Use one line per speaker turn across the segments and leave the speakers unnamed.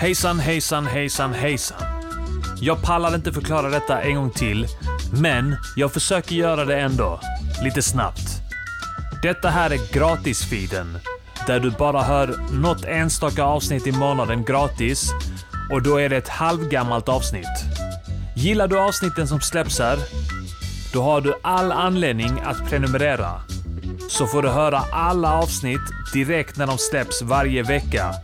Hejsan, hejsan, hejsan, hejsan. Jag pallar inte förklara detta en gång till, men jag försöker göra det ändå. Lite snabbt. Detta här är gratisfeeden, där du bara hör något enstaka avsnitt i månaden gratis och då är det ett halvgammalt avsnitt. Gillar du avsnitten som släpps här? Då har du all anledning att prenumerera. Så får du höra alla avsnitt direkt när de släpps varje vecka.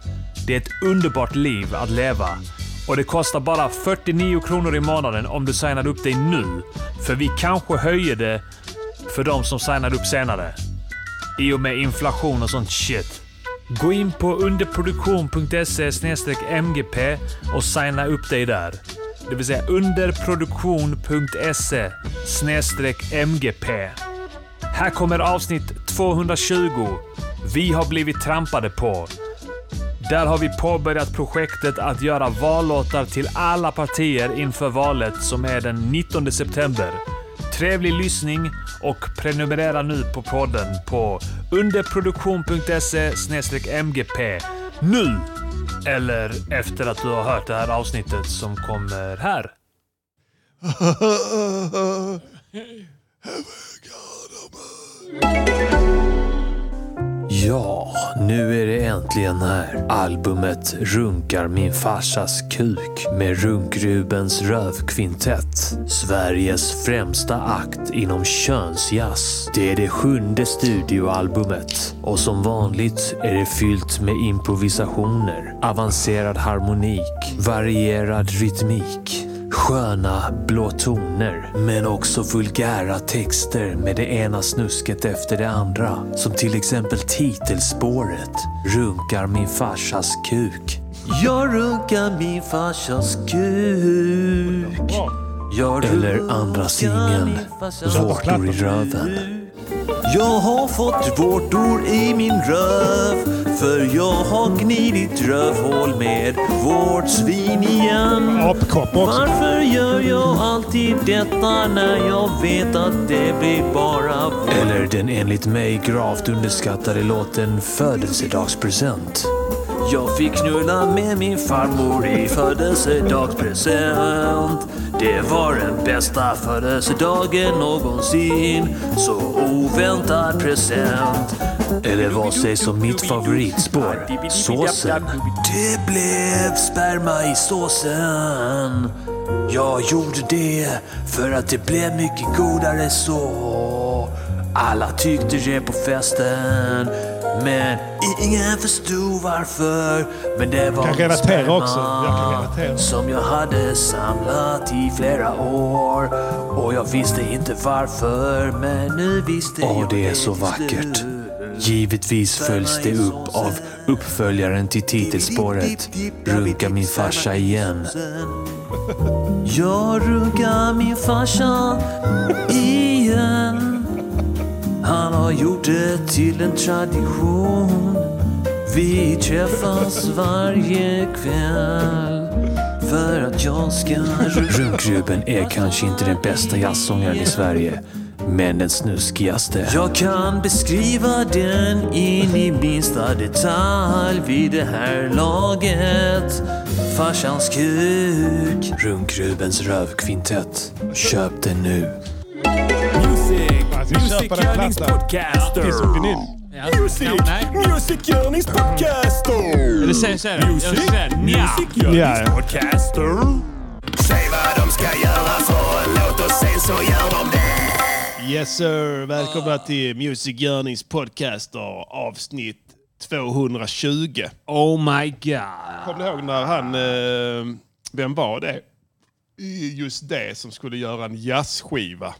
Det är ett underbart liv att leva. Och det kostar bara 49 kronor i månaden om du signar upp dig nu. För vi kanske höjer det för de som signar upp senare. I och med inflation och sånt shit. Gå in på underproduktion.se mgp och signa upp dig där. Det vill säga underproduktion.se mgp. Här kommer avsnitt 220. Vi har blivit trampade på. Där har vi påbörjat projektet att göra vallåtar till alla partier inför valet som är den 19 september. Trevlig lyssning och prenumerera nu på podden på underproduktion.se mgp. Nu! Eller efter att du har hört det här avsnittet som kommer här. Ja, nu är det äntligen här. Albumet Runkar min farsas kuk med Runkrubens rövkvintett. Sveriges främsta akt inom könsjazz. Det är det sjunde studioalbumet och som vanligt är det fyllt med improvisationer, avancerad harmonik, varierad rytmik Sköna blå toner, men också vulgära texter med det ena snusket efter det andra. Som till exempel titelspåret “Runkar min farsas kuk”. Jag runkar min farsas kuk. Jag Eller andra singeln “Vårtor i röven”. Jag har fått vårtor i min röv för jag har gnidit rövhål med vårt svin igen.
Apkopp också.
Varför gör jag alltid detta när jag vet att det blir bara Eller den enligt mig gravt underskattade låten Födelsedagspresent. Jag fick knulla med min farmor i födelsedagspresent. Det var den bästa födelsedagen någonsin. Så oväntad present. Eller vad sägs om mitt favoritspår? Såsen. Det blev sperma i såsen. Jag gjorde det för att det blev mycket godare så. Alla tyckte det på festen. Men ingen förstod varför. Men det var
Jag kan
min
relatera
sperma
också. Jag kan relatera.
som jag hade samlat i flera år. Och jag visste inte varför, men nu visste jag
det är så
till
vackert.
slut.
Givetvis följs det upp av uppföljaren till titelspåret “Runka min farsa igen”.
Jag runkar min farsa igen. Han har gjort det till en tradition. Vi träffas varje kväll för att jag ska runka.
Runkruben är kanske inte den bästa jazzsångaren i Sverige, men den snuskigaste.
Jag kan beskriva den in i minsta detalj vid det här laget. Farsans kuk.
Runkrubens rövkvintett. Köp den nu.
Music,
Alltså, vi
Music
köper den
Yearnings
platta.
podcaster.
Finns på vinyl.
Ja.
Music,
Ja, nej.
Music Yearnings podcaster.
Du säger så här. Jag
Music,
säger nja.
Music Yearnings
Ja.
podcaster.
Säg vad de ska göra för en låt och sen så gör de det.
Yes sir! Välkomna till Music Yearnings podcaster avsnitt 220.
Oh my god.
Kommer ni ihåg när han, eh, vem var det? I Just det som skulle göra en jazzskiva.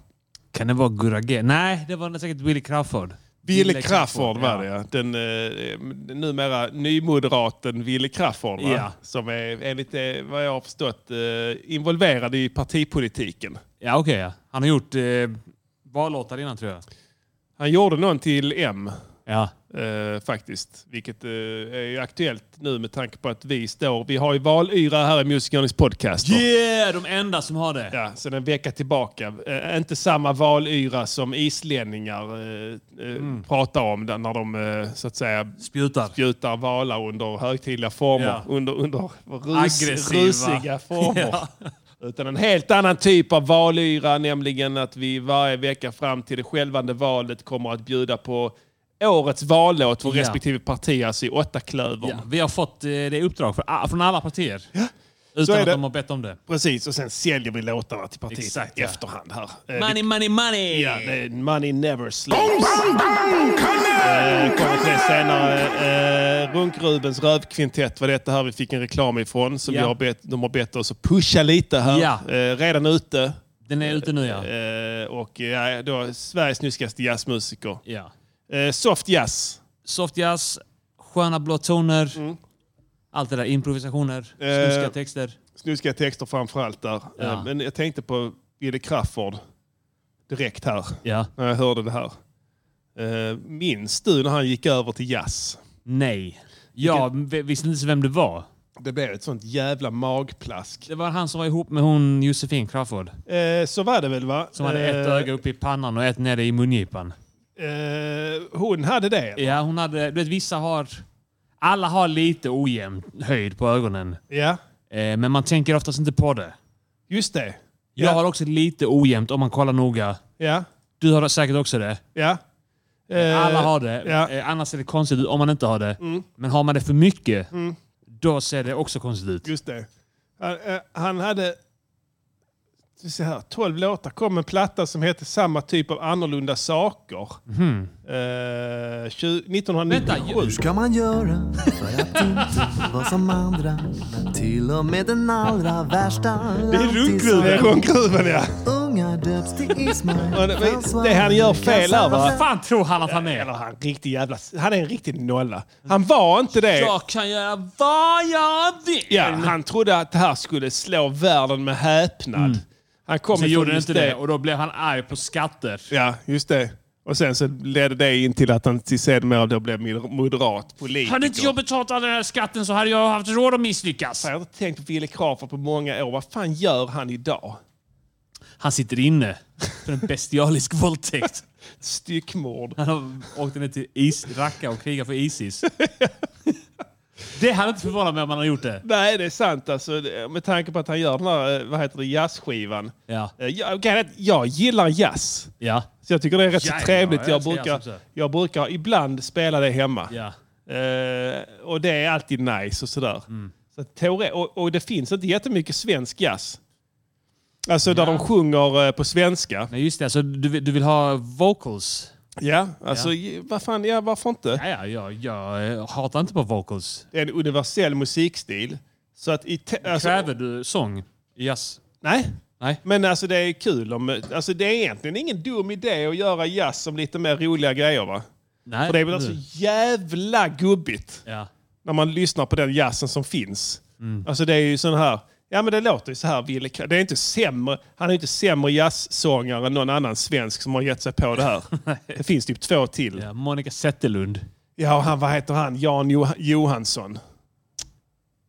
Kan det vara Gurra G? Nej, det var säkert Billy Crawford.
Wille Crafoord var det ja. Den eh, numera nymoderaten Wille Crafoord va?
Ja.
Som är enligt eh, vad jag har förstått eh, involverad i partipolitiken.
Ja, okej. ja. Han har gjort eh, vallåtar innan tror jag.
Han gjorde någon till M.
Ja.
Eh, faktiskt. Vilket eh, är aktuellt nu med tanke på att vi står... Vi har ju valyra här i Music Earnings Podcast.
Yeah! De enda som har det.
Ja, sen en vecka tillbaka. Eh, inte samma valyra som islänningar eh, eh, pratar om där när de eh, så att säga
Spjutar.
spjutar valar under högtidliga former.
Ja.
Under, under rus,
Aggressiva.
rusiga former.
Ja.
Utan en helt annan typ av valyra, nämligen att vi varje vecka fram till det självande valet kommer att bjuda på årets vallåt för
Ja.
respektive parti, alltså i åtta klöver.
Ja, vi har fått eh, det uppdrag för, ah, från alla partier.
så
Utan
är
att
det.
de har bett om det. Eh,
Precis, och sen säljer vi låtarna till partiet
Exakt,
i
ja.
efterhand här. Eh,
Money, money, money!
Ja, det är Money Never Sleeps. Eh, Kommer till det senare. Eh, Runk-Rubens rövkvintett var detta här vi fick en reklam ifrån. Som
Ja.
vi har bett, de har bett oss att pusha lite här.
Ja.
Eh, redan ute.
Den är ute nu ja.
Eh, och eh, då, Sveriges snuskigaste jazzmusiker.
ja.
Eh, soft jazz.
Soft jazz, sköna blå toner. Allt det där. Improvisationer, snuskiga texter.
Snuskiga texter framförallt där.
Ja.
Eh, men jag tänkte på Billy Crawford direkt här.
Ja.
När jag hörde det här. Eh, minns du när han gick över till jazz?
Nej. Jag v- visste inte vem det var.
Det blev ett sånt jävla magplask.
Det var han som var ihop med hon Josefin Crawford.
Eh, så var det väl va?
Som hade ett
Eh,
öga uppe i pannan och ett nere i mungipan.
Eh, hon hade det?
Ja, hon hade... Du vet, vissa har... Alla har lite ojämn höjd på ögonen.
Ja,
Eh, men man tänker oftast inte på det.
just det.
Jag
Ja.
har också lite ojämnt om man kollar noga.
Ja,
Du har säkert också det.
ja. Eh,
Alla har det.
ja.
Eh, Annars ser det konstigt ut om man inte har det. Men har man det för mycket, då ser det också konstigt ut.
Just det. Han, eh, han hade... ska vi se här, 12 låtar. Kom en platta som hette samma typ av annorlunda saker.
Mhm.
Eh, tju- 1997.
Hur ska man göra för att inte vara som andra? När till och med den allra värsta
Det är Rundgruven. Rundgruven, ja.
Ungar döps till Ismael
Och det- Det han gör fel här, va?
Vad fan tror han att han
Eller
är?
han, riktig jävla, han är en riktig nolla. Han var inte det.
Jag kan göra vad jag vill!
Ja, han trodde att det här skulle slå världen med häpnad. Han kom ifrån
Sen Mm. gjorde den
just
inte det och då blev han arg på skatter.
Ja, just det. Och sen så ledde det in till att han till sedermera då blev moderat politiker.
Hade inte jag betalat all den här skatten så hade jag haft råd att misslyckas.
Jag har inte tänkt på Wille Crawford på många år. Vad fan gör han idag?
Han sitter inne för en bestialisk våldtäkt.
Styckmord.
Han har åkt ner till is, Raqqa och krigat för Isis. Det hade inte förvånat mig om han hade gjort det.
Nej, det är sant. Alltså, det- med tanke på att han gör den här eh, vad heter det, jazzskivan.
Ja.
Eh, Jag, grejen är att jag gillar jazz.
Ja.
Så jag tycker det är rätt
Jävlar,
så trevligt.
jag
Jag
älskar jazz
brukar,
också.
jag brukar ibland spela det hemma.
Ja.
Eh, och det är alltid nice och sådär.
Mm.
Så att teore- och, och det finns inte jättemycket svensk jazz. Alltså där de sjunger eh, på svenska.
Men just det, alltså, du, vill- du vill ha vocals?
Ja, alltså j- vad fan, ja, varför inte?
Ja, ja, jag, jag eh, hatar inte på vocals.
Det är en universell musikstil. Så att i te- alltså,
Kräver du sång? Yes.
Nej.
Nej.
Men alltså det är kul om... Alltså det är egentligen ingen dum idé att göra jazz som lite mer roliga grejer va?
Nej.
För det alltså- blir
Mm.
så jävla gubbigt
Ja.
när man lyssnar på den jazzen som finns.
Mm.
Alltså det är ju sån här... Ja men det låter ju så här. Wille Kra- Det är inte sämre, han är ju inte sämre jazzsångare än någon annan svensk som har gett sig på det här. det finns typ två till. Ja,
ja. Monica Zetterlund.
och han, vad heter han? Jan Joh- Johansson.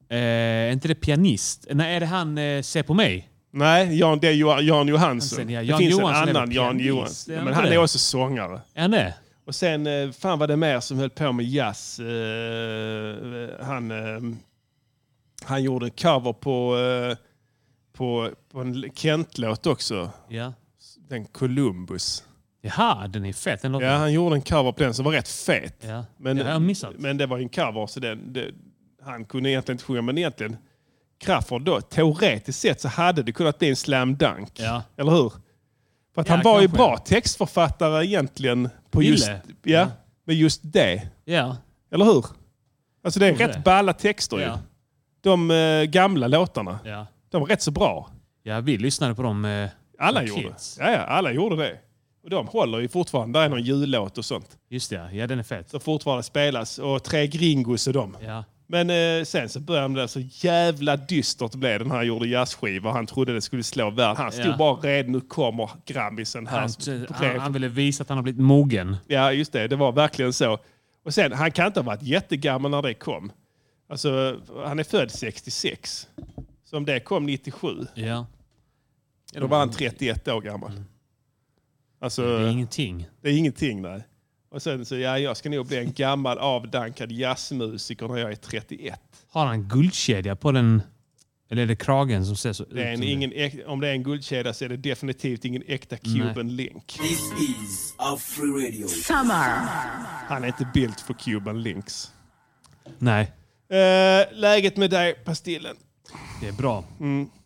Eh, är inte det pianist? Nej, är det han eh, Se på mig?
Nej, Jan, det är Johan, Jan Johansson.
Sen, ja,
det
Jan
finns
Johansson
en
är väl
annan Jan
pianist,
Johansson.
är
Ja,
han
Men
inte
han är
det?
också sångare.
Är han det?
Och sen, eh, fan var det mer som höll på med jazz. Eh, eh, Han, eh, han gjorde en cover på, eh, på, på en Kent-låt också.
Ja.
Den Columbus.
Jaha, den är fet. Den låter...
Ja, han gjorde en cover på den som var rätt fet.
Ja.
Men,
det har jag missat.
men det var ju en cover, så den, det, han kunde egentligen inte sjunga. Men egentligen, Crawford då, teoretiskt sett så hade det kunnat bli en slam dunk.
Ja.
Eller hur? För att
Ja,
han var ju
kanske.
bra textförfattare egentligen. På
Ville.
just, ja, men just det.
Ja.
Eller hur? Alltså det är
Kanske
rätt
det.
balla texter ju.
Ja.
De eh, gamla låtarna.
ja.
De var rätt så bra.
Ja, vi lyssnade på dem. Eh,
Alla
som
gjorde.
kids.
Ja, ja, alla gjorde det. Och de håller ju fortfarande. Där är någon jullåt och sånt.
Just det, ja. ja. den är fet.
Som fortfarande spelas. Och Tre Gringos och dem.
Ja.
Men eh, sen så började han med det så jävla dystert blev det när han gjorde jazzskiva. Han trodde det skulle slå världen. Han stod
Ja.
bara red, nu kommer grammisen här.
Han,
som- på
eh, han,
rev.
han ville visa att han har blivit mogen.
Ja, just det. Det var verkligen så. Och sen, han kan inte ha varit jättegammal när det kom. Alltså, han är född 66. Så om det kom 97,
Ja.
då var han 31 år gammal. Alltså,
Det är ingenting.
det är ingenting nej. Och sen så, ja, jag ska nog bli en gammal avdankad jazzmusiker när jag är 31.
Har han en guldkedja på den... Eller är det kragen som ser så
Det är en, ingen, äk- om det är en guldkedja så är det definitivt ingen äkta Cuban Link.
This is our free radio.
Summer.
Han är inte built för Cuban Links.
Nej,
Eh, läget med dig, Pastillen?
det är bra.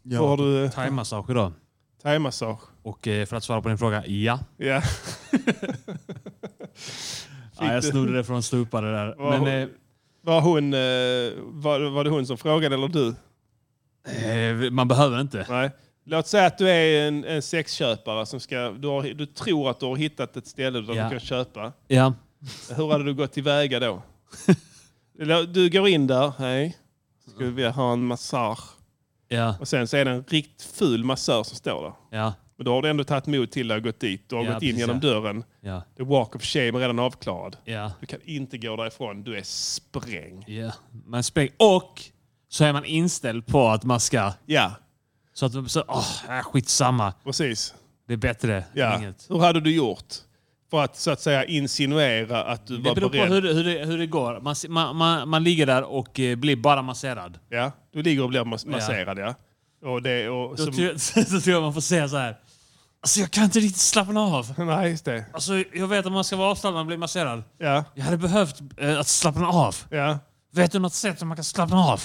Ja. Får du eh,
Thaimassage då.
thaimassage?
Och eh, för att svara på din fråga, ja.
Ja.
ja jag snodde det från stupare där.
Vad-
Men, eh,
Var, hon, eh, var, var det hon som frågade eller du?
Eh, Man behöver inte.
Nej. Låt säga att du är en, en sexköpare som ska... Du, har, du tror att du har hittat ett ställe där
Ja.
du kan köpa.
Ja.
Hur hade du gått tillväga då? Eller, Du går in där, hej. Skulle vi ha en massage?
Ja.
Och sen så är det en riktigt ful massör som står där.
Ja.
Men då har du ändå tagit mod till dig och gått dit. Du har
Ja,
gått in
precis,
genom
ja.
dörren.
Ja.
The walk of shame är redan avklarad.
Ja.
Du kan inte gå därifrån. Du är spräng.
ja. Man spräng. Och så är man inställd på att man ska...
Ja,
Så att så, åh, äh, skitsamma.
precis.
Det är bättre
Ja.
än inget.
Hur hade du gjort? För att så att säga insinuera att du
Det
var
beror på
beredd.
hur, det- hur, det, hur det går. Man, si- man, man, man ligger där och eh, blir bara masserad.
Ja, du ligger och blir mas- masserad ja. Och det, och,
Då
som,
tror, jag, då tror jag man får säga så här. Alltså jag kan inte riktigt slappna av.
nej, just det.
Alltså jag vet att man ska vara avslappnad och bli masserad.
Ja,
Jag hade behövt eh, att slappna av.
ja.
Vet du något sätt som man kan slappna av?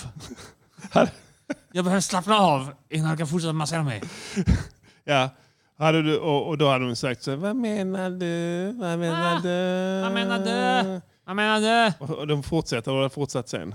jag behöver slappna av innan jag kan fortsätta massera mig.
ja. Hade du, och, och då hade hon sagt så här, vad menar du? Vad menar
Ah,
du?
Vad menar du? Vad menar du?
Och- Och de fortsätter och de har fortsatt sen.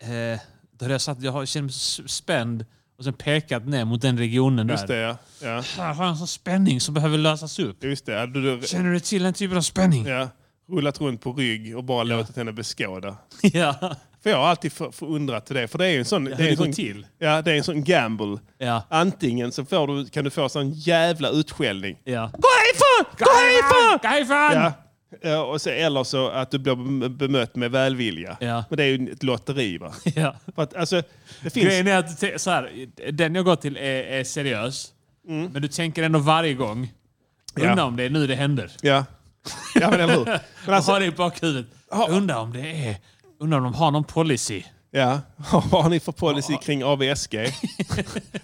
Eh, då hade jag satt, jag har- känner mig så spänd och sen pekat ner mot den regionen
Just
där.
det, ja. ja.
Här har jag en sån spänning som behöver lösas upp.
Just det. Hade du
Känner du till den typen av spänning?
ja, rullat runt på rygg och bara låtit henne beskåda?
ja.
För jag har alltid för- förundrat till det. För det är ju en sån... det
hur
är en
det går
sån,
till.
Ja, det är en sån gamble.
Ja.
Antingen så får du, kan du få sån jävla utskällning.
ja.
Gå härifrån! Gå härifrån!
Gå härifrån!
Ja. Ja, och så, eller så att du blir bem- bemött med välvilja.
Ja.
Men det är ju ett lotteri. Va?
Ja.
För att, alltså, det finns...
Grejen är att te- så här, den jag går till är, är seriös. Men du tänker ändå varje gång.
Mm. Ja.
Undrar om det är nu det händer.
Ja. ja, men eller hur? Men
Alltså,
alltså,
har det i bakhuvudet. Undrar om det är... Undrar om de har någon policy.
Ja, vad har ni för policy kring AVSG?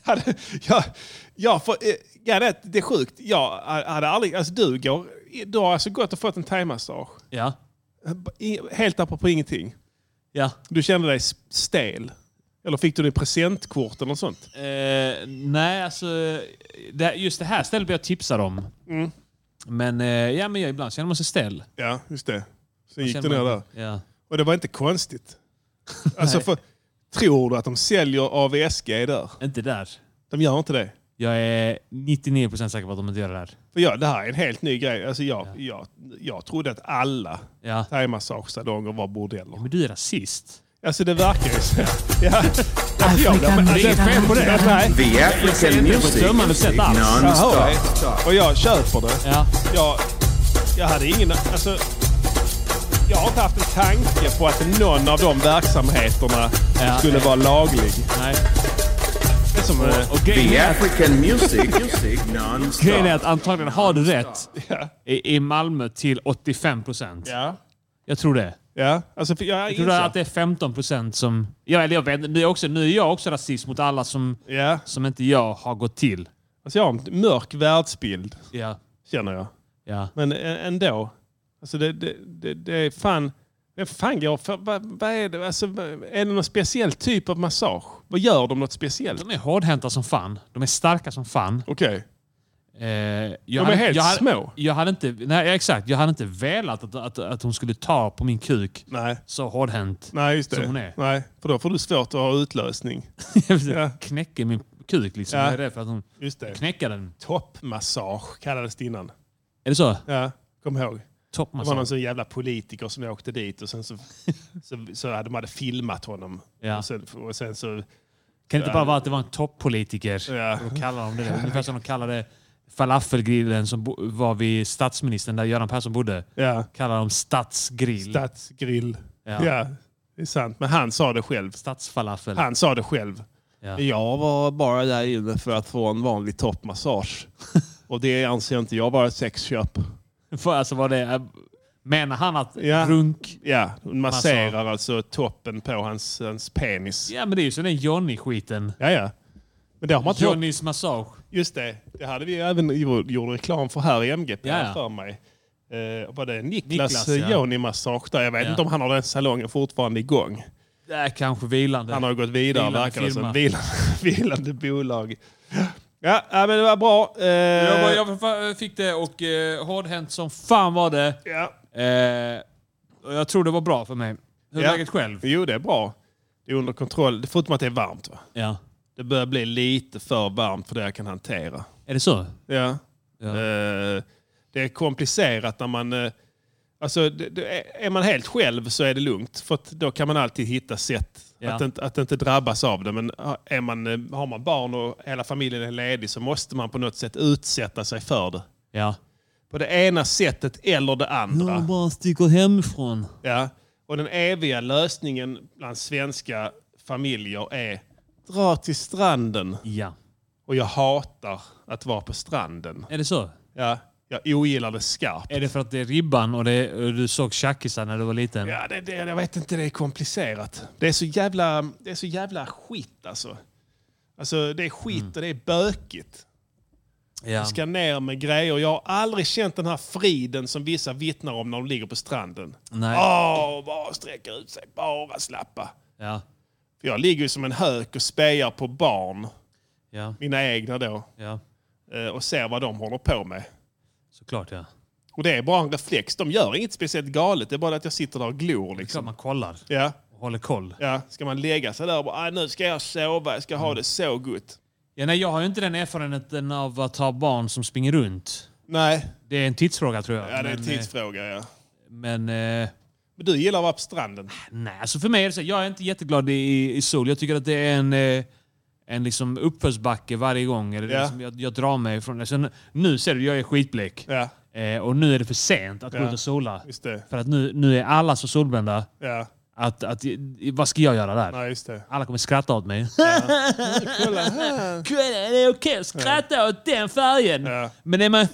hade, ja, ja, för, eh, ja, det, det är sjukt. Jag hade aldrig, alltså, du, går, du har alltså gått och fått en thaimassage.
Ja.
Eh, I- Helt apropå ingenting.
Ja.
Du kände dig s- stel. Eller fick du det i presentkort eller något sånt?
Eh, nej, alltså... Det, här- just det här stället blir jag tipsad om.
Mm.
Men, eh, ja, men jag, ibland känner man sig stel.
Ja, just det. Sen gick du
Känner
ner
man-
där.
Ja.
Och det var inte konstigt. alltså, för, tror du att de säljer AVSG där?
Inte där.
De gör inte det.
Jag är 99% säker på att de inte gör det där.
För jag, det här är en helt ny grej. Alltså, jag, jag, jag trodde att alla
Ja.
thaimassagesalonger var bordeller.
Men du är rasist.
Alltså det verkar ju så. Ja. Ja, men det är fel på det. Alltså, Nej.
The African music
Dömande sätt alls.
non-stop.
Och jag köper det.
Ja.
Jag, jag hade ingen... Alltså, jag har inte haft en tanke på att någon av de verksamheterna
Ja.
skulle vara laglig.
Nej.
Det är som, eh,
Och grejen
The
är
African music, music
Grejen är
non-stop.
att antagligen har du rätt i, i Malmö till 85 procent.
ja.
Jag tror det.
ja. Alltså, för jag
Jag tror
inser.
att det är 15 procent som... Ja, eller jag vet inte. Nu är, också, nu är jag också rasist mot alla som,
Ja.
som inte jag har gått till.
Alltså, jag har en mörk världsbild,
Ja.
känner jag.
Ja.
Men ä- ändå. Alltså det, det, det, det är fan... Vem fan går för... Vad, vad är det? Alltså, är det någon speciell typ av massage? Vad gör de något speciellt?
De är hårdhänta som fan. De är starka som fan.
Okej.
Eh, jag de
är helt
jag
små.
Jag hade inte, nej, exakt. Jag hade inte velat att, att, att hon skulle ta på min kuk
Nej.
så hårdhänt.
Nej, just det.
Som hon är.
Nej, för då får du svårt att ha utlösning. Ja.
Knäcker min kuk liksom.
Ja.
Jag är rädd för att hon
Just det.
knäcker den.
Toppmassage kallades det innan.
Är det så?
Ja, kom ihåg. Det var
Toppmassan.
någon sån jävla politiker som åkte dit och sen så, så, så hade man hade filmat honom.
Ja.
Och, sen, och sen så...
Kan det inte bara vara att det var en toppolitiker?
Ja.
De kallar dem det. Ungefär som de kallade falafelgrillen som bo- var vid statsministern där Göran Persson bodde.
Ja.
Kallar dem stadsgrill.
Stadsgrill.
Ja.
Ja. det är sant. Men han sa det själv.
Stadsfalafel.
Han sa det själv.
Ja.
Jag var bara där inne för att få en vanlig toppmassage. och det anser inte jag vara ett sexköp.
För, alltså var det... Menar han att
Ja.
runk...
Ja, hon masserar alltså toppen på hans, hans penis.
Ja men det är ju så den Johnny-skiten.
Ja, ja. Men det har man inte gjort.
Johnnys massage.
Just det, det hade vi ju även gjort gjorde reklam för här i MGP
Ja, ja.
för mig. Eh, var det
Niklas,
Niklas,
ja.
Niklas Massage där? Jag vet
Ja.
inte om han har den salongen fortfarande igång.
Det är kanske vilande.
Han har ju gått vidare
Vilande
verkar det
firma.
som. Vilande, vilande bolag. Ja, ja, men det var bra. Eh,
Jag, var, jag fa- fick det och eh, hårdhänt som fan var det.
Ja.
Eh, och jag tror det var bra för mig. Hur är
Ja.
läget själv?
Jo, det är bra. Det är under kontroll, förutom att det är varmt. Va?
Ja.
Det börjar bli lite för varmt för det jag kan hantera.
Är det så?
Ja.
Ja.
Eh, det är komplicerat när man... eh, alltså, det, det, är- är man helt själv så är det lugnt. För att då kan man alltid hitta sätt
Ja.
att, inte, att inte drabbas av det. Men ah, är man, eh, har man barn och hela familjen är ledig så måste man på något sätt utsätta sig för det.
Ja.
På det ena sättet eller det andra.
bara sticker hemifrån.
Ja. Och den eviga lösningen bland svenska familjer är dra till stranden.
Ja.
Och jag hatar att vara på stranden.
Är det så?
Ja. Jag ogillar det skarpt.
Är det för att det är ribban och, det, och du såg tjackisar när du var liten?
Ja, det, det, jag vet inte, det är komplicerat. Det är så jävla, det är så jävla skit alltså. Alltså det är skit och det är bökigt.
Ja.
Jag ska ner med grejer. Jag har aldrig känt den här friden som vissa vittnar om när de ligger på stranden.
Nej.
Åh, bara sträcka ut sig, bara slappa.
Ja.
För jag ligger ju som en hök och spejar på barn,
Ja.
mina egna då,
ja.
eh, och ser vad de håller på med.
Såklart ja.
Och det är bara en reflex. De gör inget speciellt galet, det är bara att jag sitter där och glor.
Klart
Liksom.
man kollar
Ja.
och håller koll.
Ja, ska man lägga sig där och bara, "Ah, nu ska jag sova, jag ska ha det så gott.
Ja, nej, jag har ju inte den erfarenheten av att ha barn som springer runt.
Nej,
Det är en tidsfråga tror jag.
ja, det är en
Men,
tidsfråga. Ja.
eh, Men... Eh,
Men du gillar att vara på stranden.
Nej, alltså för mig är det så här, jag är inte jätteglad i, i sol. Jag tycker att det är en, eh, en liksom uppförsbacke varje gång. Eller
Ja.
liksom jag, jag drar mig från det. Sen, nu ser du, jag är skitblek.
Ja,
Eh, och nu är det för sent att gå
Ja.
ut och sola.
just det.
För att nu, nu är alla så solbrända.
Ja,
Att, att, vad ska jag göra där?
nej, just det.
Alla kommer skratta åt mig. Kolla, det är okej att skratta åt den färgen.
Ja.
Men, är man,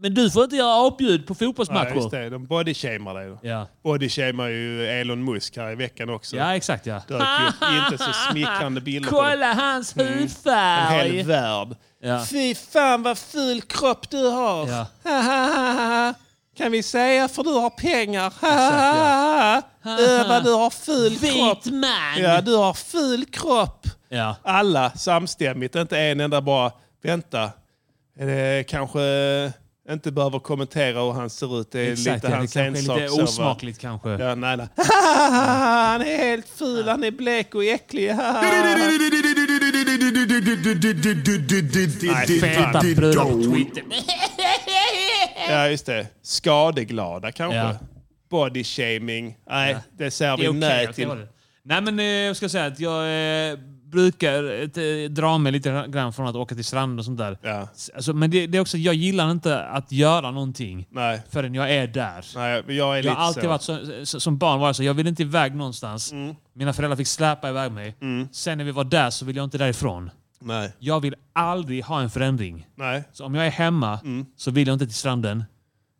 men du får inte göra apljud på
Nej, just
fotbollsmatcher.
det. De bodyshamar dig. då.
Ja,
Bodyshamar ju Elon Musk här i veckan också.
ja, exakt ja.
Dök upp inte så smickrande bilder på dem.
Kolla hans
Mm. en
hudfärg!
hel värld.
Ja.
Fy fan vad ful kropp du har.
Ja.
Kan vi säga för du har pengar. Ö, vad du har ful kropp.
man!
Ja, du har ful kropp.
Ja.
Alla samstämmigt, inte en enda bara vänta. Är det kanske inte behöver kommentera hur han ser ut. Det är
Exakt,
lite
ja, det
hans
kanske
ensak.
är lite
så, va?
osmakligt kanske.
Ja, nej, nej. Han är helt ful, han är blek och äcklig.
Feta brudar på Twitter.
Ja, just det. Skadeglada kanske.
Ja.
Body shaming. Nej, det säger
Det
vi
är okej
nej
åt det
till.
hållet. Nej men eh, jag ska säga att jag eh, brukar eh, dra mig lite grann från att åka till stranden och sånt där.
Ja.
S- Alltså, men det, det är också, jag gillar inte att göra någonting
Nej,
förrän jag är där.
nej, men jag är
Jag
lite
har alltid
så. Mm.
varit så, så, som barn var jag så, jag ville inte iväg någonstans. Mina föräldrar fick släpa iväg mig. Sen när vi var där så ville jag inte därifrån.
Nej,
Jag vill aldrig ha en förändring.
nej,
Så om jag är hemma
Mm.
så vill jag inte till stranden.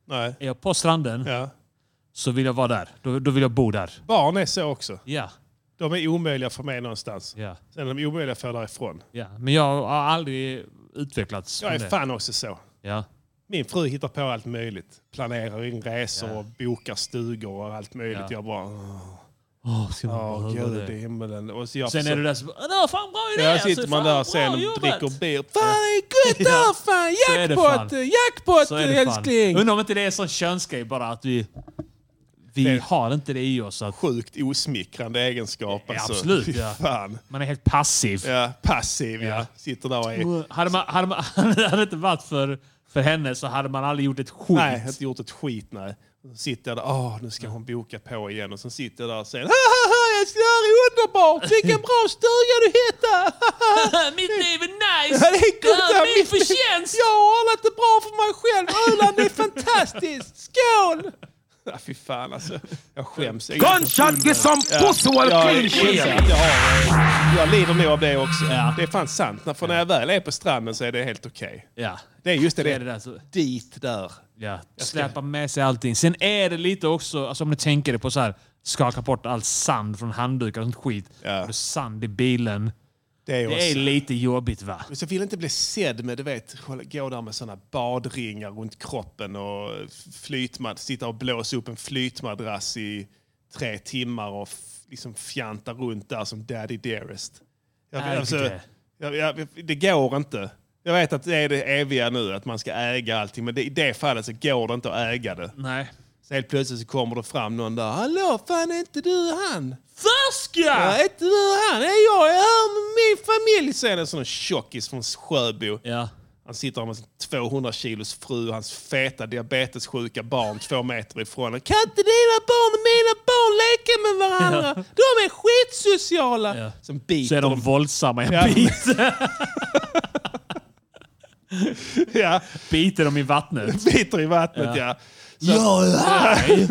nej.
Är jag på stranden
Ja.
så vill jag vara där. Då, då vill jag bo där.
Barn är så också.
Ja,
De är omöjliga för mig någonstans.
ja,
Sen är de omöjliga för därifrån.
ja. Men jag har aldrig utvecklats
Jag är
från det.
fan också så.
Ja.
Min fru hittar på allt möjligt. Planerar in resor
Ja.
och bokar stugor och allt möjligt.
Ja.
Jag bara... Åh,
Åh, ska man bara höra
gud
det?
i himmelen. Och så jag
Sen är
försöker-
du där så bara, "Det var fan bra idé!
Ja,
alltså,
sitter man
fan,
där sen
bra
och
jobbat."
dricker beer. Fan, det är gött
Ja.
där! Fan,
Så är det fan.
jackpot! Jackpot,
Så är det
älskling!
fan. Undrar om inte det är en sån könsgrej bara att vi... Vi
Det-
har inte det i oss. Att
Sjukt osmickrande egenskap.
Ja,
alltså.
absolut,
Fy
ja.
Fan.
man är helt passiv.
Ja, passiv, ja.
Ja.
Sitter där och är...
Hade, man, hade, man, hade det inte varit för För henne så hade man aldrig gjort ett skit.
Nej, jag har inte gjort ett skit. Nej. Och så sitter jag där, åh, nu ska hon boka på igen. Och sen sitter jag där och säger, haha, älskling, det här är underbart! Vilken bra stuga du hittade!
Mitt liv är nice!
Ja, det är gott,
Ja,
ja,
min
mitt-
förtjänst!
Jag har ordnat det bra för mig själv! Öland är fantastiskt! Skål! Ja, fy fan alltså. Jag skäms. Jag är
Gunshot get some pussy
Ja,
while
jag,
clean
jag,
shit.
jag, har, jag lider nog av det också.
Ja.
Det är fan sant. När- För när jag väl är på stranden så är det helt okej.
Ja.
Det är just det,
Det är det
det.
där. Så,
Dit där.
ja.
ska-
Släpa med sig allting. Sen är det lite också, alltså om du tänker det på så här, skaka bort all sand från handdukar och sånt skit.
Ja.
Har du Sand i bilen.
Det är,
Det är
också.
lite jobbigt va?
Men så vill jag inte bli sedd med, du vet, gå där med såna badringar runt kroppen och flytmad, sitta och blåsa upp en flytmadrass i tre timmar och f- liksom fjanta runt där som Daddy Dearest. Jag,
Nej,
alltså,
inte.
jag, jag, det går inte. Jag vet att det är det eviga nu, att man ska äga allting, men det, i det fallet så går det inte att äga det.
Nej.
Så helt plötsligt så kommer det fram någon där. Hallå, fan är inte du han? Ja,
Färska!
är inte du han? Är jag är här med min familj, säger en sån tjockis från Sjöbo.
Ja.
Han sitter med sin 200 kilos fru och hans feta diabetessjuka barn två meter ifrån. Kan inte dina barn och mina barn leka med varandra? De är skitsociala!
Ja.
Som biter
Så är de
dem.
våldsamma. Jag
Ja.
biter,
Ja,
biter dem i vattnet.
biter i vattnet, ja.
Jag är här!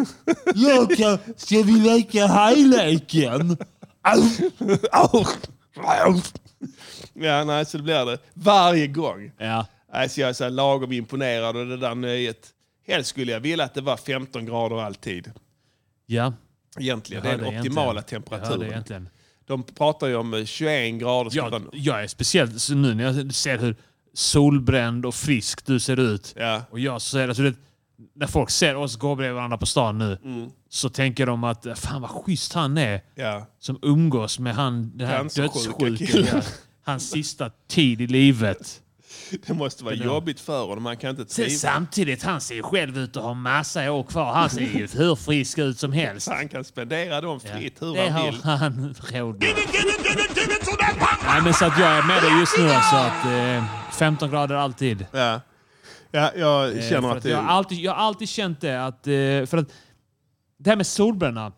Jag kan, ska vi leka hajleken?
Ja, nej, så det blir det. Varje gång.
Ja.
Nej, så jag är så här lagom imponerad av det där nöjet. Helst skulle jag vilja att det var 15 grader alltid.
ja.
Egentligen,
Jag hör
det är den
dig
optimala
egentligen. Jag hör dig
temperaturen.
egentligen.
De pratar ju om eh, 21 grader. ska
Jag,
man-
jag är speciellt så nu när jag ser hur solbränd och frisk du ser ut.
Ja.
Och jag ser, alltså det, när folk ser oss gå bredvid varandra på stan nu
Mm.
så tänker de att fan vad schysst han är
Ja.
som umgås med han, den här
Cancersjuka
dödssjuken.
killen.
ja. Hans sista tid i livet.
Det måste vara jobbigt för honom. Han kan inte
Sen
trivas.
samtidigt, han ser ju själv ut att ha massa år kvar. Han ser ju hur frisk ut som helst.
Han kan spendera dem fritt hur
det
han
har
vill.
han råd med. Nej, men så att jag är med dig just nu alltså. Att, eh, 15 grader alltid.
Ja. Ja, jag
Eh,
känner
för
att det...
jag, har alltid, jag har alltid känt det att... Eh, för att det här med solbränna.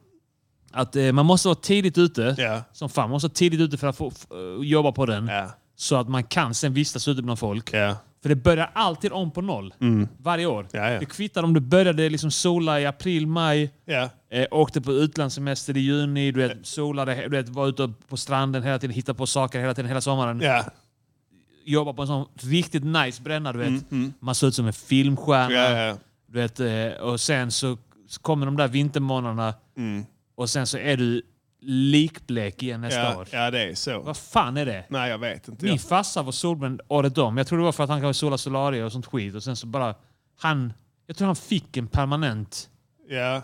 Att eh, man måste vara tidigt ute.
Ja.
Som fan. Man måste vara tidigt ute för att få, f- eh, jobba på den.
Ja.
Så att man kan sen vistas ute bland folk.
Ja.
För det börjar alltid om på noll. Varje år.
Mm. Ja, ja.
Det kvittar om du började liksom sola i april, maj,
Ja.
eh, åkte på utlandssemester i juni, du vet, solade, he- du vet, var ute på stranden hela tiden, hittade på saker hela tiden, hela sommaren.
Ja.
Jobbade på en sån riktigt nice bränna, du vet. Man såg ut som en filmstjärna.
Mm, Ja, ja.
Du vet, eh, och sen så så kommer de där vintermånaderna
Mm.
och sen så är du likblek igen nästa
Ja.
år.
ja, det är så.
Vad fan är det?
Nej, jag vet inte.
Min
Jag,
farsa var solbränd året om. Jag tror det var för att han kanske sola solarier och sånt skit. Och sen så bara... Han... Jag tror han fick en permanent...
ja.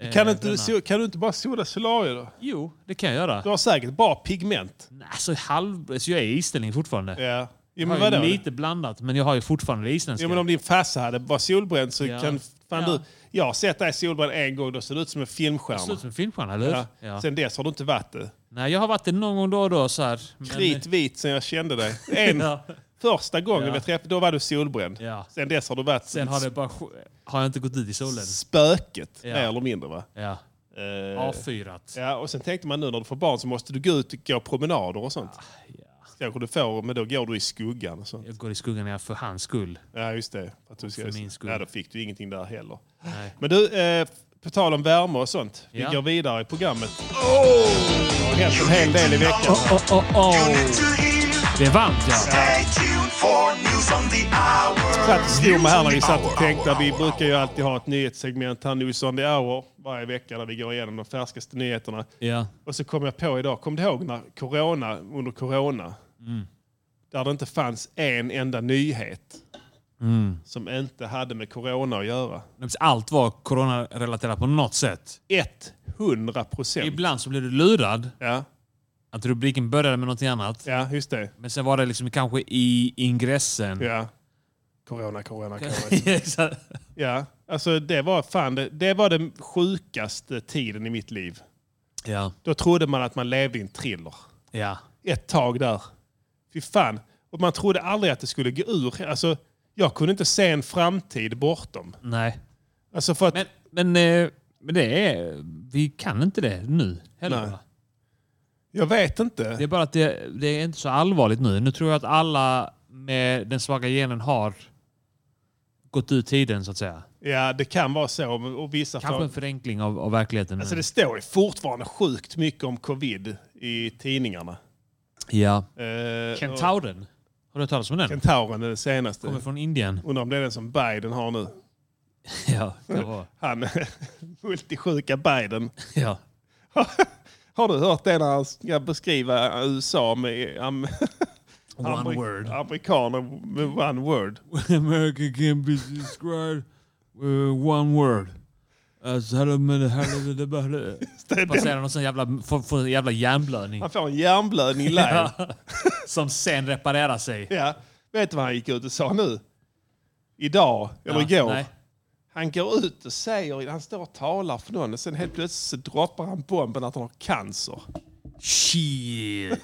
eh,
Kan, inte du,
bränna.
so- kan du inte bara sola solarier då?
Jo, det kan jag göra.
Du har säkert bra pigment.
Nej, Alltså halv... Så jag är islänning fortfarande.
Ja. Jo, men
Jag har
vadå?
ju lite blandat, men jag har ju fortfarande det isländska.
Jo, men om din farsa hade var solbränd så
Ja.
kan fan
Ja.
du... Jag har sett dig solbränd en gång. Då ser du ut som en
Det ser ut som
filmstjärna.
en filmstjärna, eller hur?
Ja.
Ja.
Sen dess har du inte varit det.
Nej, jag har varit det någon gång då och då. Så här. men-
Kritvit sen jag kände dig. En,
Ja.
Första gången
Ja.
vi träffade, då var du solbränd.
Ja.
Sen dess har du varit
Sen har det bara... Har jag inte gått ut i solen?
spöket,
Ja.
mer eller mindre. Va?
Ja.
Eh,
Avfyrat.
ja, och sen tänkte man nu när du får barn så måste du gå ut och gå promenader och sånt.
Ah,
Kanske du får, men då går du i skuggan och sånt.
Jag går i skuggan ja, för hans skull.
Ja, just det. För att du ska,
För min skull.
Ja, då fick du ingenting där heller.
Nej.
Men du, eh, på tal om värme och sånt. Vi
Ja.
går vidare i programmet. Det har hänt en hel del i veckan.
Oh, oh, oh, oh. Det är varmt ja.
satt och slog mig här när vi satt och tänkte. Vi brukar ju alltid ha ett nyhetssegment här, News on the hour, varje vecka där vi går igenom de färskaste nyheterna.
Ja.
Och så kom jag på idag, kom du ihåg när corona, under corona,
Mm.
där det inte fanns en enda nyhet
Mm.
som inte hade med corona att göra?
Allt var coronarelaterat på något sätt.
100 procent.
Ibland så blev du lurad
Ja,
att rubriken började med någonting annat.
ja, just det.
Men sen var det liksom kanske i ingressen.
Ja. Mm. Corona, corona, corona.
Exakt.
ja, alltså det var fan, det, det var den sjukaste tiden i mitt liv.
ja.
Då trodde man att man levde i en thriller.
Ja.
ett tag där. Fy fan. Och man trodde aldrig att det skulle gå ur. Alltså, Jag kunde inte se en framtid bortom.
Nej.
Alltså för att,
Men, men, eh, men det är... Vi kan inte det nu heller.
Nej.
va?
jag vet inte.
Det är bara att det, det är inte så allvarligt nu. Nu tror jag att alla med den svaga genen har gått ut tiden så att säga.
Ja, det kan vara så. men- Och vissa
Kanske
får-
en förenkling av, av verkligheten.
Alltså det står ju fortfarande sjukt mycket om covid i tidningarna.
Ja.
Eh, och
Kentauren. Har du hört talas om den?
Kentauren är det senaste.
Kommer från Indien.
Undrar om det är den som Biden har nu.
Ja, det var.
Han, multisjuka Biden.
Ja.
Har du hört det när han ska beskriva USA med am,
One
amerik-
word. Mm.
amerikaner med one word?
America can be described with one word. Alltså, hallå, men det här är det bara... Vad säger han? Någon sån jävla, får, får en jävla hjärnblödning.
Han får en hjärnblödning live.
Ja. Som sen reparerar sig.
Ja. Vet du vad han gick ut och sa nu? Idag, eller igår.
Nej.
Han går ut och säger, han står och talar för någon och sen helt plötsligt så droppar han bomben att han har cancer.
Shit.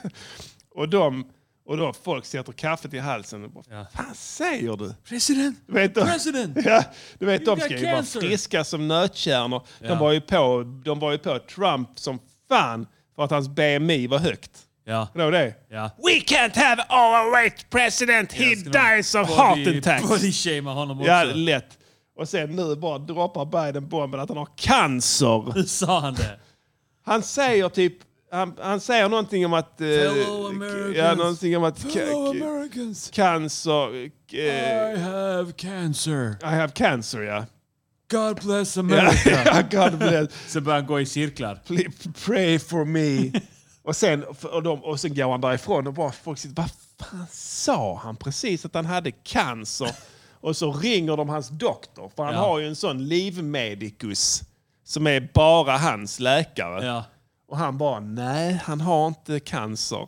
Och, de, och då folk sätter kaffet i halsen. Och bara,
Ja.
Fan säger du?
President!
Du vet, de,
President!
ja, du vet de
got
ska ju vara
cancer.
friska som nötkärnor.
Ja.
De, var ju på, de var ju på Trump som fan för att hans BMI var högt.
Ja.
Kommer du ihåg det?
Ja.
We can't have our overweight president. He
ska de
dies of heart
Body-
attacks.
Bodyshamea honom också.
Ja, lätt. Och sen nu bara droppar Biden bomben att han har cancer.
Hur sa han det?
Han säger typ... Han, han säger någonting om att... Eh,
Fellow Americans.
ja, någonting om att... ca- ca-
Americans!
cancer... Eh,
I have cancer.
I have cancer, ja.
God bless
ja. God bless.
Så börjar han gå i cirklar.
Pl- Pray for me. och, sen, och, de, och sen går han därifrån och bara folk sitter... Vad fan sa han precis att han hade cancer? och så ringer de hans doktor. För han
Ja.
har ju en sån livmedicus. Som är bara hans läkare.
Ja.
Och han bara, nej, han har inte cancer.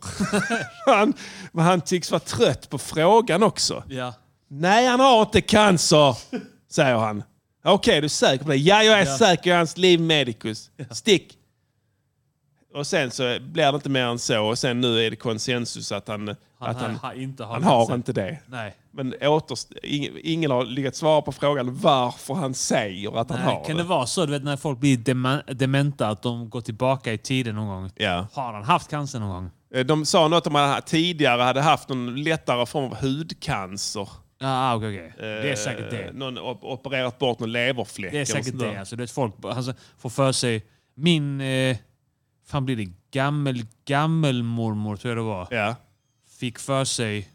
han, men han tycks vara trött på frågan också.
Ja.
Nej, han har inte cancer, säger han. Okej, du är säker på det? Ja, jag är
Ja.
säker. Jag är hans livmedikus. Stick! Och sen så blir det inte mer än så. Och sen nu är det konsensus att han,
Han,
att han,
har inte har
han har
cancer.
inte det.
Nej.
Men återst- ing- ingen har lyckats svara på frågan varför han säger att han
Nej,
har
kan
det.
det vara så du vet, när folk blir dema- dementa att de går tillbaka i tiden någon gång?
Ja.
Har han haft cancer någon gång?
Eh, De sa något om att han tidigare hade haft någon lättare form av hudcancer.
Ja, ah, okej. okej. Det är säkert
Eh,
det.
Någon op- opererat bort någon leverfläck.
Det är
eller
säkert
sånt där.
det. Alltså, det är folk alltså, får för sig... Min... Eh, fan blir det? Gammel, gammelmormor tror jag det var.
Ja.
Fick för sig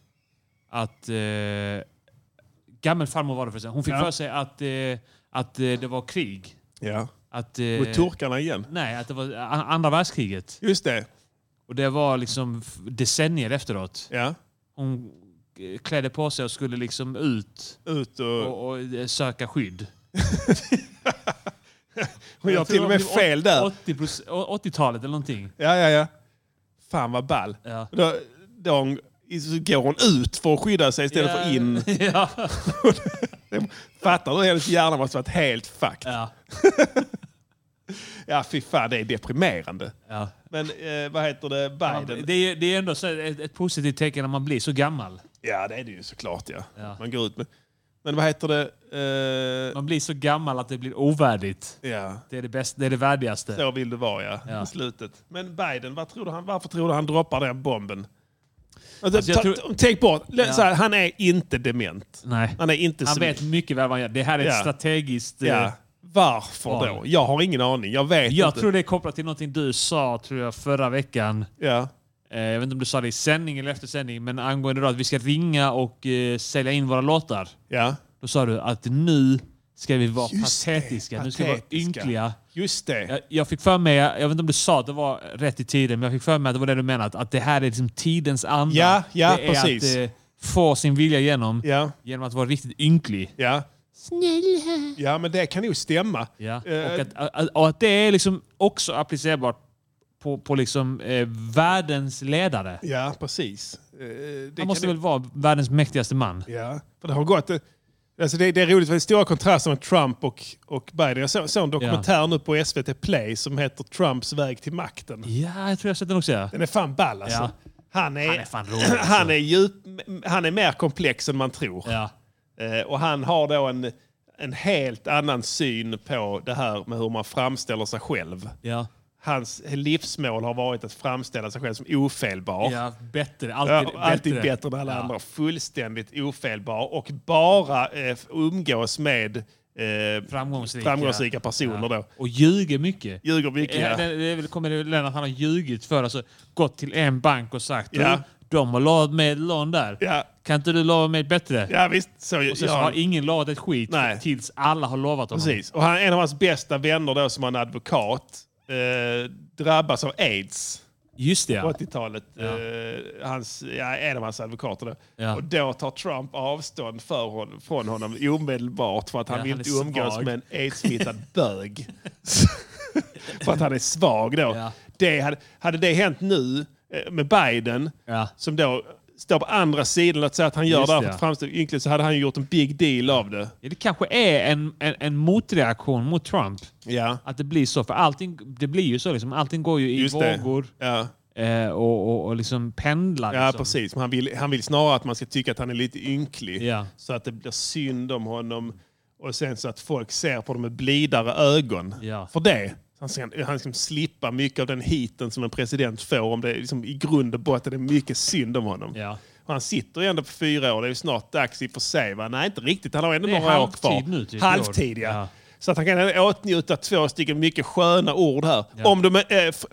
att... Eh, gammelfarmor var det förresten. Hon fick
Ja.
för sig att, eh, att eh, det var krig.
ja.
Att, eh,
Mot turkarna igen.
Nej, att det var a- andra världskriget.
Just det.
Och det var liksom f- decennier efteråt.
Ja.
Hon eh, klädde på sig och skulle liksom ut
Ut och...
och, och eh, söka skydd.
Hon gör till och med fel där.
80%, 80-talet eller någonting.
Ja, ja, ja. Fan vad ball.
Ja.
Då, då hon, så går hon ut för att skydda sig istället för in.
ja.
Fattar du? Hennes hjärna måste varit helt fucked.
ja.
Ja, fy fan. Det är deprimerande.
ja.
Men eh, vad heter det? Biden?
Det, är, det är ändå så här ett, ett positivt tecken när man blir så gammal.
Ja, det är det ju såklart. Ja.
Ja.
Man går ut med... Men vad heter det? Eh,
Man blir så gammal att det blir ovärdigt.
ja.
Det är det, bästa, det, är det värdigaste.
Så vill du vara, ja.
Ja.
I slutet. Men Biden, vad tror du han, varför tror du han droppar den bomben?
Alltså, jag
ta,
tror-
ta- Tänk bort,
Ja.
ja. så här, han är inte dement.
Nej.
Han är inte
Han
så-
vet mycket väl vad han gör. Det här är ett
Ja.
strategiskt... eh,
Ja. Varför
Ja.
då? Jag har ingen aning. Jag vet
Jag
inte.
tror det är kopplat till någonting du sa tror jag, förra veckan.
Ja.
Eh, jag vet inte om du sa det i sändning eller efter sändning, men angående då att vi ska ringa och eh, sälja in våra låtar.
ja.
Då sa du att nu ska vi vara
Just det,
patetiska. Nu ska vi vara
patetiska.
ynkliga.
Just det.
Jag, jag fick för mig, jag vet inte om du sa att det var rätt i tiden, men jag fick för mig att det var det du menade. Att, att det här är liksom tidens anda.
Ja, ja,
det är
precis.
att eh, få sin vilja igenom
Ja.
genom att vara riktigt ynklig.
Ja. Snälla. Ja, men det kan ju stämma.
Ja.
Eh,
Och, att, att- och att det är liksom också applicerbart på, på liksom, eh, världens ledare.
ja precis. Eh, det
Han
kan
måste
ju-
väl vara världens mäktigaste man?
Ja, för det har gått... Alltså det, det är roligt, för det är stora kontraster mellan Trump och, och Biden. Jag såg såg en dokumentär nu på SVT Play som heter Trumps väg till makten.
Ja, jag tror jag har sett den också. Ja.
Den är fan ball alltså.
Ja.
Han, är,
Han är fan rolig, alltså.
han, är djup, han är mer komplex än man tror.
Ja.
Eh, och han har då en, en helt annan syn på det här med hur man framställer sig själv.
Ja.
Hans livsmål har varit att framställa sig själv som ofelbar.
ja, bättre.
Ja,
Alltid,
alltid bättre, än alla andra. Fullständigt ofelbar och bara eh, umgås med eh,
Framgångsrika.
framgångsrika personer. Då.
Och ljuger mycket.
Ljuger mycket.
Ja.
Ja.
Det, det är väl- kommer det väl att han har ljugit för. Alltså, gått till en bank och sagt
Ja.
"Du, de har lovat mig ett lån där.
Ja.
Kan inte du lova mig ett bättre?
Ja, visst. Så,
Och sen så
ja,
har ingen lovat ett skit
Nej.
tills alla har lovat honom.
precis. Och han, en av hans bästa vänner då, som är en advokat eh, drabbas av aids.
Just det,
på
ja.
80-talet. Eh, hans, ja, en av hans advokater. Då.
Ja.
Och då tar Trump avstånd för hon, från honom omedelbart för att han
Ja,
vill
han
inte
är
umgås
svag.
med en aidssmittad bög. för att han är svag då.
Ja.
Det hade, hade det hänt nu eh, med Biden,
Ja.
som då står på andra sidan, låt säga att han gör
Just
det här
det,
för
ja.
att framstå ynklig, så hade han gjort en big deal av det.
Det kanske är en, en, en motreaktion mot Trump.
Ja.
Att det blir så. För allting, det blir ju så. Liksom, allting går ju i
Just det.
vågor
Ja,
eh, och, och, och liksom pendlar.
ja
liksom.
precis. Men han vill, han vill snarare att man ska tycka att han är lite ynklig.
Ja.
Så att det blir synd om honom. Och sen så att folk ser på dem med blidare ögon.
Ja.
För det. Han ska, han ska slippa mycket av den hiten som en president får. Om det är liksom, I grund och botten är det mycket synd om honom.
Ja.
Och han sitter ju ändå på fyra år. Det är ju snart dags i och för sig. Va? Nej, inte riktigt. Han har ändå
Det är
några år
halvtid
kvar.
nu, typ, i år.
halvtid, ja.
Ja.
Så att han kan ändå åtnjuta två stycken mycket sköna ord här.
Ja.
Om de, äh,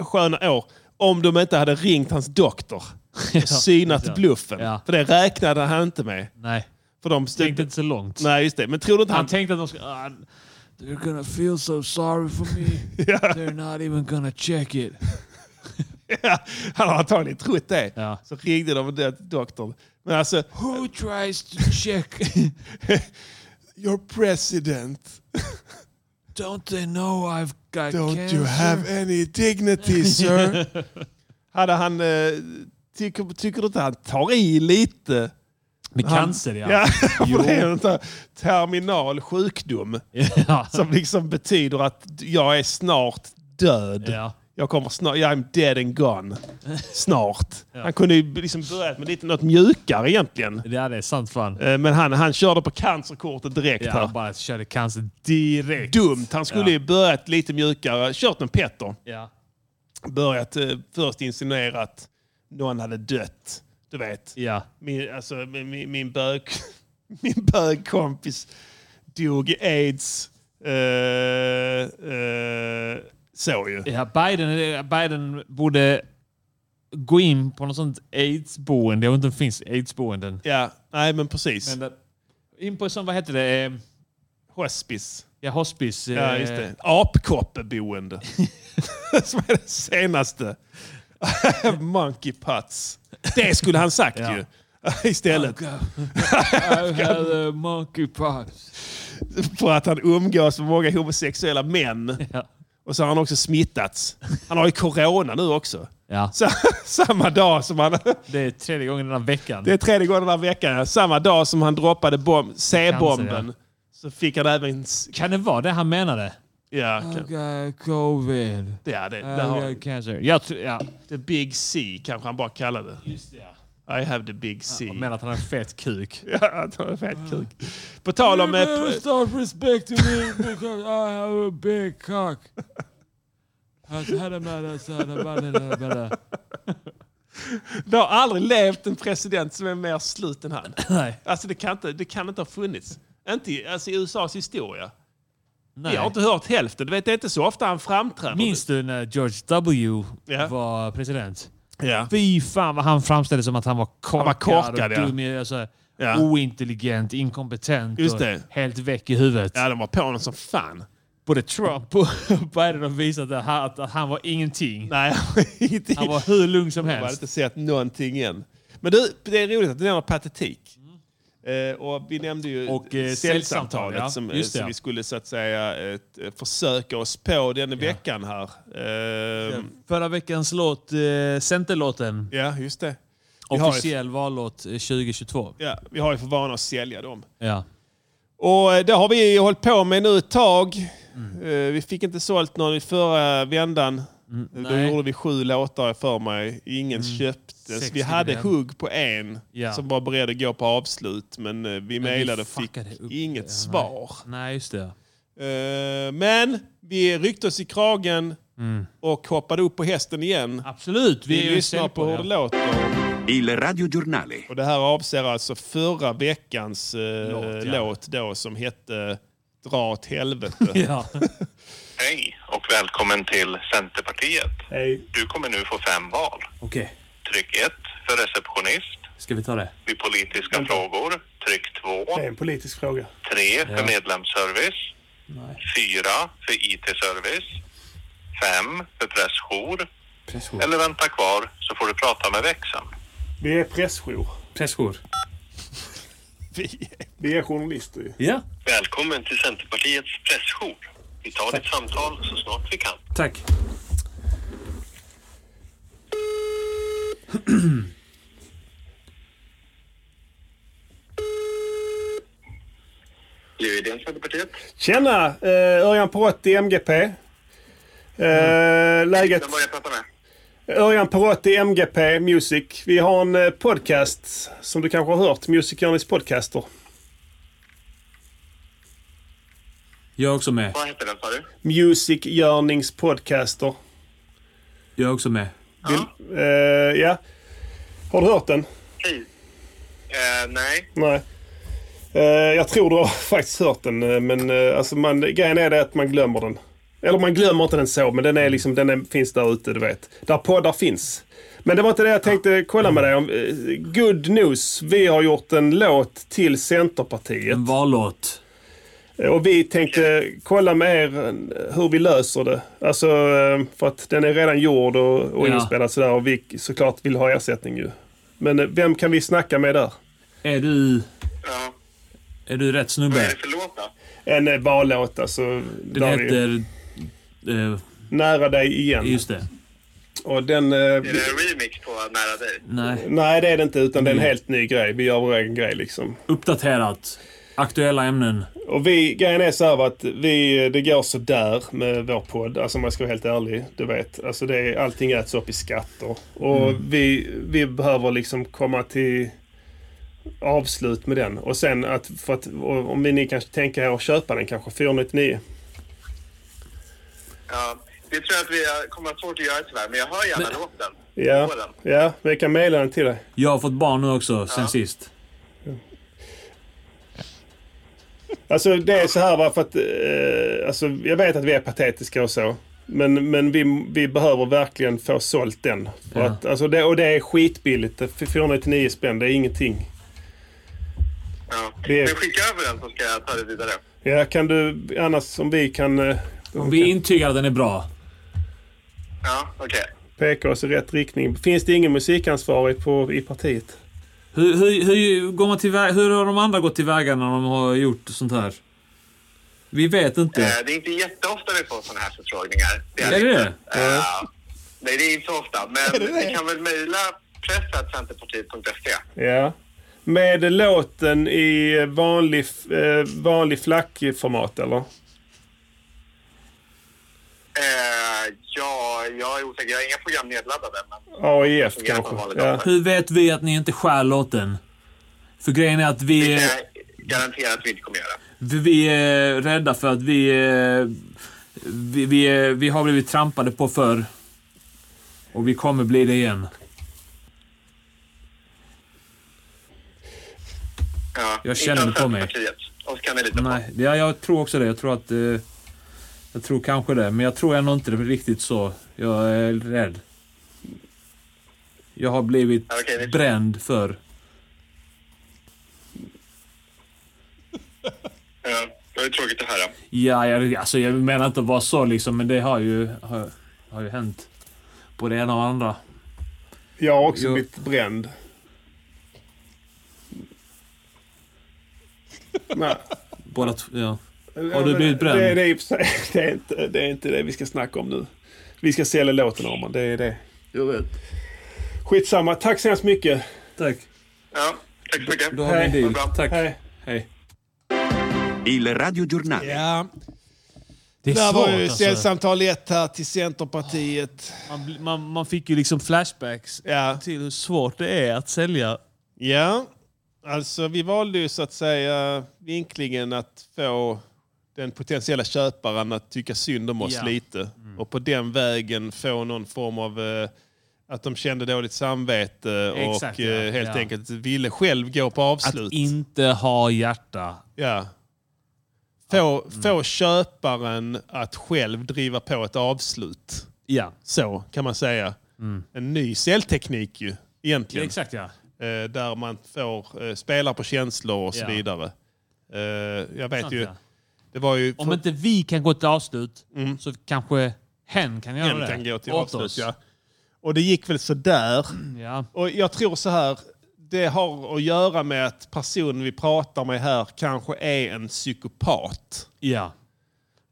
sköna år. Om de inte hade ringt hans doktor. och synat
ja.
bluffen.
Ja.
För det räknade han inte med.
Nej,
För de
tänkte inte så långt.
Nej, just det. Men tror du inte
Han
han...
tänkte att de skulle... ah,
They're gonna feel so sorry for me. They're not even gonna check it.
han har antagligen trott det.
Ja.
Så ringde de den doktorn. Men alltså...
Who tries to check?
Your president,
Don't they know I've got cancer?
any dignity sir? Hade han... Eh, tycker, tycker du inte han tar i lite?
med
Han-
cancer, ja.
ja för det är en sån här terminal sjukdom
Ja.
som liksom betyder att jag är snart död.
Ja.
Jag kommer snart, yeah, I'm dead and gone. Snart. Han kunde ju liksom börjat med lite något mjukare egentligen.
ja, det är sant fan.
Eh, Men han, han körde på cancerkortet direkt
Ja,
här.
han bara körde cancer direkt.
Dumt. Han skulle
Ja.
ju börjat lite mjukare. Kört med Petter.
Ja.
Börjat eh, först insinuera att någon hade dött. Du vet.
Ja.
Min, alltså, min, min- min, bög, min bögkompis dog i aids. Eh, eh, så ju.
Ja, Biden, Biden borde gå in på något sånt aidsboende. Jag vet inte om det finns aidsboenden.
Ja, nej men precis.
Men där, in på sån, vad heter det? Eh,
Hospice.
Ja, hospice. eh,
Ja, just det. Apkoppeboende. Som är det senaste. Monkey putts. Det skulle han sagt
Ja.
ju. Istället
I've had uh, monkeypox.
för att han umgås med många homosexuella män.
Ja.
Och så har han också smittats. Han har ju corona nu också.
Ja.
Så, samma dag som han...
Det är tredje gången den här veckan.
Det är tredje gången den här veckan. ja. Samma dag som han droppade bom- C-bomben
Cancer,
så fick han även... s-
Kan det vara det han menade?
Ja,
I've
kan-
got covid.
ja det, där har,
I've got cancer.
Jag tror... Ja.
The Big C kanske han bara kallade det.
Just det, ja.
I have the big C.
Han menar att han har en fet kuk.
Ja, att han har fet kuk. På tal
You
om... eh,
better start respecting me because I have a big cock. I've had a man outside about it, uh, but, uh,
Det har aldrig levt en president som är mer slut än han.
Nej.
Alltså det kan inte, det kan inte ha funnits. Inte i, alltså, i USAs historia. Jag har
Nej.
inte hört hälften. Du vet, det är inte så ofta han framträder.
Minns du när George W
Ja.
var president?
Ja.
Fy fan vad han framställdes som att han var korkad,
var korkad,
och
ja.
dum. i- Alltså,
Ja.
Ointelligent, inkompetent
Just
och
det.
helt väck i huvudet.
ja, de var på honom som fan.
Både Trump och Biden har visat att han, att han var ingenting.
Nej, ingenting.
Han var hur lugn som
Jag har
helst.
inte sett någonting än. Men du, det är roligt att du nämner patetik. Eh, och vi nämnde ju
Och, eh,
sällsamtalet
sällsamtal, ja.
som, eh,
Just det,
som
ja.
vi skulle så att säga eh, t- försöka oss på den veckan här. Eh,
Förra veckans låt, eh, Centerlåten,
ja, just det. Vi har, ju,
officiell vallåt eh, 2022.
ja, vi har ju för vana att sälja dem.
Ja.
Och eh, det har vi hållit på med nu ett tag. Eh, vi fick inte sålt någon i förra vändan. Då
Mm, nej. Mm.
gjorde vi sju låtar för mig. Ingen köptes.
Sex
vi hade
stycken.
hugg på en
Ja.
som var beredd att gå på avslut. Men eh, vi mejlade och fick
fuckade upp
inget
det.
svar.
Nej, just det.
Eh, men vi ryckte oss i kragen och hoppade upp på hästen igen.
Absolut, vi,
Vi
Mm. är ju
lyssnar på hur det låter.
Il radiogiornale.
Och det här avser alltså förra veckans eh, låt,
ja.
då som hette Dra åt helvete.
Ja.
Hej och välkommen till Centerpartiet. Du kommer nu få fem val.
Okej,
Tryck 1 för receptionist.
ska vi ta det?
Vid politiska frågor, tryck 2.
Det är en politisk fråga.
3 för medlemsservice. 4 för IT-service. 5 för pressjour.
Pressjour.
Eller vänta kvar så får du prata med växeln.
Vi är pressjour.
Pressjour.
Vi är journalister ju.
Ja,
Välkommen till Centerpartiets pressjour. Vi tar ditt samtal så snart vi kan.
tack.
Ljudén Centerpartiet.
Tjena! Eh, Örjan Perotti, MGP. Eh, läget...
Vem börjar prata med?
Örjan Perotti, MGP Music. Vi har en eh, podcast som du kanske har hört, Music Journeys Podcaster.
Jag är också med.
Vad heter den sa du?
Music Journeys Podcaster.
Jag är också med.
Eh, ja. Har du hört den?
Hej. Eh, nej.
Nej. Eh, jag tror du har faktiskt hört den, eh, men eh, alltså man, grejen är det att man glömmer den. Eller man glömmer inte den så, men den, är liksom, den är, finns där ute, du vet. Där poddar finns. Men det var inte det jag tänkte kolla med dig om.
Mm.
Eh, Good news. Vi har gjort en låt till Centerpartiet. Eh,
En vallåt.
Och vi tänkte kolla med er eh, hur vi löser det. Alltså, eh, för att den är redan gjord och, och
Ja.
inspelad sådär och vi såklart vill ha ersättning ju. Men eh, vem kan vi snacka med där?
Är du,
Ja.
är du rätt
Vad är det
snubbe?
för låt då?
En eh, vallåt alltså.
Den
där vi-
heter... eh,
Nära dig igen.
just det.
Och den... eh,
Är det en remix på Nära dig?
Nej.
Nej, det är det inte. Utan det är en
Mm.
helt ny grej. Vi gör vår egen grej liksom.
Uppdaterat. Aktuella ämnen.
Och vi, grejen är så här va, att vi, det går så där med vår podd. Alltså om man ska vara helt ärlig, du vet. Alltså det är, allting äts upp i skatter. Och
Mm.
vi, vi behöver liksom komma till avslut med den. Och sen att, för att och om ni kanske tänker er att köpa den kanske, 499.
Ja, det tror jag att vi har- kommer att ha svårt att göra tyvärr, men jag hör gärna låten.
Ja,
Får den.
ja, vi kan mejla den till dig.
Jag har fått barn nu också, sen sist.
Alltså det är så här va, för att eh, alltså, jag vet att vi är patetiska och så. Men, men vi, vi behöver verkligen få sålt den. För
Ja.
att, alltså det, och det är skitbilligt. Det är 499 spänn, det är ingenting.
Ja.
Det är-
Men skicka över den så ska jag ta det vidare.
Ja, kan du annars om vi kan eh,
Vi intygar att den är bra.
Ja, okej.
peka oss i rätt riktning. Finns det ingen musikansvarig på, i partiet?
Hur, hur, hur, går man tillvä- hur har de andra gått tillväga när de har gjort sånt här? Vi vet inte.
Eh, Det är inte jätteofta vi får sådana här förfrågningar. Det
Är det
inte.
det?
Ja. Nej, det är inte så ofta, men ni kan väl mejla press.centerpartiet.se.
Ja. Med låten i vanlig, f- eh, vanlig flackformat eller?
Eh, ja, jag är osäker. Jag har inga program nedladdade. Men...
AIF
Ja,
kanske?
vanlig
Ja.
låt.
Hur vet vi att ni inte stjäl låten? För grejen är att vi...
Det kan jag garantera att vi inte kommer göra.
För vi är rädda för att vi, eh, vi, vi, är- vi har blivit trampade på förr. Och vi kommer bli det igen.
Ja.
Jag känner
inte av
på mig.
Centerpartiet. Och kan ni lita på.
Nej, ja, jag tror också det. Jag tror att... Eh, jag tror kanske det, men jag tror ändå inte det är riktigt så. Jag är rädd. Jag har blivit
Ja, okej, det-
bränd för
Ja, det var ju tråkigt att höra.
Ja, jag, alltså, jag menar inte att vara så liksom, men det har ju, har, har ju hänt. På det ena och andra.
Jag har också
Jo.
blivit bränd. Nej.
Båda t- ja.
Ja,
Har du
men
blivit bränd?
Det, det, är, i och för sig- det, är inte, det är inte det vi ska snacka om nu. Vi ska sälja låten Arman, det är det.
Jag vet.
Skitsamma, tack så hemskt mycket.
Tack.
Ja, tack så mycket.
Då har vi en
Hej.
deal. Tack.
Hej.
Hej.
Il radiogiornale.
Ja.
Det är
Där
svårt,
var ju
alltså.
sällsamtal ett här till Centerpartiet.
Man, bli- man, man fick ju liksom flashbacks till hur svårt det är att sälja.
Ja, alltså vi valde ju så att säga vinklingen att få den potentiella köparen att tycka synd om oss
Ja. Mm.
lite. Och på den vägen få någon form av eh, att de kände dåligt samvete
Exakt,
och
ja.
eh, helt
Ja.
enkelt ville själv gå på avslut.
Att inte ha hjärta.
Ja. Få,
Mm.
få köparen att själv driva på ett avslut.
Ja.
Så kan man säga.
Mm.
En ny säljteknik ju, egentligen.
Ja, exakt, ja.
Eh, där man får eh, spela på känslor och så
Ja.
vidare. Eh, jag vet
Sant,
ju...
ja.
Det var ju...
Om inte vi kan gå till avslut så kanske Mm. hen kan göra
Hen
det.
kan gå till
åt
avslut,
oss.
ja. Och det gick väl sådär.
Ja.
Och jag tror så här, det har att göra med att personen vi pratar med här kanske är en psykopat.
Ja.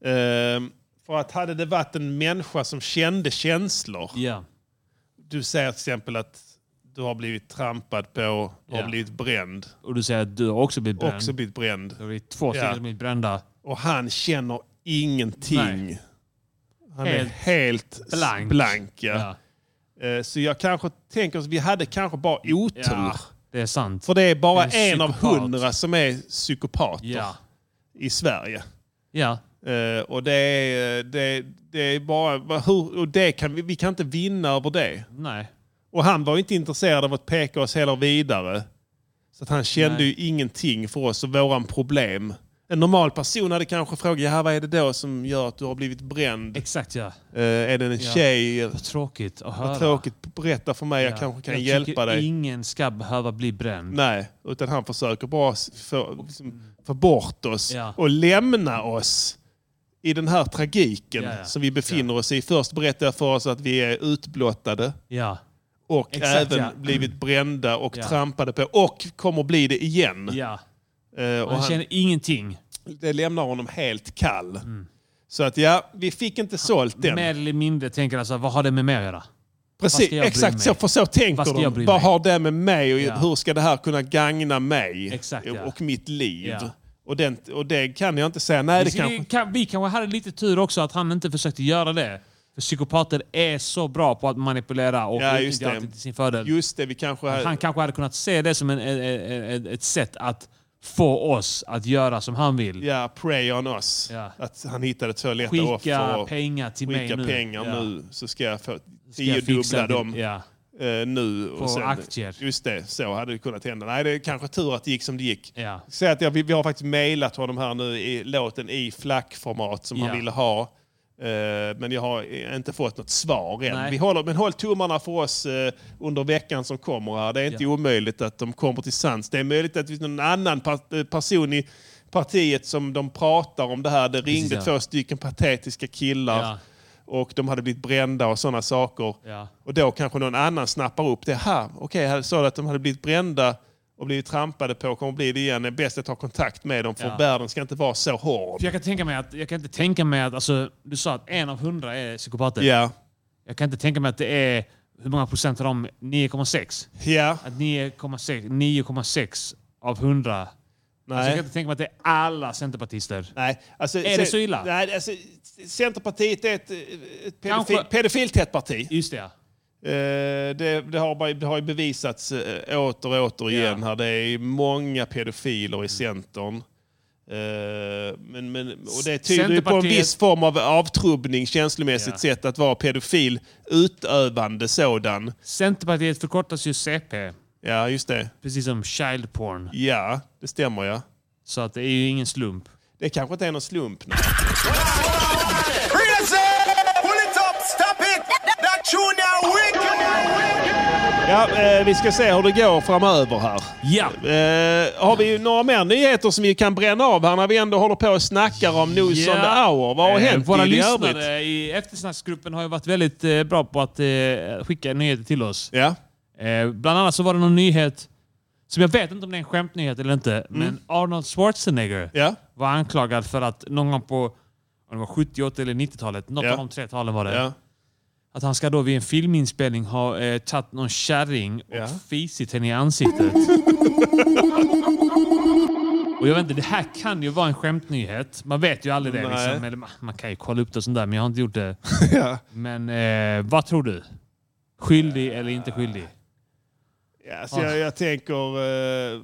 Ehm, för att hade det varit en människa som kände känslor.
Ja.
Du säger till exempel att du har blivit trampad på, du
Ja.
har blivit bränd.
Och du säger att du har också blivit bränd.
Också blivit bränd.
Det är två stycken som blivit brända.
Och han känner ingenting.
Nej.
Han
Helt
är helt
blank.
blank. ja. Eh, Så jag kanske tänker att vi hade kanske bara otur.
Ja, det är sant.
För det är bara
Det är
en av
psykopat.
hundra som är psykopater
Ja.
i Sverige.
Ja.
Eh, och det är, eh, det, det är bara... vad- Hur, och det kan, vi, vi kan inte vinna över det.
Nej.
Och han var ju inte intresserad av att peka oss heller vidare. Så att han kände
Nej.
ju ingenting för oss och våran problem. En normal person hade kanske frågat, "Jaha, vad är det då som gör att du har blivit bränd?
Exakt ja.
Eh, är det en
Ja.
tjej?
Vad tråkigt att höra.
Vad tråkigt, berätta för mig,
Ja.
jag kanske kan
jag
hjälpa
tycker
dig.
ingen ska behöva bli bränd.
Nej, utan han försöker bara s- få, liksom, få bort oss
Ja.
och lämna oss i den här tragiken
Ja, ja.
som vi befinner oss i. Först berättar jag för oss att vi är utblottade
Ja.
och
Exakt,
även
ja.
blivit brända och
Ja.
trampade på och kommer bli det igen.
Ja.
Eh, och
Man
han,
känner Mm. ingenting.
det lämnar honom helt kall. Så att ja, vi fick inte sålt den.
Mer eller mindre tänker alltså, vad har det med mig att göra? vad
Precis,
ska jag bry
exakt
mig?
så. För så
Vad ska
tänker
jag
de.
bry
Vad
mig?
har det med mig och
Ja.
hur ska det här kunna gagna mig
Exakt, ja.
och mitt liv?
Ja.
Och, den, och det kan jag inte säga. Nej, det
vi, kanske...
kanske...
Kan, vi kanske hade lite tur också att han inte försökte göra det. För psykopater är så bra på att manipulera och
Ja, just
utnyttja
det.
alltid till sin fördel.
Just det, vi kanske...
Han kanske hade kunnat se det som en, ett, ett sätt att få oss att göra som han vill.
Ja, prey on us.
Ja.
Att han hittade två lätta offer.
Skicka
och
pengar till
skicka
mig nu.
pengar
Ja.
nu så ska jag få
Ska jag fixa
tiodubbla
det?
dem
Ja.
eh, nu.
På aktier.
Just det, så hade det kunnat hända. Nej, det är kanske tur att det gick som det gick.
Ja.
Säg att jag, vi, vi har faktiskt mejlat honom här nu i låten i flackformat som
Ja.
han ville ha. Eh, men jag har eh, inte fått något svar än.
Nej.
Vi håller, men håll tummarna för oss eh, under veckan som kommer. Här. Det är inte
Ja.
omöjligt att de kommer till sans. Det är möjligt att det finns någon annan par- eh, person i partiet som de pratar om det här. Det ringde
ja.
två stycken patetiska killar
Ja.
och de hade blivit brända och sådana saker.
Ja.
Och då kanske någon annan snappar upp det. här. Okej, här sa du att de hade blivit brända och blivit trampade på och kommer bli det igen. Det är bäst att ta kontakt med dem för
Ja.
världen ska inte vara så hård.
För jag kan tänka mig att, jag kan inte tänka mig att, alltså, du sa att en av hundra är psykopater.
Ja.
Jag kan inte tänka mig att det är, hur många procent av dem? 9,6?
Ja.
Att 9,6 9,6 av 100. Alltså, jag kan
Nej.
inte tänka mig att det är alla centerpartister.
Nej, alltså,
Är det så illa?
Nej, alltså, Centerpartiet är ett, ett pedofil,
Kanske-
pedofiltätt parti.
Just det, ja.
Eh, det, det, har, bara- det har ju bevisats eh, åter och åter igen här. Det är ju många pedofiler i Centern. Eh, men, men, och det tyder ju på en
Centerpartiet-
viss form av avtrubbning känslomässigt
Ja.
sett att vara pedofil, utövande sådan.
Centerpartiet förkortas ju CP,
Ja, just det.
precis som child porn.
Ja, det stämmer ja.
Så att det är ju ingen slump.
Det kanske inte är någon slump. Nej.
Crazy! Pull it up, stop it! That tune now wicked!
Ja, eh, vi ska se hur det går framöver här.
Ja!
Eh, har vi ju några mer nyheter som vi kan bränna av här när vi ändå håller på och snackar om News on the Hour? Vad har
Eh,
hänt
Våra
i det
lyssnare
övrigt?
i eftersnacksgruppen har ju varit väldigt eh, bra på att eh, skicka nyheter till oss.
Ja.
Eh, bland annat så var det någon nyhet som jag vet inte om det är en skämtnyhet eller inte, men Arnold Schwarzenegger
Mm. Ja.
var anklagad för att någon gång på om det var 70-, 80 eller 90-talet, något
Ja.
av de tre talen var det,
Ja.
att han ska då vid en filminspelning ha eh, tagit någon kärring och
Ja.
fisit henne i ansiktet. Och jag vet inte, det här kan ju vara en skämtnyhet. Man vet ju aldrig det.
Nej.
Liksom. Eller, man, man kan ju kolla upp det och sånt där, men jag har inte gjort det.
Ja.
Men eh, vad tror du? Skyldig eller inte skyldig?
Ja, så jag, jag tänker... Eh,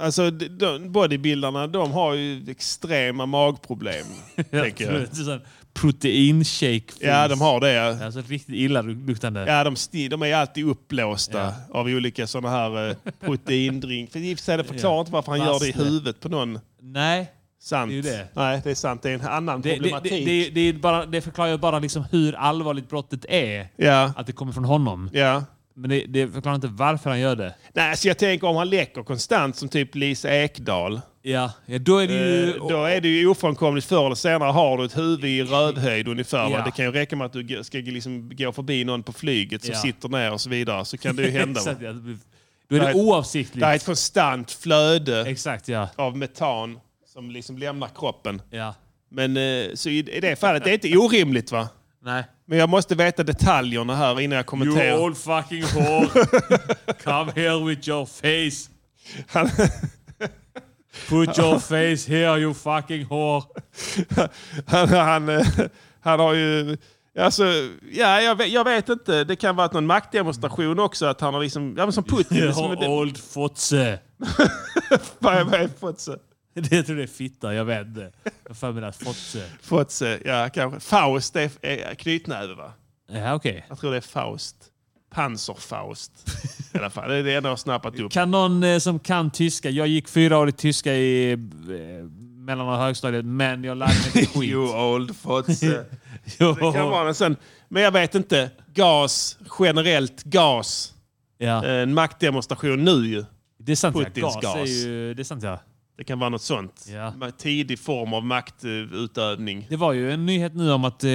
alltså de- de, bodybuildarna de har ju extrema magproblem. tänker jag.
absolut. Det är sån Proteinshake.
Ja, de har det. Ja.
Alltså riktigt illaluktande.
Ja, de, sti- de är alltid uppblåsta av olika sådana här eh, proteindrink. För i och för sig, det förklarar
Ja.
inte varför han gör det i
Vassle.
huvudet på någon.
Nej.
Sant.
Det är ju det.
Nej, det är sant. Det är en annan
Det, det,
problematik.
det, det, det, är bara, det förklarar ju bara liksom hur allvarligt brottet är.
Ja.
Att det kommer från honom.
Ja.
Men det, det förklarar inte varför han gör det.
Nej, så jag tänker om han läcker konstant som typ Lisa Ekdahl.
Ja, då är det ju...
Eh, Då är det ju ofrånkomligt förr eller senare har du ett huvud i rödhöjd ungefär. va?
Ja.
Det kan ju räcka med att du g- ska liksom gå förbi någon på flyget som
Ja.
sitter ner och så vidare. Så kan det ju hända. va?
Exakt, ja, det blir- då är det
Nej.
oavsiktligt.
Det är ett konstant flöde
Exakt, ja.
av metan som liksom lämnar kroppen.
ja.
Men eh, så i i det fallet, det är inte orimligt va?
Nej.
Men jag måste veta detaljerna här innan jag kommenterar.
You old fucking whore. Come here with your face.
Han-
Put your face here you fucking whore.
han, han, eh, han har ju... Alltså, ja, jag, vet, jag vet inte. Det kan vara att någon maktdemonstration också. Att han har liksom... Ja, men som Putin. Liksom,
Your
det,
old fotse.
vad är- vad är fotse?
Det jag tror det är fitta, jag vet inte. Jag har för mig det är fotse.
Fotse, ja kanske. Faust är, är knytnäve va?
Ja, okej.
Jag tror det är Faust. Panzerfaust. I alla fall. Det är det enda jag har snappat upp.
Kan någon eh, som kan tyska... Jag gick fyra år i tyska i eh, mellan och högstadiet, men jag lärde mig inte skit.
You old fotse.
Jo.
Det kan vara en sån. Men jag vet inte. Gas. Generellt gas.
Ja.
En maktdemonstration nu ju.
Det är sant ja.
Putins
Gas,
gas.
är ju... Det är sant ja.
Det kan vara något sånt.
Ja.
Ma- Tidig form av maktutövning.
Det var ju en nyhet nu om att eh,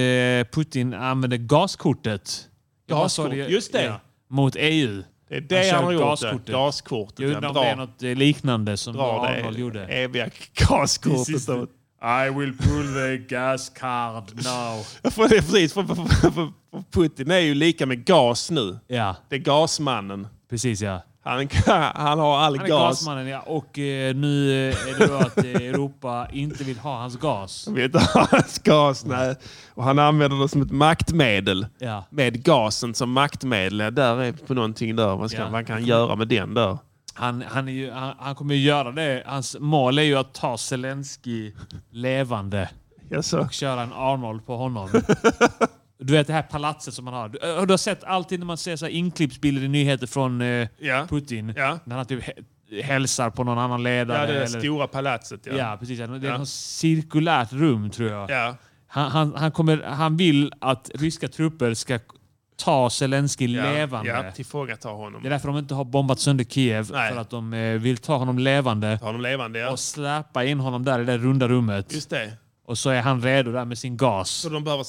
Putin använde gaskortet. Jag bara såg
Gaskort, just det.
ja, mot EU.
Det är det han,
Han kör
har gjort.
gaskortet.
Gaskortet. gaskortet
Jag undrar
ja,
om det är
bra.
något eh, liknande som
Bra
Arnold
det
gjorde.
eviga
Det
gaskortet.
sista.
av-
I will pull the gas card now.
För det är precis, för, för, för, för för Putin är ju lika med gas nu.
Ja,
Det är gasmannen.
precis ja.
Han, han har all
Han är
gas.
gasmannen ja. Och eh, nu eh, är det då att eh, Europa inte vill ha hans gas.
Vi vet hans gas. Nej. Och han använder det som ett maktmedel.
Ja.
Med gasen som maktmedel. Ja, där är på någonting där. Vad ska,
Ja.
vad kan han göra med den där?
Han, han, är ju, han, han kommer ju göra det. Hans mål är ju att ta Zelensky levande.
Jaså?
och köra en Arnold på honom. Du vet det här palatset som han har. Du, eh, har du har sett alltid när man ser så här inklippsbilder i nyheter från eh,
Ja.
Putin.
Ja.
När han typ hä- hälsar på någon annan ledare.
Ja, det
eller-
är stora palatset. Ja.
ja, precis. Det är
Ja.
något cirkulärt rum tror jag.
Ja.
Han, han, han, kommer, han vill att ryska trupper ska ta Zelensky
Ja.
levande.
Ja, tillfångata honom.
Det är därför de inte har bombat sönder Kiev.
Nej.
För att de eh, vill ta honom levande
Har de levande? Ja.
och släpa in honom där i det runda rummet.
Just det.
Och så är han redo där med sin gas.
Så de behöver...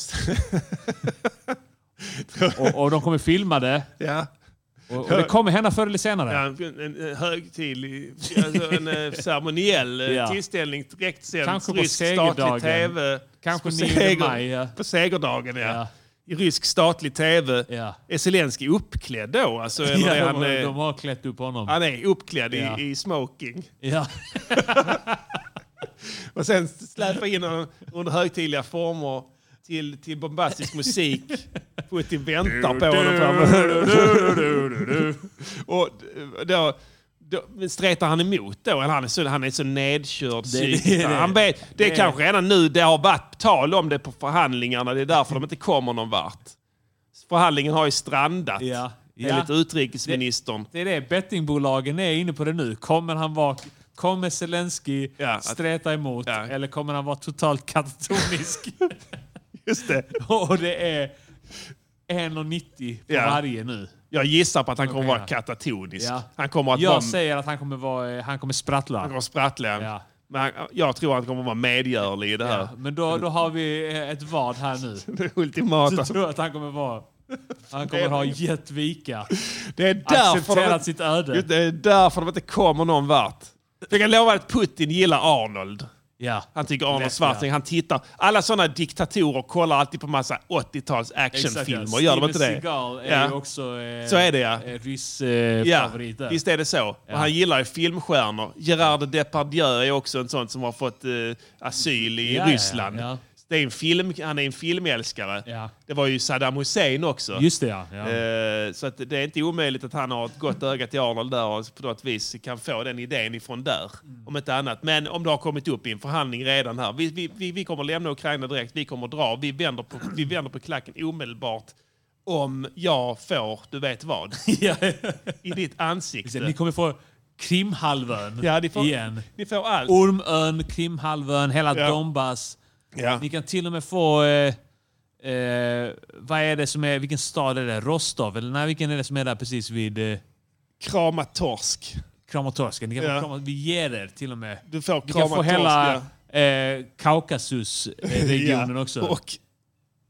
Och, och de kommer filma det.
ja.
Och, och det kommer hända förr eller senare.
Ja, en, en en högtidlig, alltså en eh, ceremoniell eh,
Ja.
tillställning direktsänd
Kanske på
rysk
segerdagen.
statlig tv.
Kanske
på
9
seger-
maj, ja.
På segerdagen, ja.
Ja.
I rysk statlig tv.
Ja.
Är Zelenskyj uppklädd då? Alltså, eller
Ja,
är han,
de,
eh,
de har klätt upp honom.
han är uppklädd
Ja.
i, i smoking.
ja.
Och sen släpa in honom under högtidliga former till, till bombastisk musik. Putin väntar på honom framme. Och då, då men stretar han emot då? Eller han är så, han är så nedkörd psykiskt.
det är det.
Han vet, det är kanske redan nu det har varit tal om det på förhandlingarna. Det är därför de inte kommer någon vart. Förhandlingen har ju strandat.
Ja. Ja.
Enligt utrikesministern.
Det är det. Bettingbolagen är inne på det nu. Kommer han vara... Kommer Zelensky
Ja, att-
streta emot
Ja.
eller kommer han vara totalt katatonisk?
Just det.
och det är 1,90 på
Ja.
varje nu.
Jag gissar på att han kommer
Okej,
vara
ja.
katatonisk.
Ja.
Han kommer att
Jag
vara
säger att han kommer, vara, eh, han kommer sprattla.
Han kommer sprattla.
Ja.
Men han, jag tror att han kommer vara medgörlig i det här.
Ja, men då, då har vi eh, ett vad här nu.
Det ultimata.
Så tror jag att han kommer vara... Han kommer ha gett vika.
Det är därför de,
Accepterat
inte-
sitt öde.
Just det, det är därför de inte kommer någon vart. Jag kan lova att Putin gillar Arnold.
Ja.
Han tycker Arnold
Lätt,
Schwarzenegger, han tittar. Alla sådana diktatorer kollar alltid på massa 80-tals actionfilmer, gör de inte det?
Steven Seagal är ju också eh,
Så är det ja.
eh, ryss eh,
ja.
favorit där.
Visst är det så. Och han gillar ju filmstjärnor. Gerard Depardieu är också en sån som har fått eh, asyl i
Ja, ja, ja,
Ryssland.
ja.
Det är en film, han är en filmälskare.
Ja.
Det var ju Saddam Hussein också.
Just det, ja. Ja.
Eh, så att det är inte omöjligt att han har ett gott öga till Arnold där och på något vis kan få den idén ifrån där.
Mm.
Om inte annat. Men om det har kommit upp i en förhandling redan här. Vi, vi, vi, vi kommer lämna Ukraina direkt. Vi kommer dra. Vi vänder på, vi vänder på klacken omedelbart. Om jag får, du vet vad. I ditt ansikte.
Ni kommer få Krimhalvön
Ja, ni får-
igen.
Ni får allt.
Ormön, Krimhalvön, hela
Ja.
Donbass.
Ja.
Ni kan till och med få... Eh, eh, vad är det som är... Vilken stad är det? Rostov? Eller nej, vilken är det som är där precis vid... Eh,
Kramatorsk.
Kramatorsk. Ni kan
Ja.
få krama, vi ger er till och med.
Du får
Ni kan få
Kramatorsk,
hela eh, Kaukasusregionen
Ja.
också.
Och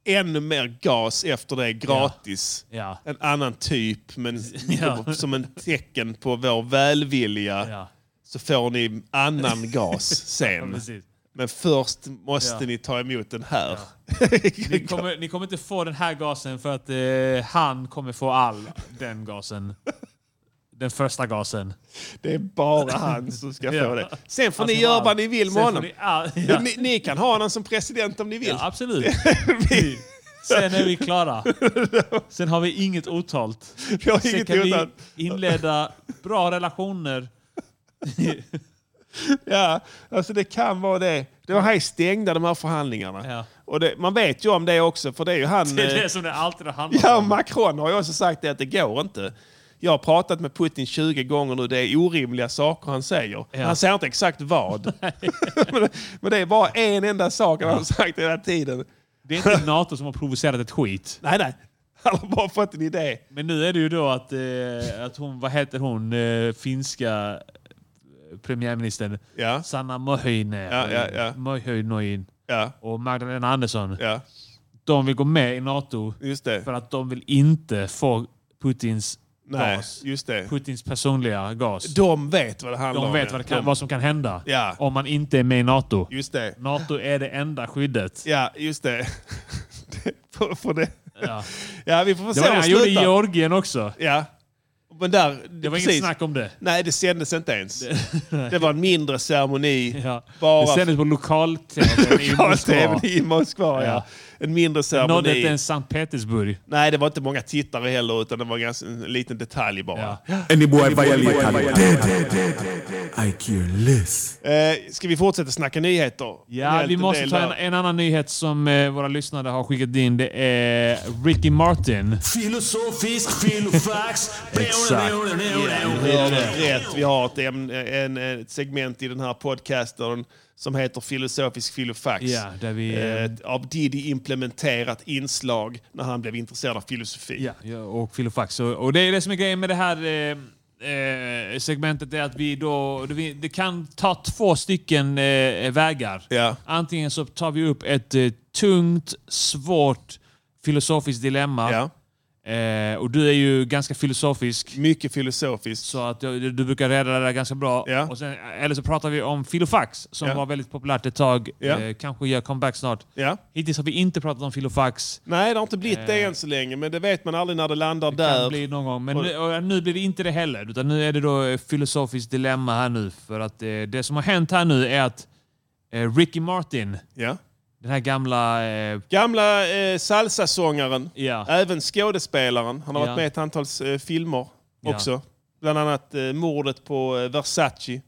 ännu mer gas efter det gratis.
Ja.
En annan typ, men
Ja.
som en tecken på vår välvilja
Ja.
så får ni annan gas
Ja,
sen.
precis.
men först måste
Ja.
ni ta emot den här.
Ni kommer, ni kommer inte få den här gasen för att eh, han kommer få all den gasen. Den första gasen.
Det är bara han som ska
Ja.
få det. Sen får
Han
ni
ska
göra
ha
vad
allt.
ni vill med
Sen får
honom.
ni all- ja.
ni, ni kan ha honom som president om ni vill.
Ja, absolut. Sen är vi klara. Sen har vi inget otalt.
Vi har
Sen
inget
kan vi
otalt.
inleda bra relationer.
Ja, alltså det kan vara det. Det var här stängda de här förhandlingarna.
Ja.
Och det, man vet ju om det också, för det är ju han...
Det är
eh,
det som det alltid har handlat
Ja,
om.
Macron har ju också sagt det att det går inte. Jag har pratat med Putin 20 gånger nu. Det är orimliga saker han säger.
Ja.
Han säger inte exakt vad. men, det, men det är bara en enda sak han har sagt hela tiden.
Det är inte NATO som har provocerat ett skit.
Nej, nej. Han har bara fått en idé.
Men nu är det ju då att, eh, att hon, vad heter hon, eh, finska eh, premiärministern
Ja.
Sanna Möhinen,
Ja, ja, ja.
Möhöjnoin
Ja,
och Magdalena Andersson.
ja.
De vill gå med i NATO
Just det.
för att de vill inte få Putins
Nej,
gas.
just det.
Putins personliga gas.
De vet vad det handlar
De
om.
vet vad, det kan,
De-
vad som kan hända
Ja.
om man inte är med i NATO.
Just det.
NATO är det enda skyddet.
Ja, just det. det, för, för det.
Ja.
Ja, vi får
Det
se
var det
hur
han gjorde i
slutar.
Georgien också.
Ja. Men där,
Det var inget snack om det.
Nej, det sändes inte ens. Det, var en mindre ceremoni.
Ja.
Bara
det sändes på lokal-tv i Moskva.
i Moskva. Ja.
Ja.
En mindre
Nådde
ceremoni.
inte ens Sankt Petersburg.
Nej, det var inte många tittare heller, utan det var ganska, en liten detalj bara.
Any boy violate and dead. I care less.
Eh, ska vi fortsätta snacka nyheter? En
Ja,
hel
vi måste
del
ta en,
där.
en annan nyhet som eh, våra lyssnare har skickat in. Det är Ricky Martin.
Filosofisk filofax.
Exakt.
Vi har det rätt. Vi har ett, ämne, en, ett segment i den här podcasten som heter Filosofisk filofax.
Ja, där vi... eh,
Ett av Diddy implementerat inslag när han blev intresserad av filosofi.
Ja, ja, och filofax. Och, och det är det som är grejen med det här eh, eh, segmentet. Är att vi då, det, vi- det kan ta två stycken eh, vägar.
Ja.
Antingen så tar vi upp ett eh, tungt, svårt filosofiskt dilemma.
Ja.
Eh, och du är ju ganska filosofisk.
Mycket filosofiskt.
Så att du, du brukar reda det där ganska bra.
Ja.
Och sen, eller så pratar vi om filofax som
Ja.
var väldigt populärt ett tag.
Ja.
Eh, kanske gör comeback snart.
Ja.
Hittills har vi inte pratat om filofax.
Nej, det har inte blivit det än så länge, men det vet man aldrig när det landar där.
Eh. kan bli någon gång. Men
Och-
nu, och nu blir det inte det heller. Utan nu är det då eh, filosofiskt dilemma här nu. För att eh, det som har hänt här nu är att eh, Ricky Martin,
Ja.
den här gamla... Eh,
Gamla eh, salsasångaren,
ja,
även skådespelaren. Han har
Ja.
varit med i ett antal eh, filmer
Ja.
också. Bland annat eh, mordet på eh, Versace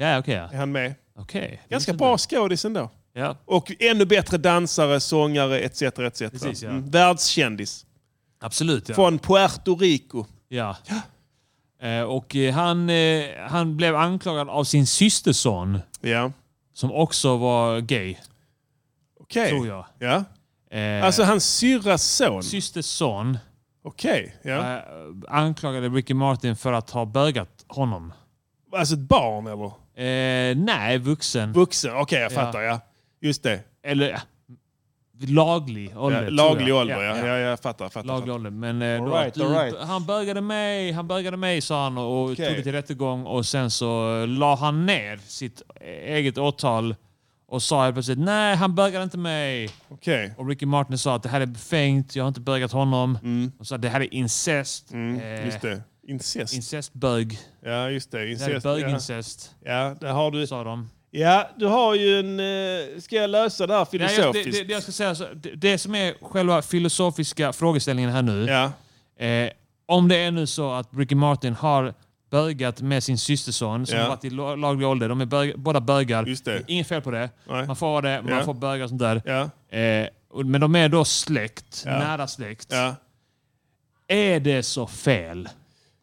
ja okej. ja.
är han med.
Okej. Det
Ganska
visste
bra
inte.
skådis ändå.
Ja.
Och ännu bättre dansare, sångare etc. etc.
Precis, ja.
Mm, Världskändis.
Absolut. Ja.
Från Puerto Rico.
ja. Eh, och eh, han, eh, han blev anklagad av sin systerson,
Ja,
som också var gay,
okej.
tror jag.
Ja.
Eh,
Alltså hans syrras son.
systerson
Okej. Ja.
eh, anklagade Ricky Martin för att ha bögat honom.
Alltså ett barn eller?
Eh, nej, vuxen.
Vuxen. Okej, jag
Ja.
fattar. Ja. Just det.
eller ja, laglig ålder.
Ja,
tror
laglig
jag.
ålder, ja. Ja, jag fattar. fattar,
Laglig
fattar.
ålder. Men eh,
All
då,
right,
att du,
all right.
han bögade mig, han bögade mig sa han och och
Okej.
tog det till rättegång och sen så eh, la han ner sitt eget e- åtal Och sa helt plötsligt nej, han bögade inte mig.
Okay.
Och Ricky Martin sa att det här är befängt, jag har inte bögat honom. Och sa att det här är incest.
Mm, just det. Incest.
Incestbög.
Ja, just det.
Eh. det här är
Incest.
bögincest.
Ja. ja, där har du...
Sa de.
Ja, du har ju en... eh, Ska jag lösa det här
Nej,
filosofiskt?
jag, det, det, det jag ska säga, så, det, det som är själva filosofiska frågeställningen här nu. Eh, om det är nu så att Ricky Martin har bögat med sin systerson som
Ja.
har varit i lo- laglig ålder. De är bög, båda bögar. Det är Inget fel på det. Man får vara det, man
Ja.
får böga och sånt där. Eh, och- men de är då släkt,
Ja.
nära släkt.
Ja.
Är det så fel?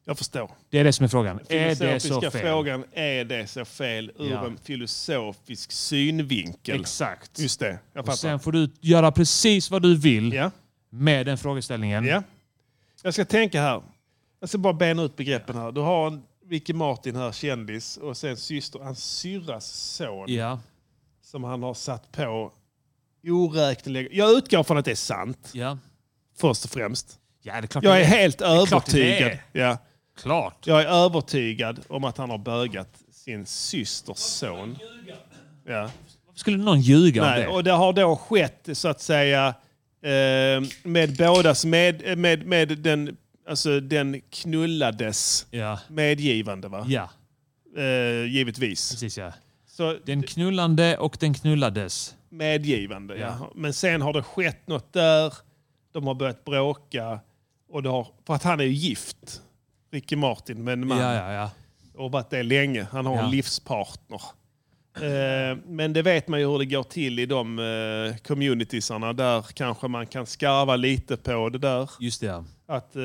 Jag förstår.
Det är det som är frågan. Är det så
filosofiska
fel?
frågan, är det så fel ur
Ja.
en filosofisk synvinkel?
Exakt.
Just det, jag
Och
fattar.
sen får du göra precis vad du vill med den frågeställningen.
Ja. Jag ska tänka här. Jag ska bara bena ut begreppen här. Du har en Ricky Martin här, kändis, och sen syster, hans syrras son.
Ja.
Som han har satt på oräkneliga... Jag utgår från att det är sant.
Ja.
Först och främst.
Ja, det är klart
jag
det
är
är.
helt
Det är klart det är.
övertygad. Ja.
Klart.
Jag är övertygad om att han har bögat sin systers son. Ja.
Skulle någon ljuga om
Nej,
det?
och det har då skett så att säga eh, med bådas med, med, med den, alltså, den knullades
Ja.
medgivande va?
Ja.
Eh, givetvis.
Precis ja.
Så
den knullande och den knullades.
Medgivande ja.
Ja.
Men sen har det skett något där. De har börjat bråka. Och det har, för att han är ju gift. Ricky Martin med en man.
Ja, ja, ja.
Och varit det länge. Han har
Ja.
en livspartner. Eh, Men det vet man ju hur det går till i de eh, communitiesarna. Där kanske man kan skarva lite på det där.
Just det. Ja.
Att, eh,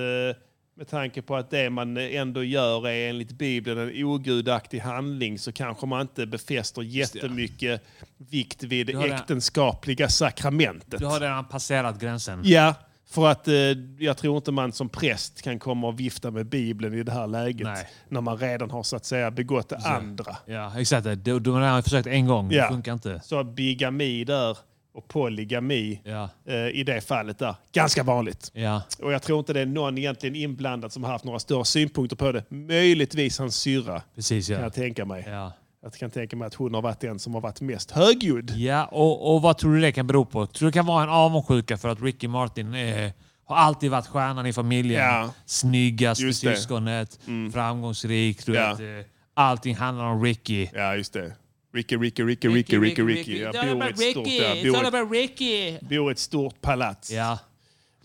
med tanke på att det man ändå gör är enligt Bibeln en ogudaktig handling så kanske man inte befäster jättemycket vikt vid
Du har det-
det äktenskapliga sakramentet.
Du har redan passerat gränsen.
Ja, för att eh, jag tror inte man som präst kan komma och vifta med Bibeln i det här läget.
Nej.
När man redan har så att säga begått det andra.
Ja, exakt. Du, du har redan försökt en gång.
Ja.
Det funkar inte.
Så bigami där och polygami eh, i det fallet där. Ganska vanligt.
Ja.
Och jag tror inte det är någon egentligen inblandad som har haft några större synpunkter på det. Möjligtvis hans syrra.
Precis, ja.
Kan jag tänka mig.
Ja.
Jag kan tänka mig att hon har varit den som har varit mest högljudd.
Ja, och, och vad tror du det kan bero på? Tror du det kan vara en avundsjuka för att Ricky Martin eh, har alltid varit stjärnan i familjen?
Ja.
Snyggaste
Just det. Mm.
syskonet, framgångsrik. Du
Ja.
vet, eh, allting handlar om Ricky.
Ja, just det. Ricky, Ricky, Ricky, Ricky, Ricky, Ricky. Jag bor i ett stort, ja, bor i ett,
about Ricky!
bor i ett stort palats.
Ja.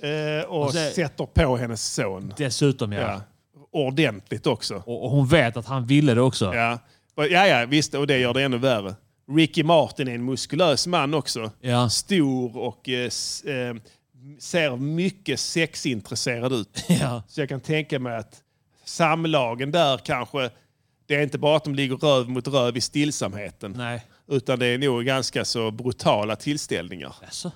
Eh, och
Och så-
sätter på hennes son.
Dessutom ja.
Ja. Ordentligt också.
Och hon vet att han ville det också.
Ja. Och- ja, ja, visst. Och det gör det ännu värre. Ricky Martin är en muskulös man också.
Ja.
Stor och eh, s, eh, ser mycket sexintresserad ut.
Ja.
Så jag kan tänka mig att samlagen där kanske... Det är inte bara att de ligger röv mot röv i stillsamheten.
Nej.
Utan det är nog ganska så brutala tillställningar.
Alltså.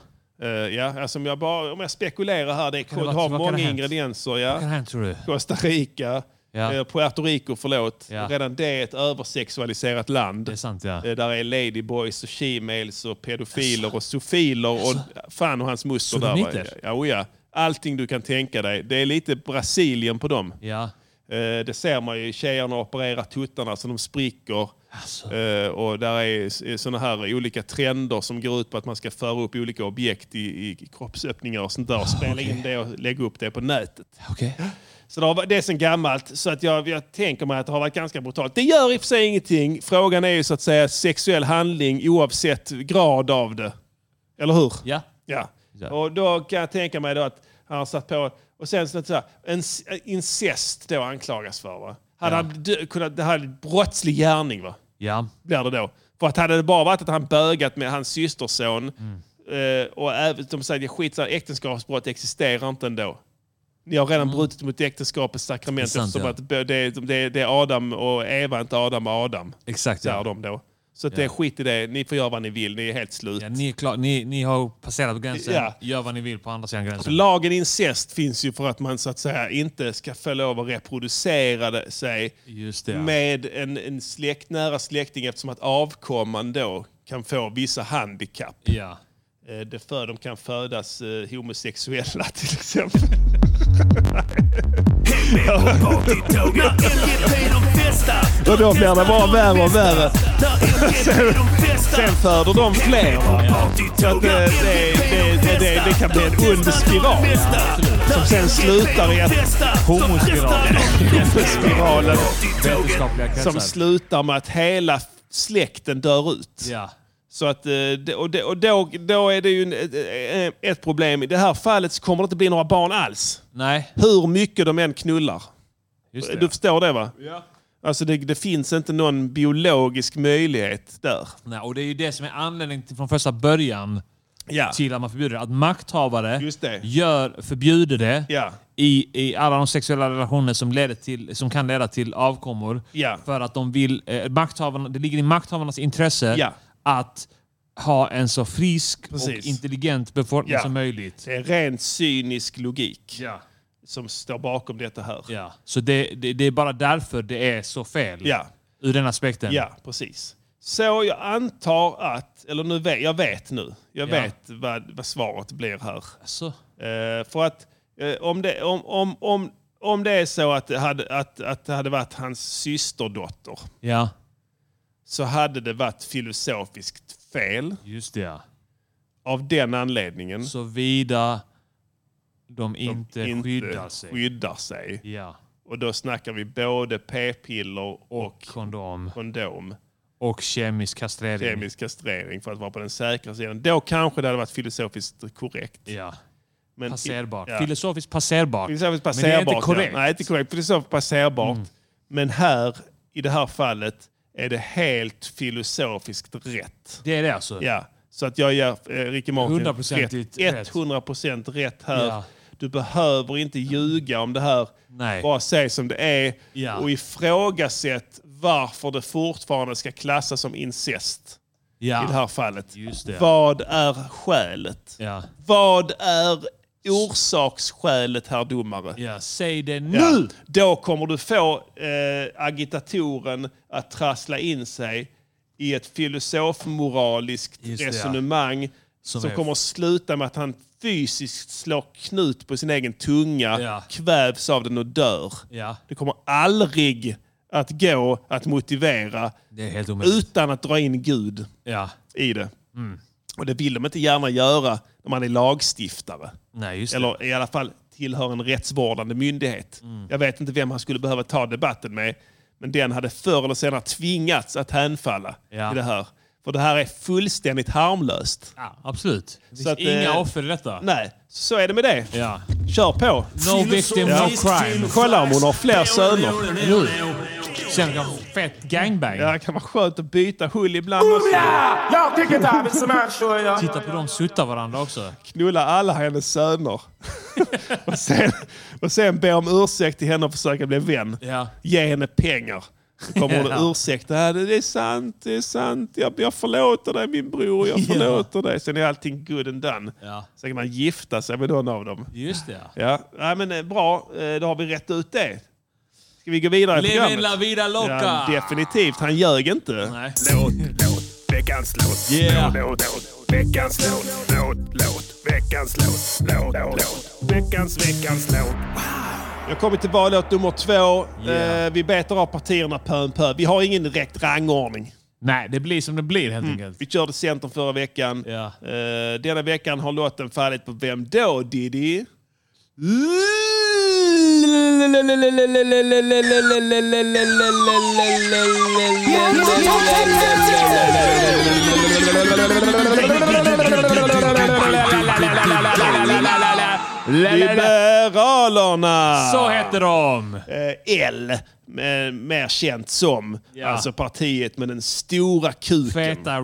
ja, alltså om, jag bara, om jag spekulerar här, det,
det
kan, det
varit-
har
vad kan det
många
ha hänt?
ingredienser. Ja.
Vad kan det ha hänt, tror du?
Costa Rica,
Ja.
eh, Puerto Rico, förlåt.
Ja.
Redan det är ett översexualiserat land.
Det är sant ja.
Eh, Där är ladyboys och shemales och pedofiler och sofiler och fan och hans moster där. va?
Sodomiter.
Ja, oh ja. Allting du kan tänka dig. Det är lite Brasilien på dem.
Ja.
Eh, Det ser man ju. Tjejerna opererar tuttarna så de spricker. Eh, Och där är sådana här olika trender som går ut på att man ska föra upp olika objekt i, i kroppsöppningar och sånt där. Och
Ah,
spela in det och lägga upp det på nätet.
Okej.
Så det, har, varit- det är sen gammalt, så att jag, jag tänker mig att det har varit ganska brutalt. Det gör i och för sig ingenting. Frågan är ju så att säga sexuell handling oavsett grad av det. Eller hur?
Ja.
Ja.
Ja.
Och då kan jag tänka mig då att han har satt på... Och sen så att säga, en, incest då anklagas för. Va? Hade
Ja.
han dö, kunnat, det här är en brottslig gärning va?
Ja.
Blir det då. För att hade det bara varit att han bögat med hans systerson eh, och även, de säger skit så här, äktenskapsbrott existerar inte ändå. Ni har redan brutit mot äktenskapets sakrament
Mm. Det är sant,
eftersom
ja.
att det, det, det, det är Adam och Eva, inte Adam och Adam.
Exakt,
Säger
ja.
de då. Så att det
Ja.
är skit i det, ni får göra vad ni vill, ni är helt slut.
Ja, ni, är klar, ni, ni har passerat gränsen.
Ja.
Gör vad ni vill på andra sidan gränsen.
Lagen incest finns ju för att man så att säga inte ska få lov att reproducera det- sig
Just det.
med en, en släkt, nära släkting eftersom att avkomman då kan få vissa handikapp.
Ja.
Eh, Det för de kan födas eh, homosexuella till exempel.
När MGP de festar
Och då blir det bara värre och värre. Sen, sen föder de fler. va? Så att eh, det, det, det, det, det kan bli en ond spiral. Som sen slutar i att... Homospiralen. Homospiralen.
Vetenskapliga kretsar.
Som slutar med att hela släkten dör ut.
Ja.
Så att, eh, det- och det- och då, då är det ju en- ett- ett- ett problem. I det här fallet så kommer det inte bli några barn alls.
Nej.
Hur mycket de än knullar.
Just det,
du
ja.
förstår det va? Ja. Alltså det, det finns inte någon biologisk möjlighet där.
Nej, och det är ju det som är anledningen till, från första början
Ja.
till att man förbjuder det. Att makthavare
Just det.
Gör, förbjuder det
Ja.
i, i alla de sexuella relationer som, leder till, som kan leda till avkommor.
Ja.
För att de vill, eh, makthavarna, det ligger i makthavarnas intresse
Ja.
att ha en så frisk
Precis.
och intelligent befolkning
Ja.
som möjligt.
Det är ren cynisk logik som står bakom detta här.
Ja. Så det, det, det är bara därför det är så fel.
Ja.
Ur den aspekten.
Ja, precis. Så jag antar att, eller nu vet, jag vet nu, jag
Ja.
vet vad, vad svaret blir här.
Alltså.
Eh, för att eh, om, det, om, om, om, om det är så att det, hade, att, att det hade varit hans systerdotter
Ja.
så hade det varit filosofiskt fel.
Just det, ja.
Av den anledningen.
Såvida de inte skyddar sig.
skyddar sig.
Ja.
Och då snackar vi både p-piller och,
kondom.
kondom.
Och kemisk kastrering.
Kemisk kastrering för att vara på den säkra sidan. Då kanske det hade varit filosofiskt korrekt.
Ja.
Men
passerbart.
ja.
Filosofiskt passerbart.
Filosofiskt
Men det är
passerbart.
inte korrekt. Mm.
Ja. Nej, inte korrekt. Filosofiskt passerbart. Men här, i det här fallet, är det helt filosofiskt rätt.
Det är det alltså?
Ja. Så att jag ger eh, Ricky Martin
100%
rätt.
rätt.
100% rätt här.
Ja.
Du behöver inte ljuga om det här.
Nej.
Bara säg som det är.
Ja.
Och ifrågasätt varför det fortfarande ska klassas som incest.
Ja.
I det här fallet.
Just det.
Vad är skälet?
Ja.
Vad är orsaksskälet, herr domare?
Ja, säg det nu!
Ja. Då kommer du få eh, agitatoren att trassla in sig i ett filosofmoraliskt
Just det, ja.
resonemang som,
Som är-
kommer att sluta med att han fysiskt slår knut på sin egen tunga,
Ja.
kvävs av den och dör.
Ja.
Det kommer aldrig att gå att motivera
Det är helt omöjligt.
utan att dra in Gud
Ja.
i det.
Mm.
Och det vill de inte gärna göra när man är lagstiftare.
Nej, just det.
Eller i alla fall tillhör en rättsvårdande myndighet.
Mm.
Jag vet inte vem han skulle behöva ta debatten med. Men den hade förr eller senare tvingats att hänfalla
Ja.
i det här. För det här är fullständigt harmlöst.
Ja, absolut. Det finns
Så att,
inga
eh,
offer i detta.
Nej, så är det med det.
Ja.
Kör på!
No victim, no crime.
Kolla om hon har fler söner.
Nu. Sen kan fett gangbang.
Ja, det kan vara skönt att byta hull ibland också.
Jag tycker det här är så här så jag...
Titta på dem sutta varandra också.
Knulla alla hennes söner. och, sen, och sen be om ursäkt till henne och försöka bli vän.
Ja.
Ge henne pengar. Då kommer hon
Ja.
och ursäktar. Det är sant, det är sant. Jag, jag förlåter dig min bror, jag förlåter dig. Sen är allting good and done.
Ja.
Sen kan man gifta sig med någon av dem.
Just det. ja.
Ja, Nej, men eh, bra. Eh, Då har vi rätt ut det. Ska vi gå vidare i
Leve la
programmet?
vida
Ja,
loca!
definitivt. Han ljög inte.
Nej.
Låt, låt, veckans låt.
Yeah.
Låt, låt, veckans låt. Låt, låt, veckans låt. Låt, låt, veckans, veckans låt.
Jag har kommit till vallåt nummer två.
Yeah.
Eh, Vi betar av partierna pö om pö. Vi har ingen direkt rangordning.
Nej, det blir som det blir helt enkelt.
Vi körde Centern förra veckan.
Ja.
Eh, denna veckan har låten fallit på Vem då Diddy? Liberalerna!
Så heter de!
Eh, L, eh, mer känt som.
Ja.
Alltså partiet med den stora kuken.
Feta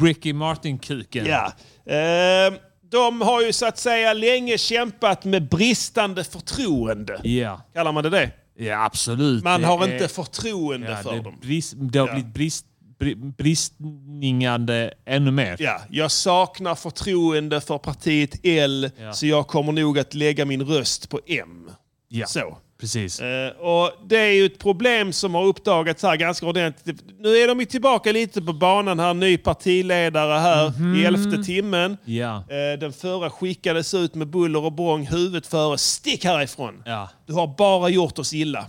Ricky Martin-kuken.
Ja. Eh, de har ju så att säga länge kämpat med bristande förtroende.
Ja.
Kallar man det det?
Ja, absolut.
Man
Det
har
är-
inte förtroende
ja,
för
det är
dem.
Brist, det har blivit brist, bri- bristningande ännu mer.
Ja, jag saknar förtroende för partiet L,
Ja.
så jag kommer nog att lägga min röst på M.
Ja,
Så.
Precis.
Eh, och det är ju ett problem som har uppdagats här ganska ordentligt. Nu är de ju tillbaka lite på banan här, ny partiledare här i elfte timmen.
Mhm. Ja.
Eh, Den förra skickades ut med buller och bång, huvudet före. Stick härifrån!
Ja.
Du har bara gjort oss illa.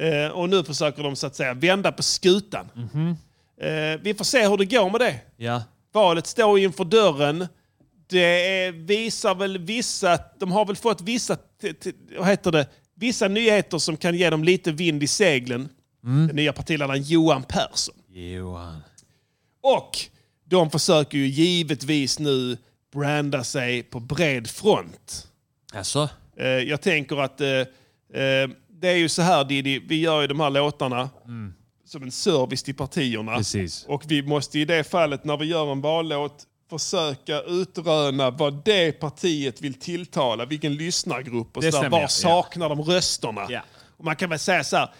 Eh, och nu försöker de så att säga vända på skutan.
Mhm.
Eh, vi får se hur det går med det.
Ja.
Valet står inför dörren. Det är, visar väl vissa... De har väl fått vissa... t- t- Vad heter det? Vissa nyheter som kan ge dem lite vind i seglen.
Mm.
Den nya partiledaren Johan Persson.
Johan.
Och de försöker ju givetvis nu branda sig på bred front.
Alltså?
Eh, jag tänker att eh, eh, det är ju så här Diddy, vi gör ju de här låtarna
Mm.
som en service till partierna.
Precis.
Och vi måste i det fallet när vi gör en vallåt försöka utröna vad det partiet vill tilltala, vilken lyssnargrupp och
Det
sådär.
stämmer,
Var
ja.
saknar de rösterna? Och man kan väl säga så här,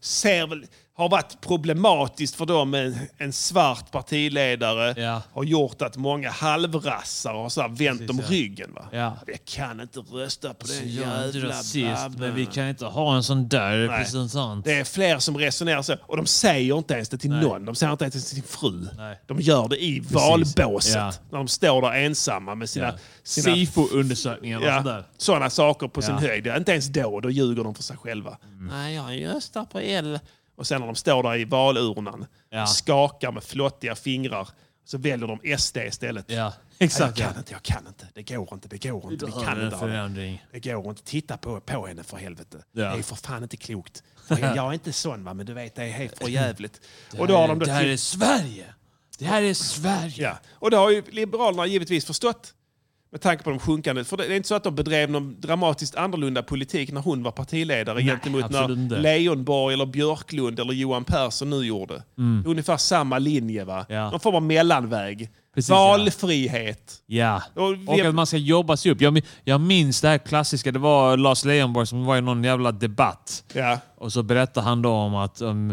ser väl, har varit problematiskt för dem med en, en svart partiledare. Har gjort att många halvrassar har så här vänt om
ja.
ryggen. Va?
Ja.
Jag kan inte rösta på
Så
den
jag är inte
Eh, jävla
rasist,
babben.
men vi kan inte ha en sån där representant.
Det är fler som resonerar så. Och de säger inte ens det till
Nej.
någon. De säger inte ens det till sin fru.
Nej.
De gör det i
Precis.
valbåset.
Ja.
När de står där ensamma med sina...
Ja.
sina
Sifo-undersökningar och sånt där.
Sådana saker på
Ja.
sin höjd. Inte ens då. Då ljuger de för sig själva. Mm. Nej, jag röstar på L. Och sen när de står där i valurnan,
Ja.
skakar med flottiga fingrar, så väljer de SD istället.
Ja,
exakt.
exakt.
Jag kan inte, jag kan inte. Det går inte, det går inte. Vi kan inte ha det.
förändring.
Det går inte. Titta på, på henne för helvete.
Ja.
Det är för fan inte klokt. För jag, jag är inte sån va, men du vet det är helt för jävligt.
Det
Och då har
här-
de då
Eh, det här
till-
är Sverige. Det här är Sverige.
Ja. Och det har ju Liberalerna givetvis förstått. Med tanke på de sjunkande. För det det är inte så att de bedrev någon dramatiskt annorlunda politik när hon var partiledare gentemot när
absolut inte.
Leijonborg, eller Björklund eller Johan Persson nu gjorde.
Mm.
Det är Ungefär samma linje. va?
Ja.
Någon form av mellanväg.
Precis,
Valfrihet.
Ja.
Och
Och,
vi-
att man ska jobba sig upp. Jag, min- jag minns det här klassiska. Det var Lars Leijonborg som var i någon jävla debatt.
Ja.
Och så berättade han då om att... Um,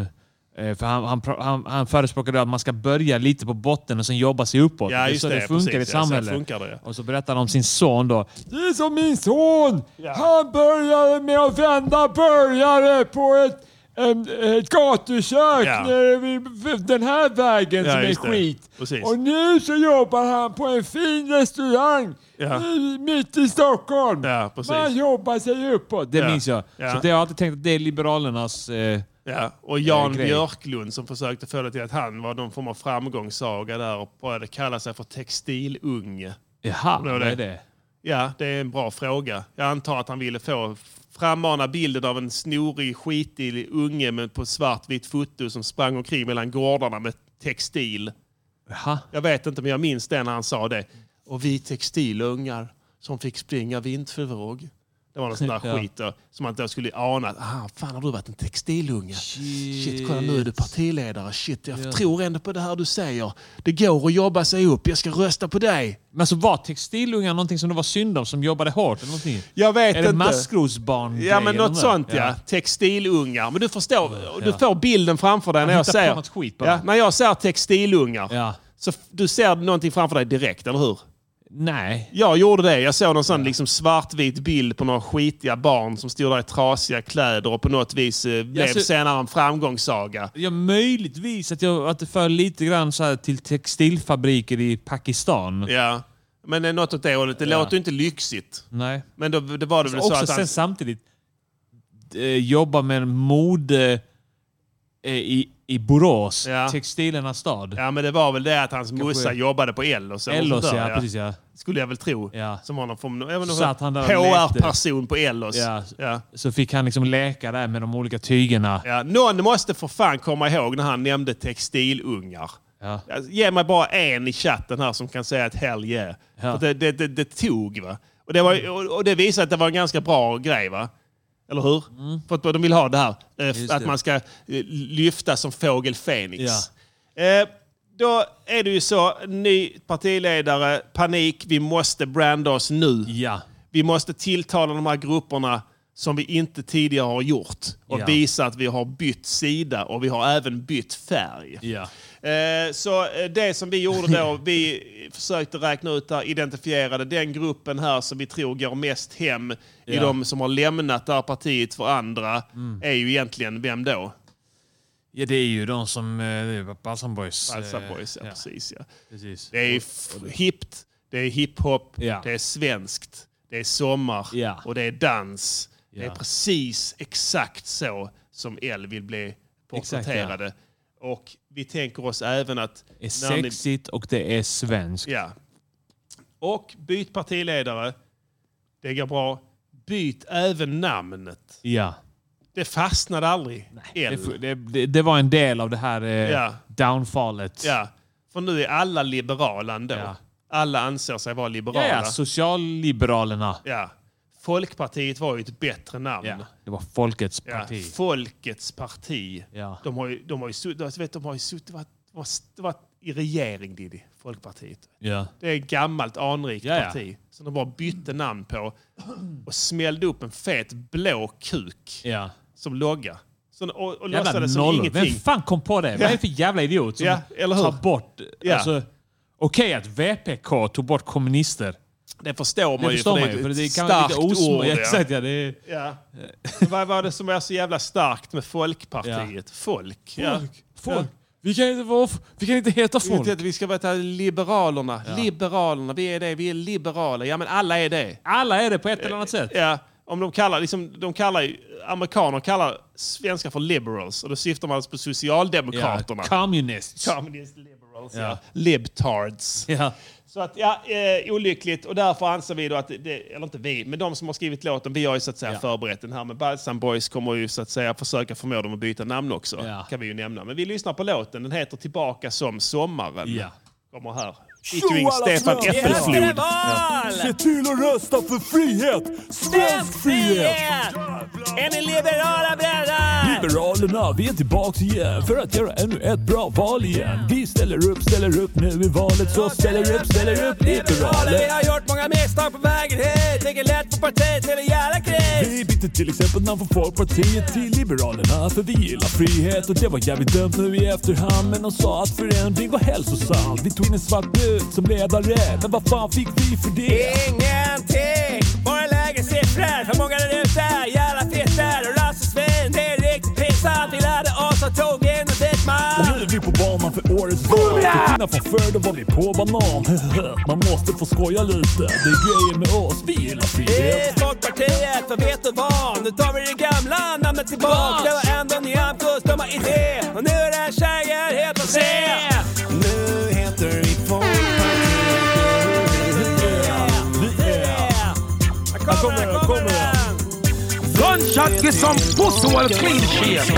eh, för han, han, pra- han, han förespråkade att man ska börja lite på botten och sen jobba sig uppåt.
Ja,
är
just
så
det,
det funkar
precis.
i
Ja, så
samhället.
funkar det,
Och så berättade han om sin son då. Det är som min son!
Han började med att vända burgare på ett, en, ett gatukök
Ja.
nere vid v- den här vägen
Ja,
som är
just det.
skit.
Precis.
Och nu så jobbar han på en fin restaurang
Ja.
i, mitt i Stockholm. Man jobbar sig uppåt.
Det minns jag.
Ja.
Så det har jag alltid tänkt att det är Liberalernas... Eh,
Ja, och Jan
eh, grej.
Björklund som försökte få det till att han var någon form av framgångssaga där och började kalla sig för textilunge.
Jaha,
Kommer du ihåg
vad är det?
Ja, det är en bra fråga. Jag antar att han ville få frammana bilden av en snorig, skitig unge med på svartvitt foto som sprang omkring mellan gårdarna med textil. Jag vet inte, men jag minns det när han sa det. Och vi textilungar som fick springa vind för våg. Det var någon sån där
Ja.
skit då, som man då skulle ana. att, Ah, fan, har du varit en textilunge? Shit, kolla nu är du partiledare. Shit, jag
Ja.
tror ändå på det här du säger. Det går att jobba sig upp. Jag ska rösta på dig.
Men så var textilungar någonting som det var synd om, som jobbade hårt eller någonting?
Jag vet
är det
inte.
maskrosbarn
Ja, men något sånt ja. Textilungar. Men du förstår, du får bilden framför dig när jag
Jag hittar
säger...
på något skit bara.
ja, när jag säger textilungar,
Ja.
så f- du ser någonting framför dig direkt, eller hur?
Nej.
Jag gjorde det. Jag såg någon sån liksom svartvit bild på några skitiga barn som stod där i trasiga kläder och på något vis eh, blev
så-
senare en framgångssaga.
Ja, möjligtvis att, jag, att det för lite grann så här till textilfabriker i Pakistan.
Ja. Men eh, något åt det hållet. Det
Ja.
låter ju inte lyxigt.
Nej.
Men då, det var det väl så
också
att
sen
han...
samtidigt eh, jobba med mode eh, i, i Borås, textilernas stad.
Ja, men det var väl det att hans morsa jobbade på Ellos. eller
Ellos,
sånt där,
ja, precis ja.
Skulle jag väl tro. Som har någon form av
Så att han där
HR-person på Ellos.
Ja.
Ja.
Så fick han liksom läka där med de olika tygerna.
Ja, någon måste för fan komma ihåg när han nämnde textilungar.
Ja.
Alltså, Ge mig bara en i chatten här som kan säga ett hell yeah. För det, det, det, det tog va. Och det, var, och och det visar att det var en ganska bra grej va. Eller hur? För att de vill ha det här. eh,
Mm. Just
Att
det.
man ska eh, lyfta som fågel Fenix.
Ja.
Eh, Då är det ju så, ny partiledare, panik, vi måste branda oss nu. Vi måste tilltala de här grupperna som vi inte tidigare har gjort och
Ja.
visa att vi har bytt sida och vi har även bytt färg.
Ja.
Eh, Så eh, det som vi gjorde då, vi försökte räkna ut där, identifierade den gruppen här som vi tror går mest hem i
Ja.
de som har lämnat det här partiet för andra,
Mm.
är ju egentligen vem då?
Ja, det är ju de som... eh, det är Balsam Boys.
Balsam
eh,
Boys, ja, precis. Ja.
Precis.
Det är f- hippt, det är hiphop,
Ja.
det är svenskt, det är sommar och det är dans. Det är precis exakt så som L vill bli
Exakt,
porträtterade. Och vi tänker oss även att...
Det är
när ni-
sexigt och det är svenskt.
Ja. Och byt partiledare. Det går bra. Byt även namnet.
Ja.
Det fastnade aldrig. L.
Det, det- det, det var en del av det här eh,
Ja.
downfallet.
Ja, för nu är alla liberala ändå. Alla anser sig vara liberala.
Ja, ja, socialliberalerna.
Ja. Folkpartiet var ju ett bättre namn.
Ja. Det var folkets
Ja,
parti.
Folkets parti.
Ja.
De har ju, de har ju, sutt- alltså, vet, de har ju sutt, varit, varit, varit i regering, Diddy. Folkpartiet.
Ja.
Det är ett gammalt anrikt
Ja, ja.
parti som de bara bytte namn på och smällde upp en fet blå kuk
Ja.
som logga. Så, och och
Jävla
låtsades som
nollor.
ingenting.
Vem fan kom på det? Vad är det för jävla idiot som
Ja, eller hur?
tar bort...
Ja.
Alltså, Okej att VPK tog bort kommunister.
Det förstår man
det
ju.
förstår man
är
ju.
ett
För det kan vara lite
starkt
osmå.
ord, ja.
Exakt, ja. Det är,
Ja. Men Vad var det som var så jävla starkt med Folkpartiet? Folk. Ja.
Folk. Folk. Vi kan inte vara... Vi kan inte heta
Vi vet
folk.
inte att Vi ska vara Liberalerna. Liberalerna, vi är det. Vi är liberala. Ja, men alla är det.
Alla är det på ett eller annat sätt.
Ja, om de kallar, liksom, de kallar ju, amerikaner kallar svenskar för liberals och då syftar man alltså på socialdemokraterna.
Communists.
Communist liberals, ja. Libtards.
Ja.
Så att, ja, eh, olyckligt. Och därför anser vi då att, det, eller inte vi, men de som har skrivit låten, vi har ju så att säga förberett den här. Men Balsam Boys kommer ju så att säga försöka förmå dem att byta namn också.
Ja.
Kan vi ju nämna. Men vi lyssnar på låten. Den heter Tillbaka som sommaren.
Ja.
Kommer här. Featuring Stefan Äppelflod.
Se till att rösta för frihet! Svensk frihet!
Är ni liberala bröder?
Liberalerna, vi är tillbaks igen för att göra ännu ett bra val igen. Vi ställer upp, ställer upp nu i valet så ställer upp, ställer upp
Liberaler, vi
liberaler.
har gjort många misstag på vägen hit. Tänker lätt på partiet till en jävla kris.
Vi bytte till exempel namn från Folkpartiet till Liberalerna för vi gillar frihet och det var jävligt dumt nu i efterhand. Men de sa att förändring var hälsosamt. Vi tog in en svart brud som ledare, men vad fan fick vi för det?
Ingenting, bara lägre siffror. För många där ute, jävla fitter och rassesvin. Det är riktigt pinsamt. Vi lärde oss och tog in oss dit
Och
man.
nu är vi på banan för årets val. Till skillnad från förr då var vi på banan. Man måste få skoja lite. Det är grejer med oss. Vi gillar frihet.
I Folkpartiet, för vet du vad? Nu tar vi det gamla namnet tillbaks. Det var ändå Nyamkos dumma idé. Och nu är det här tjejer helt att se.
Nu heter vi
Här kommer den, här kommer den.
Gunshot get some pussy while clean shit.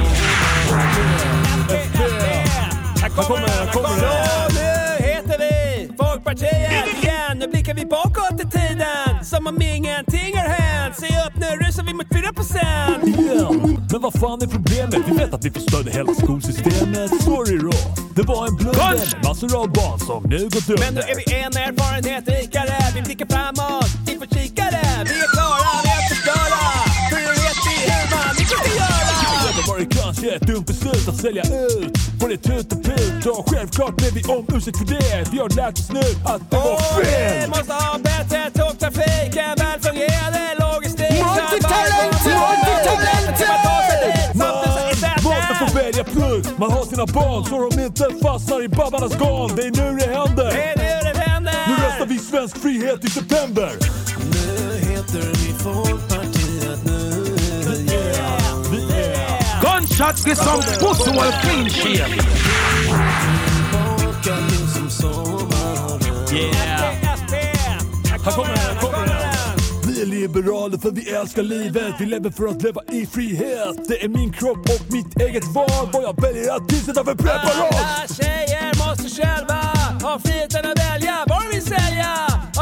Här kommer den, här kommer den. Nu heter vi Folkpartiet igen. Nu blickar vi bakåt i tiden som om ingenting har hänt. Se upp nu, rusar vi mot 4
Igen. Men vad fan är problemet? Vi vet att vi förstörde hela skolsystemet. Sorry då. Det var en blunder med massor av barn som nu gått under.
Men nu är vi en erfarenhet rikare. Vi blickar framåt, vi får kikare. Vi är klara med att förstöra. För nu vet vi hur man inte ska göra.
Det var ju kanske ett dumt beslut att sälja ut på det tut och put. Och självklart blev vi om ursäkt för det. Vi har lärt oss nu att det var
Och vi
fel.
måste ha bättre tågtrafik, en väl fungerande logistik.
Multitalenter!
Multitalenter!
Man måste få välja plugg. Man har sina barn så de inte fastnar i babbarnas garn. Det är nu det händer.
Det är nu det händer.
Nu röstar vi svensk frihet i september.
Nu heter vi Folkpartiet nu
Gunshot get some pussy while clean shit.
Här kommer den, här kommer den. Vi är liberaler för vi älskar livet. Vi lever för att leva i frihet. Det är min kropp och mitt eget val. Vad jag väljer att tillsätta för preparat.
Alla tjejer måste själva ha friheten att välja vad de vill sälja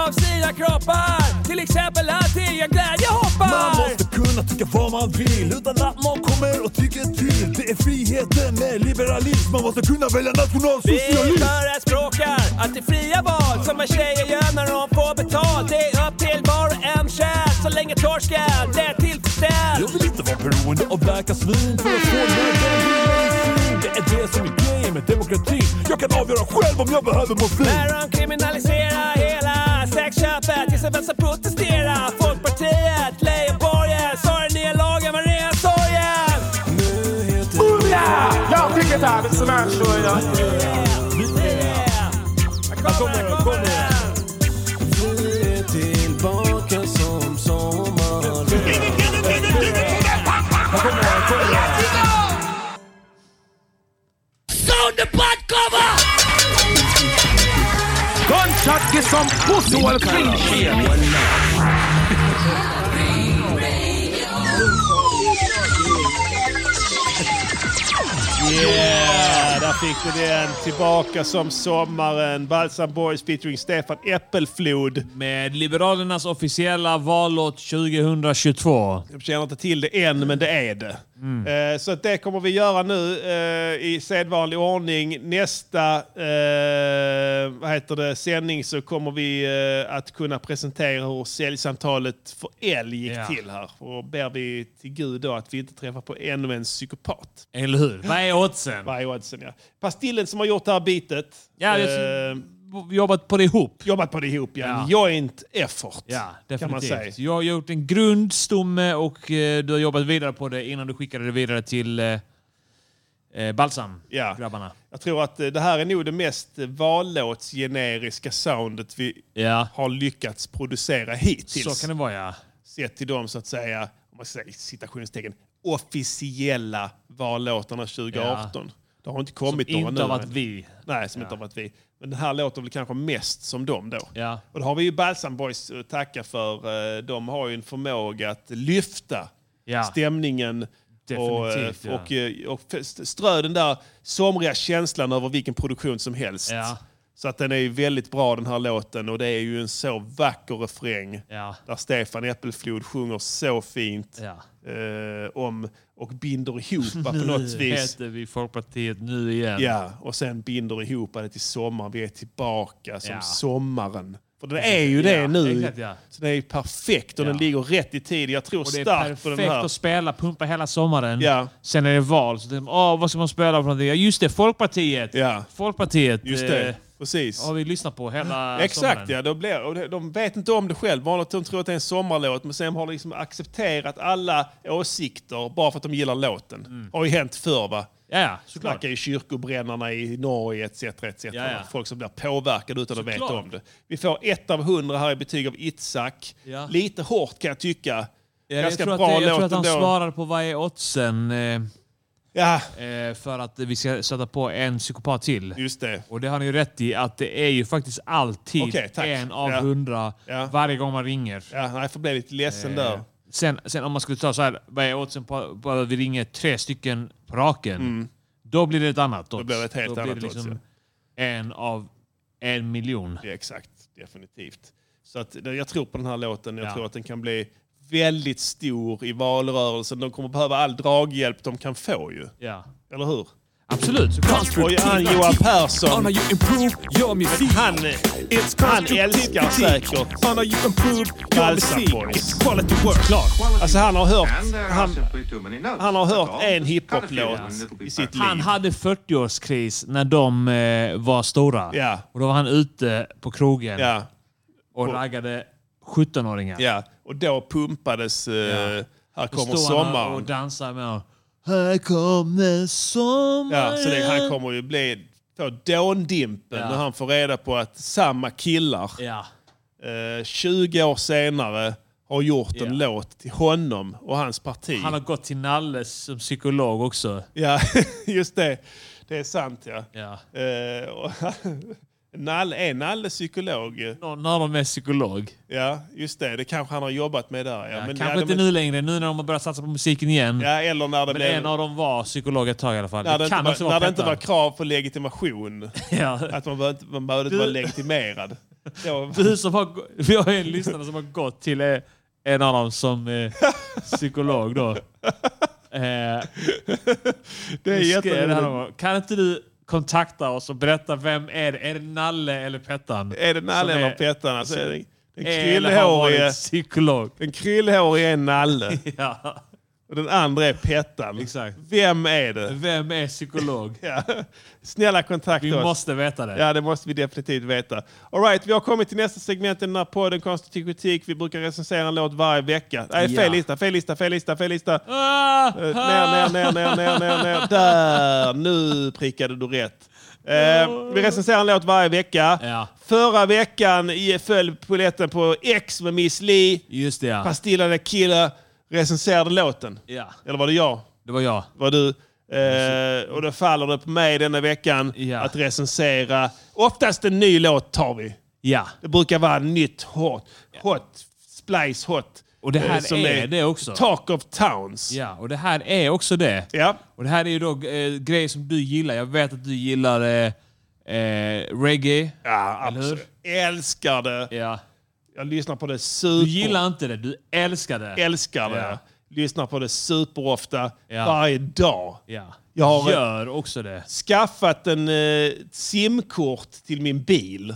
av sina kroppar. Till exempel att tillgängliga
Man
glädjehoppar.
måste kunna tycka vad man vill utan att någon kommer och tycker till. Det är friheten med liberalism. Man måste kunna välja
Vi
nationalsocialism.
förespråkar att det är fria val som en tjejer gör när de får betalt. Det är upp till var och en själv så länge torsken är
Jag
tillfredsställd.
vill inte vara beroende av läkarsvin för att få nödvändig medicin. Det är det som är grejen med demokratin. Jag kan avgöra själv om jag behöver morfin.
När de kriminaliserar hela sexköpet tills en vänster protesterar. Folkpartiet, Leijonborgen, sa den nya lagen var ren sorgen.
Jag fick ett här, så här så jag.
Här kommer den, här kommer den.
Vi är tillbaka som sommaren
Här kommer den, här kommer den.
under buttcover!
Gunshot get some pussy while clean shit.
Yeah, där fick du den. Tillbaka som sommaren. Balsam Boys featuring Stefan Äppelflod.
Med Liberalernas officiella vallåt 2022.
Jag känner inte till det än, men det är det. Eh, Så att det kommer vi göra nu eh, i sedvanlig ordning. Nästa eh, vad heter det, sändning så kommer vi eh, att kunna presentera hur säljsamtalet för älg gick
Ja.
till här. Och ber vi till Gud då att vi inte träffar på ännu en psykopat.
Eller hur? Vad är oddsen?
Vad är oddsen, ja. Pastillen som har gjort det här bitet.
Ja,
eh,
jag- jobbat på det ihop.
Jobbat på det ihop, ja. Joint effort,
Ja,
kan man säga.
definitivt. Jag har gjort en grundstomme och eh, du har jobbat vidare på det innan du skickade det vidare till eh, eh, Balsam.
Ja.
Grabbarna.
Jag tror att eh, det här är nog det mest eh, vallåtsgeneriska soundet vi har lyckats producera hittills.
Så kan det vara, ja.
Sett till dem så att säga, om man säger citationstecken, officiella vallåtarna 2018. Det har inte kommit
Som
några nu,
inte har varit
men-
vi.
Nej, som
Ja.
inte har varit vi. Men den här låter väl kanske mest som dem då.
Ja.
Och det har vi ju Balsam Boys att tacka för. Eh, De har ju en förmåga att lyfta
Ja.
stämningen och, eh,
Definitivt, ja.
och, eh, och f- strö den där somriga känslan över vilken produktion som helst.
Ja.
Så att den är ju väldigt bra den här låten och det är ju en så vacker refräng där Stefan Äppelflod sjunger så fint eh, om och binder ihop på något vis.
heter vi Folkpartiet nu igen.
Ja, och sen binder ihop det till sommar. Vi är tillbaka som
Ja.
sommaren. För den är ju det
Ja,
nu.
exakt, ja.
Så den är ju perfekt och den
Ja.
ligger rätt i tid. Jag tror
Och det är
starkt på den
perfekt
här.
att spela, pumpa hela sommaren.
Ja.
Sen är det val. Så tänker man, "Åh, vad ska man spela för någonting? Ja, just det, Folkpartiet.
Ja.
Folkpartiet.
Just det,
eh,
precis.
Har vi lyssnat på hela
Exakt,
sommaren.
ja. De, blir, och de- de vet inte om det själv. Vanligt de tror att det är en sommarlåt, men sen har de liksom accepterat alla åsikter bara för att de gillar låten.
Mm.
har ju hänt förr, va?
Ja,
såklart. Snackar ju kyrkobrännarna i Norge etc. etc.
Ja, ja.
Folk som blir påverkade utan att veta
Såklart.
om det. Vi får ett av hundra här i betyg av Itzhak.
Ja.
Lite hårt kan jag tycka.
Ja, jag
Ganska
tror att
bra
det- Jag tror
låt
att han
ändå.
svarade på vad är oddsen. eh,
Ja.
eh, För att vi ska sätta på en psykopat till.
Just det.
Och det har ni ju rätt i, att det är ju faktiskt alltid
Okej, tack.
en av
Ja.
hundra varje gång man ringer. Eh,
Ja, nej, jag får bli lite ledsen där.
Sen, sen om man skulle ta så här, vad är oddsen på på att vi ringer tre stycken på raken?
Mm.
Då blir det ett annat
Då
odds.
blir det ett helt
Då blir
annat
det liksom
odds,
En av en miljon.
Det är exakt, definitivt. Så att, det- jag tror på den här låten. Jag
Ja.
tror att den kan bli väldigt stor i valrörelsen. De kommer behöva all draghjälp de kan få ju.
Ja.
Eller hur?
Absolut,
Och han Johan Persson. Han, han älskar säkert Balsa Boys. Klart. Alltså han har hört, han,
alltså
han har hört en hiphop-låt i sitt liv.
Han hade 40-årskris när de eh, var stora.
Ja.
Och då var han ute på krogen
Ja.
och raggade 17-åringar.
Ja, och då pumpades eh, Här
Då
kommer
stod han
sommaren.
och dansade med honom. Här kommer sommaren.
Ja, så det, han kommer ju bli få dåndimpen
Ja.
när han får reda på att samma killar eh, 20 år senare har gjort en låt till honom och hans parti.
Han har gått till Nalle som psykolog också.
Ja, just det. Det är sant ja.
Ja.
Eh, och Nalle, är Nalle psykolog?
Någon av dem är psykolog.
Ja, just det. Det kanske han har jobbat med där. Ja.
Ja,
Men
kanske
ja,
inte
men-
nu längre, nu när de har börjat satsa på musiken igen.
Ja, eller när det
Men
blev-
en av dem var psykolog ett tag i alla fall.
När det,
kan
inte
också
var, när
vara
det inte var
Petter.
krav på legitimation. Att man behövde, man behövde inte
Du-
vara legitimerad. Då-
Du som har, gå- vi har en lyssnare som har gått till eh, en av dem som eh, psykolog då. Eh,
Det är
skrev
jätteroligt.
det här någon gång. Kan inte du kontakta oss och berätta vem är det? Är det Nalle eller Pettan?
Är det Nalle
Som
eller
är-
Pettan? Alltså, är det- den
eller har varit
kryllhårige-
psykolog.
Den kryllhårige är Nalle.
Ja.
Och den andra är Pettan.
Exakt.
Vem är det?
Vem är psykolog?
ja. Snälla kontakta
Vi
oss.
måste veta det.
Ja, det måste vi definitivt veta. All right, vi har kommit till nästa segment i den här podden, Konstruktiv kritik. Vi brukar recensera en låt varje vecka. Nej, fel
Ja.
lista, fel lista, fel lista, fel lista.
Ah!
Eh, Ner, ner, ner, ner, ner, ner, ner. Där! Nu prickade du rätt. Eh, vi recenserar en låt varje vecka. Förra veckan i- föll polletten på X med Miss Li.
Just det, ja.
Pastillade kille recenserade låten.
Ja.
Eller var det jag?
Det var jag.
Var du? Eh, och då faller det på mig denna veckan att recensera. Oftast en ny låt tar vi.
Ja.
Det brukar vara nytt, hot, hot, splice hot.
Och det här
eh, som
är det också.
Talk of Towns.
Ja, och det här är också det.
Ja.
Och det här är ju då eh, grejer som du gillar. Jag vet att du gillar eh, eh, reggae.
Ja,
eller hur?
Älskar det.
Ja.
Jag lyssnar på det super...
Du gillar inte det, du älskar det.
Älskar det.
Ja.
Lyssnar på det superofta.
Ja.
Varje dag.
Ja.
Jag har
Gör också det.
skaffat en eh, simkort till min bil.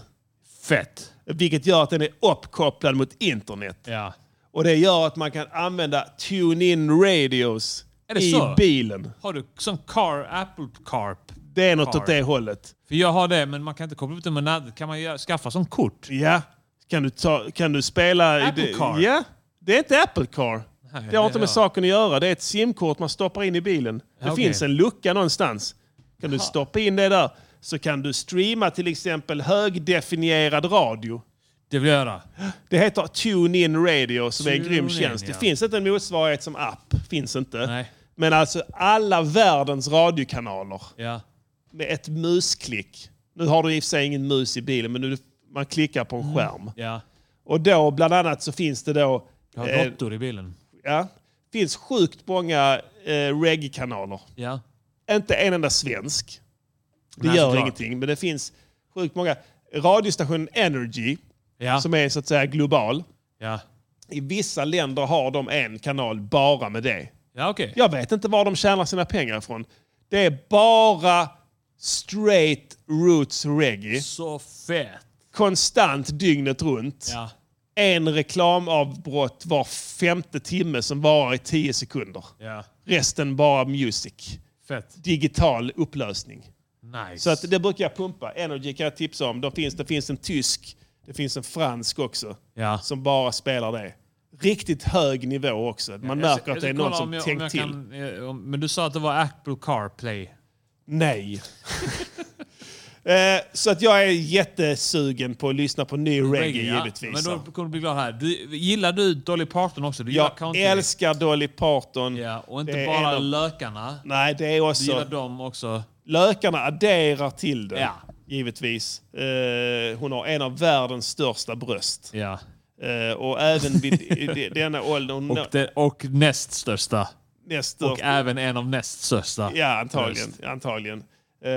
Fett.
Vilket gör att den är uppkopplad mot internet.
Ja.
Och det gör att man kan använda tune-in radios
Är det
i
så?
bilen.
Har du som car, Apple Carp?
Det är något
Car.
åt det hållet.
För jag har det, men man kan inte koppla upp det med naddet. Kan man göra, skaffa som kort?
Ja. Kan du, ta, kan du spela... i
Apple
det-
Car.
Ja. Det är inte Apple Car. det har
det
inte
är-
med saken att göra. Det är ett simkort man stoppar in i bilen. Det
Ja, okej.
finns en lucka någonstans. Kan du
Jaha.
stoppa in det där så kan du streama till exempel högdefinierad radio.
Det vill jag göra.
Det heter TuneIn Radio som är en grym
TuneIn,
tjänst. Det
ja.
finns inte en motsvarighet som app. Finns inte. Men alltså alla världens radiokanaler
Ja.
med ett musklick. Nu har du i och för sig ingen mus i bilen men nu, man klickar på
Mm.
en skärm.
Ja.
Och då bland annat så finns det då...
Jag har
eh,
råttor i bilen.
ja, finns sjukt många eh, reggae-kanaler.
Ja.
Inte en enda svensk. Det
Nej,
gör
såklart.
ingenting, men det finns sjukt många. Radiostationen Energy,
Ja.
som är så att säga global.
Ja.
I vissa länder har de en kanal bara med det.
Ja, okej.
Jag vet inte var de tjänar sina pengar ifrån. Det är bara straight roots reggae.
Så fett.
Konstant dygnet runt.
Ja.
En reklamavbrott var femte timme som varar i tio sekunder.
Ja.
Resten bara music.
Fett.
Digital upplösning.
Nice.
Så att det brukar jag pumpa. Energy kan jag tipsa om. De finns, det finns en tysk, det finns en fransk också.
Ja.
Som bara spelar det. Riktigt hög nivå också. Man
Jag
märker
ska- jag
att det
ska
är någon
kolla
som
om jag- om
tänkt
jag
till.
kan, eh, om- men du sa att det var Apple CarPlay.
Nej. Eh, Så att jag är jättesugen på att lyssna på ny reggae,
ja.
givetvis.
Men då kommer du bli glad här. Du, gillar du Dolly Parton också? Du gillar
jag
country?
älskar Dolly Parton.
Och inte
Det är
bara
en av-
lökarna.
Nej, det är
Du
också...
gillar dem också.
Lökarna adderar till det,
Ja.
givetvis. Eh, hon har en av världens största bröst.
Ja.
Eh, och även vid i de- denna ålder... Hon
Och, det, och näst största.
näst
Och
största.
även en av näst största.
Ja, antagligen. antagligen. Eh,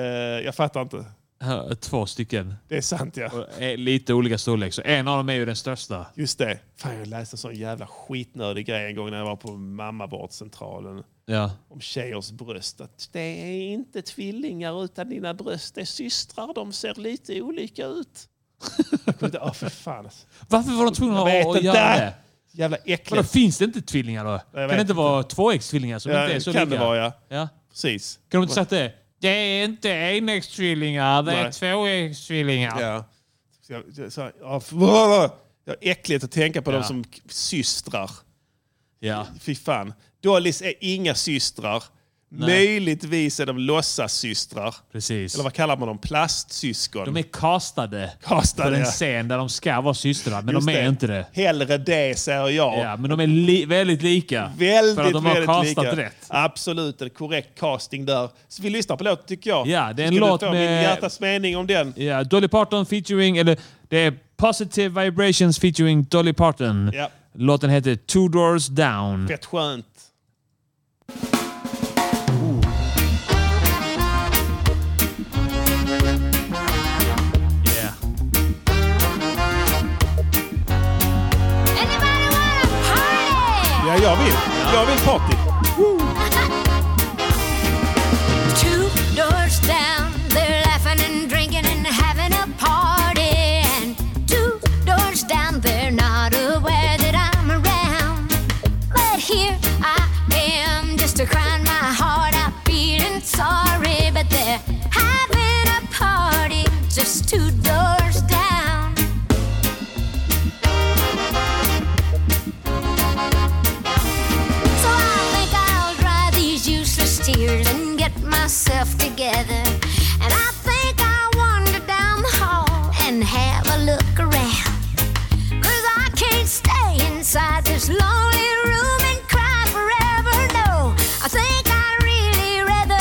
jag fattar inte.
Här, Två stycken.
Det är sant, ja.
Och är lite olika storlek. Så en av dem är ju den största.
Just det. Fan, jag läste en sån jävla skitnödig grej en gång när jag var på mammavårdscentralen.
Ja.
Om tjejers bröst. Att det är inte tvillingar utan dina bröst är systrar. De ser lite olika ut. Jag kunde inte- Åh, för fan. alltså.
Varför var de tvungna
Jag vet
att, att
inte.
göra det?
Jävla
Vadå,
äckligt.
finns det inte tvillingar då?
jag
kan
vet
det inte vara tvåäggstvillingar som
Ja,
inte är så
kan
lika?
det vara, ja.
Ja.
Precis.
Kan de inte sagt det? Det är inte enäggstvillingar, det är
Nej.
tvåäggstvillingar.
Ja. Så jag, jag, så, ja, för, jag är äckligt att tänka på
Ja.
dem som k- systrar.
Ja.
Fy fan. Dollys är inga systrar. Möjligtvis är de låtsassystrar.
Precis.
Eller vad kallar man dem? Plastsyskon.
De är castade,
Castade,
för en
ja.
scen där de ska vara systrar, men
Just
de är inte det.
Hellre det, säger jag.
Ja, men de är li- väldigt lika.
Väldigt,
för att de har
väldigt
castat
lika.
rätt.
Absolut, en korrekt casting där. Så vi lyssnar på låten tycker jag.
Ja, det är
Så
en
ska du
låt
få min
med-
hjärtas mening om den.
Ja, Dolly Parton featuring, eller det är Positive Vibrations featuring Dolly Parton.
Ja.
Låten heter Two Doors Down.
Fett skönt.
Yeah.
Ja, jag vill. Jag vill party.
Two doors down, they're laughing and drinking and having a party. And two doors down, they're not aware that I'm around. But here I am, just a crying my heart out, feeling sorry. But they're having a party just two doors down. So I think I'll dry these useless tears and get myself together. And I think I'll wander down the hall and have a look around. Cause I can't stay inside this lonely room and cry forever. No, I think I'd really rather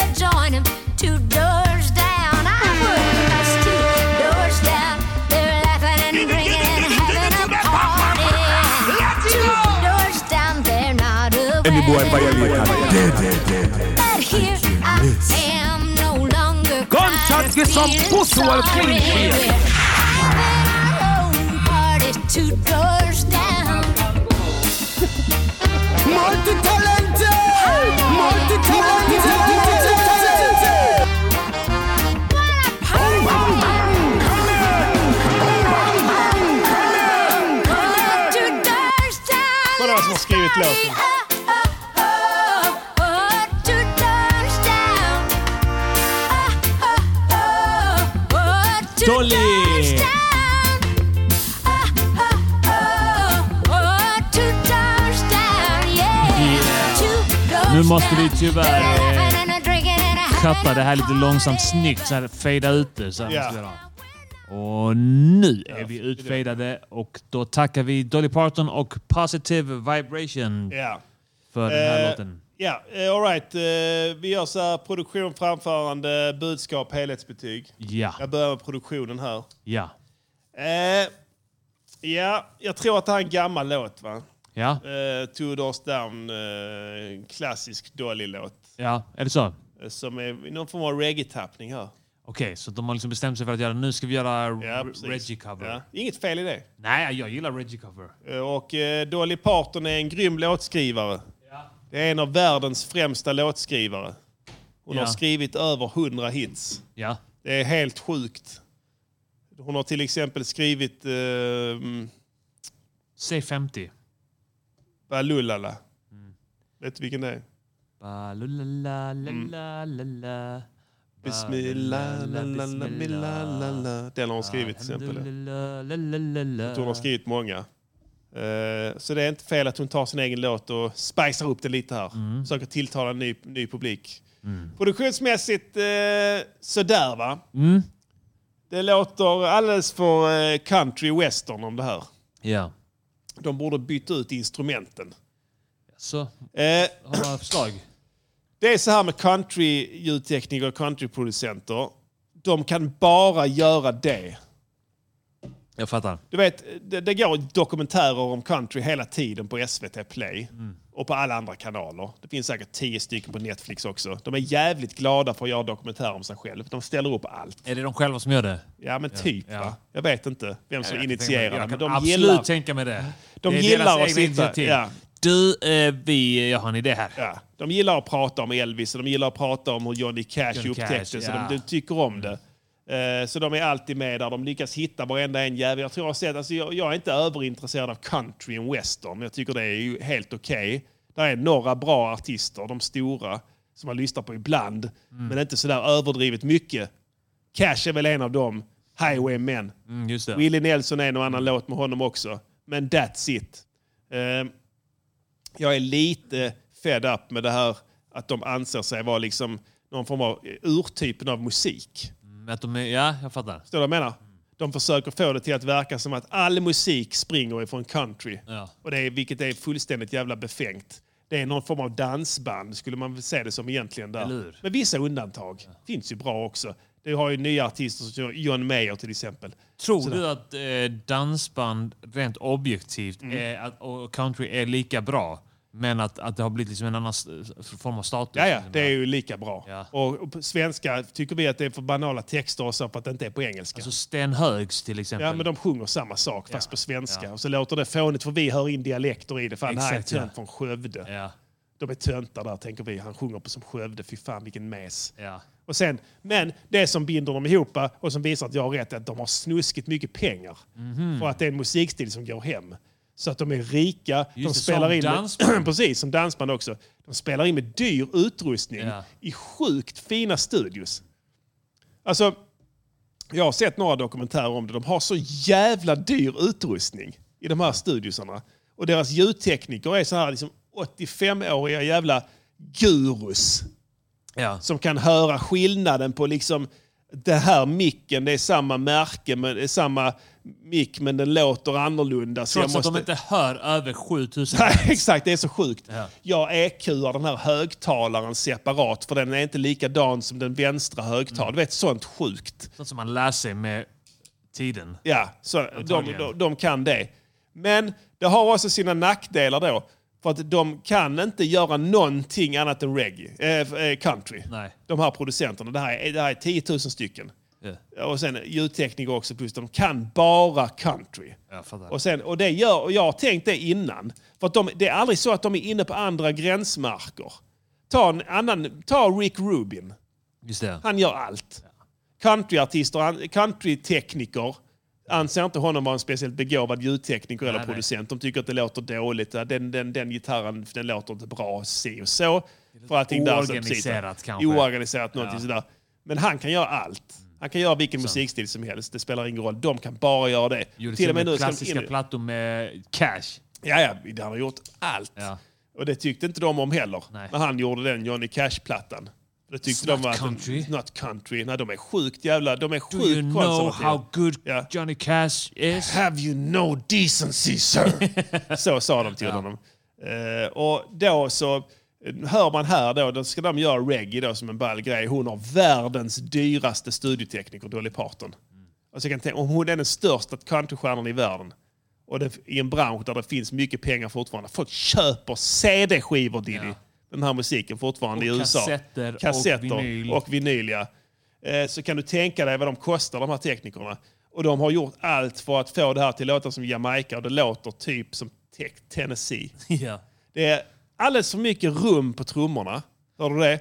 But here I am no longer
Gunshots som pussar kring er.
party two doors down. Multitalented! Multitalented! Two doors down.
Kolla vad som har skrivit låten.
Dolly!
Nu måste vi tyvärr eh, kappa det här lite långsamt snyggt. Så här, fada ut det. Så här
Ja.
måste vi göra. Och nu är vi utfadade och då tackar vi Dolly Parton och Positive Vibration
Ja.
för den här
Eh,
låten.
Ja, eh, all right. Eh, vi gör så här, produktion, framförande, budskap, helhetsbetyg.
Ja.
Jag börjar med produktionen här.
Ja.
Eh, ja, jag tror att det här är en gammal låt va?
Ja.
Eh, Two Doors Down, eh, en klassisk Dolly-låt.
Ja, är det så? Okej,
eh, Som är i någon form av reggae-tappning här.
så de har liksom bestämt sig för att göra nu ska vi göra
Ja,
re-
precis.
Reggie-cover.
Ja, Inget fel i det.
Nej, jag gillar Reggie-cover.
Eh, Och eh, Dolly Parton är en grym låtskrivare. Det är en av världens främsta låtskrivare. Hon
Ja.
har skrivit över 100 hits.
Ja.
Det är helt sjukt. Hon har till exempel skrivit... Eh, mm,
Säg 50.
Balulala. Vet du vilken det är?
Balulalalalala.
Mm. Bismillah, la, la, la, la, la, la. Den har hon skrivit till exempel. Jag tror hon har skrivit många. Eh, så det är inte fel att hon tar sin egen låt och spicar upp det lite här. Försöker tilltala en ny, ny publik. Produktionsmässigt eh, sådär va.
Mm.
Det låter alldeles för eh, country western om det här.
Ja.
De borde byta ut instrumenten.
Så,
Eh,
har du några förslag?
det är så här med country-ljudtekniker och countryproducenter. De kan bara göra det.
Jag fattar.
Du vet, det, det går dokumentärer om country hela tiden på SVT Play
Mm.
och på alla andra kanaler. Det finns säkert tio stycken på Netflix också. De är jävligt glada för att göra dokumentärer om sig själv. De ställer upp allt.
Är det de själva som gör det?
Ja, men
Ja,
typ.
ja.
Va? Jag vet inte vem som
Jag kan tänka mig-
initierar
jag
det. Men
kan
de
absolut
gillar... Mm.
tänka mig det.
De
Det är
gillar
deras
att
egna
sitta...
initiativ.
Ja.
Du, eh, vi, jag har en idé här.
Ja. De gillar att prata om Elvis och de gillar att prata om hur Johnny Cash
Johnny
upptäcktes.
Cash,
så
ja.
de, de tycker om det. Eh, Så de är alltid med där. De lyckas hitta varenda en jävel. Jag tror jag har sett, alltså jag, jag är inte överintresserad av country och western. Jag tycker det är ju helt okej. Där är några bra artister, de stora, som man lyssnar på ibland. Men inte sådär överdrivet mycket. Cash är väl en av dem. Highwaymen.
Mm, just det.
Willie Nelson är en och annan låt med honom också. Men that's it. Ehm, jag är lite fed up med det här att de anser sig vara liksom någon form av eh, urtypen av musik.
Men Att de är, ja, jag fattar.
Förstår du vad jag menar? De försöker få det till att verka som att all musik springer ifrån country.
Ja.
Och det är, vilket är fullständigt jävla befängt. Det är någon form av dansband skulle man väl se det som egentligen
Eller
där.
hur?
Med vissa undantag. Finns ju bra också. Du har ju nya artister som John Mayer till exempel.
Tror
Sådär.
du att eh, dansband rent objektivt
Mm.
är, att, och country är lika bra, men att, att det har blivit liksom en annan s- form av status?
Ja, ja, det är ju lika bra. Och och på svenska tycker vi att det är för banala texter och så för att det inte är på engelska.
Alltså Sten Högs till exempel.
Ja, men de sjunger samma sak fast på svenska. Och så låter det fånigt för vi hör in dialekter i det. Fan, det här är en
Exakt, ja.
tönt från Skövde. De är töntar där, tänker vi. Han sjunger på som Skövde. Fy fan, vilken mes. Och sen, men det som binder dem ihop eh, och som visar att jag har rätt är att de har snuskigt mycket pengar.
Mhm.
För att det är en musikstil som går hem. Så att de är rika. de
det,
spelar
som
in med,
dansband.
Precis, som dansband också. De spelar in med dyr utrustning i sjukt fina studios. Alltså, jag har sett några dokumentärer om det. De har så jävla dyr utrustning i de här studiosarna. Och deras ljudtekniker är så här liksom 85-åriga jävla gurus. Som kan höra skillnaden på liksom det här micken, det är samma märke, men det är samma mick men den låter annorlunda. Så
Trots
jag
att de
måste...
inte hör över 7000
Nej, exakt, det är så sjukt.
Ja.
Jag EQar den här högtalaren separat för den är inte likadan som den vänstra högtalaren.
Mm.
Du vet, sånt sjukt.
Sånt som man lär sig med tiden.
Ja, så de,
Antagligen.
de, de kan det. Men det har också sina nackdelar då. För att de kan inte göra någonting annat än reggae, eh, eh, country.
Nej.
De här producenterna. Det här är, det här är 10 000 stycken. Och sen ljudtekniker också, plus de kan bara country.
Jag fattar.
Och, sen, och, det gör, och jag har tänkt det innan. För att de, det är aldrig så att de är inne på andra gränsmarker. Ta, en annan, ta Rick Rubin.
Just det.
Han gör allt. Countryartister, han- countrytekniker anser inte honom vara en speciellt begåvad ljudtekniker eller
nej.
producent. De tycker att det låter dåligt. att Den, den, den gitarren den låter inte bra si och så. För allting där som precis-
Oorganiserat kanske.
Oorganiserat, någonting
Ja. Mm.
sådär. Men han kan göra allt. Han kan göra vilken musikstil som helst. Det spelar ingen roll. De kan bara göra det.
Gjorde till och med klassiska
in-
plattor med cash.
Ja, ja, han har gjort allt. Och det tyckte inte de om heller. När han gjorde den Johnny Cash-plattan. Det tyckte
It's
de
not
var att-
country.
It's not country. Nej, de är sjukt jävla... De är
Do you
sjukt
know
konservativa.
how good Johnny Cash is?
Have you no decency, sir? så sa de till honom. Eh, och då så eh, hör man här då, då ska de göra reggae då som en ball grej. Hon har världens dyraste studiotekniker, Dolly Parton. Och så kan jag tänka, om hon är den största countrystjärnan i världen och det, i en bransch där det finns mycket pengar fortfarande. Folk köper CD-skivor, Diddy. Den här musiken fortfarande i
Och
USA.
kassetter och vinyl.
och vinyl, ja. Eh, Så kan du tänka dig vad de kostar, de här teknikerna. Och de har gjort allt för att få det här till låtar som Jamaica och det låter typ som te- Tennessee.
Ja.
Det är alldeles för mycket rum på trummorna. Hör du det?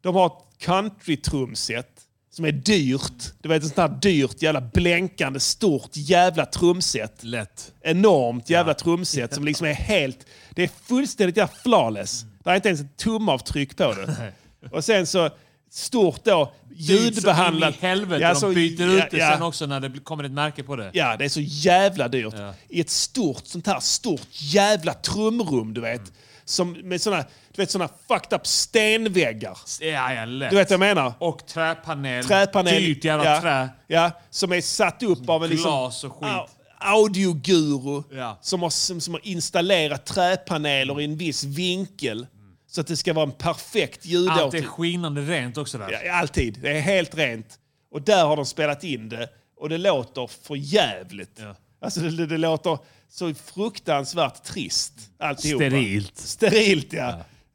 De har ett country-trumset som är dyrt. Du vet, ett sånt här dyrt, jävla blänkande, stort jävla trumset.
Lätt.
Enormt jävla trumset som liksom är helt... Det är fullständigt jävla flawless. Det är inte ens ett tumavtryck på det. Och sen så stort då, ljudbehandlat...
Så in i helvete
Ja, så-
de byter ut det
ja, ja.
sen också när det blir- kommer ett märke på det.
Ja, det är så jävla dyrt. I ett stort sånt här stort jävla trumrum, du vet.
Mm.
Som, med såna, du vet, såna fucked up stenväggar.
Ja, ja, lätt.
Du vet vad jag menar?
Och träpanel.
Träpanel.
Dyrt jävla
ja,
trä.
Ja, som är satt upp av en liksom,
Glas och skit.
au- audioguru som, har, som, som har installerat träpaneler i en viss vinkel. Så att det ska vara en perfekt ljudåtergivning.
Mm. Allt är skinande rent också där.
Ja, alltid. Det är helt rent. Och där har de spelat in det och det låter för jävligt. Alltså det, det, det låter så fruktansvärt trist alltihopa.
Sterilt.
Sterilt, ja.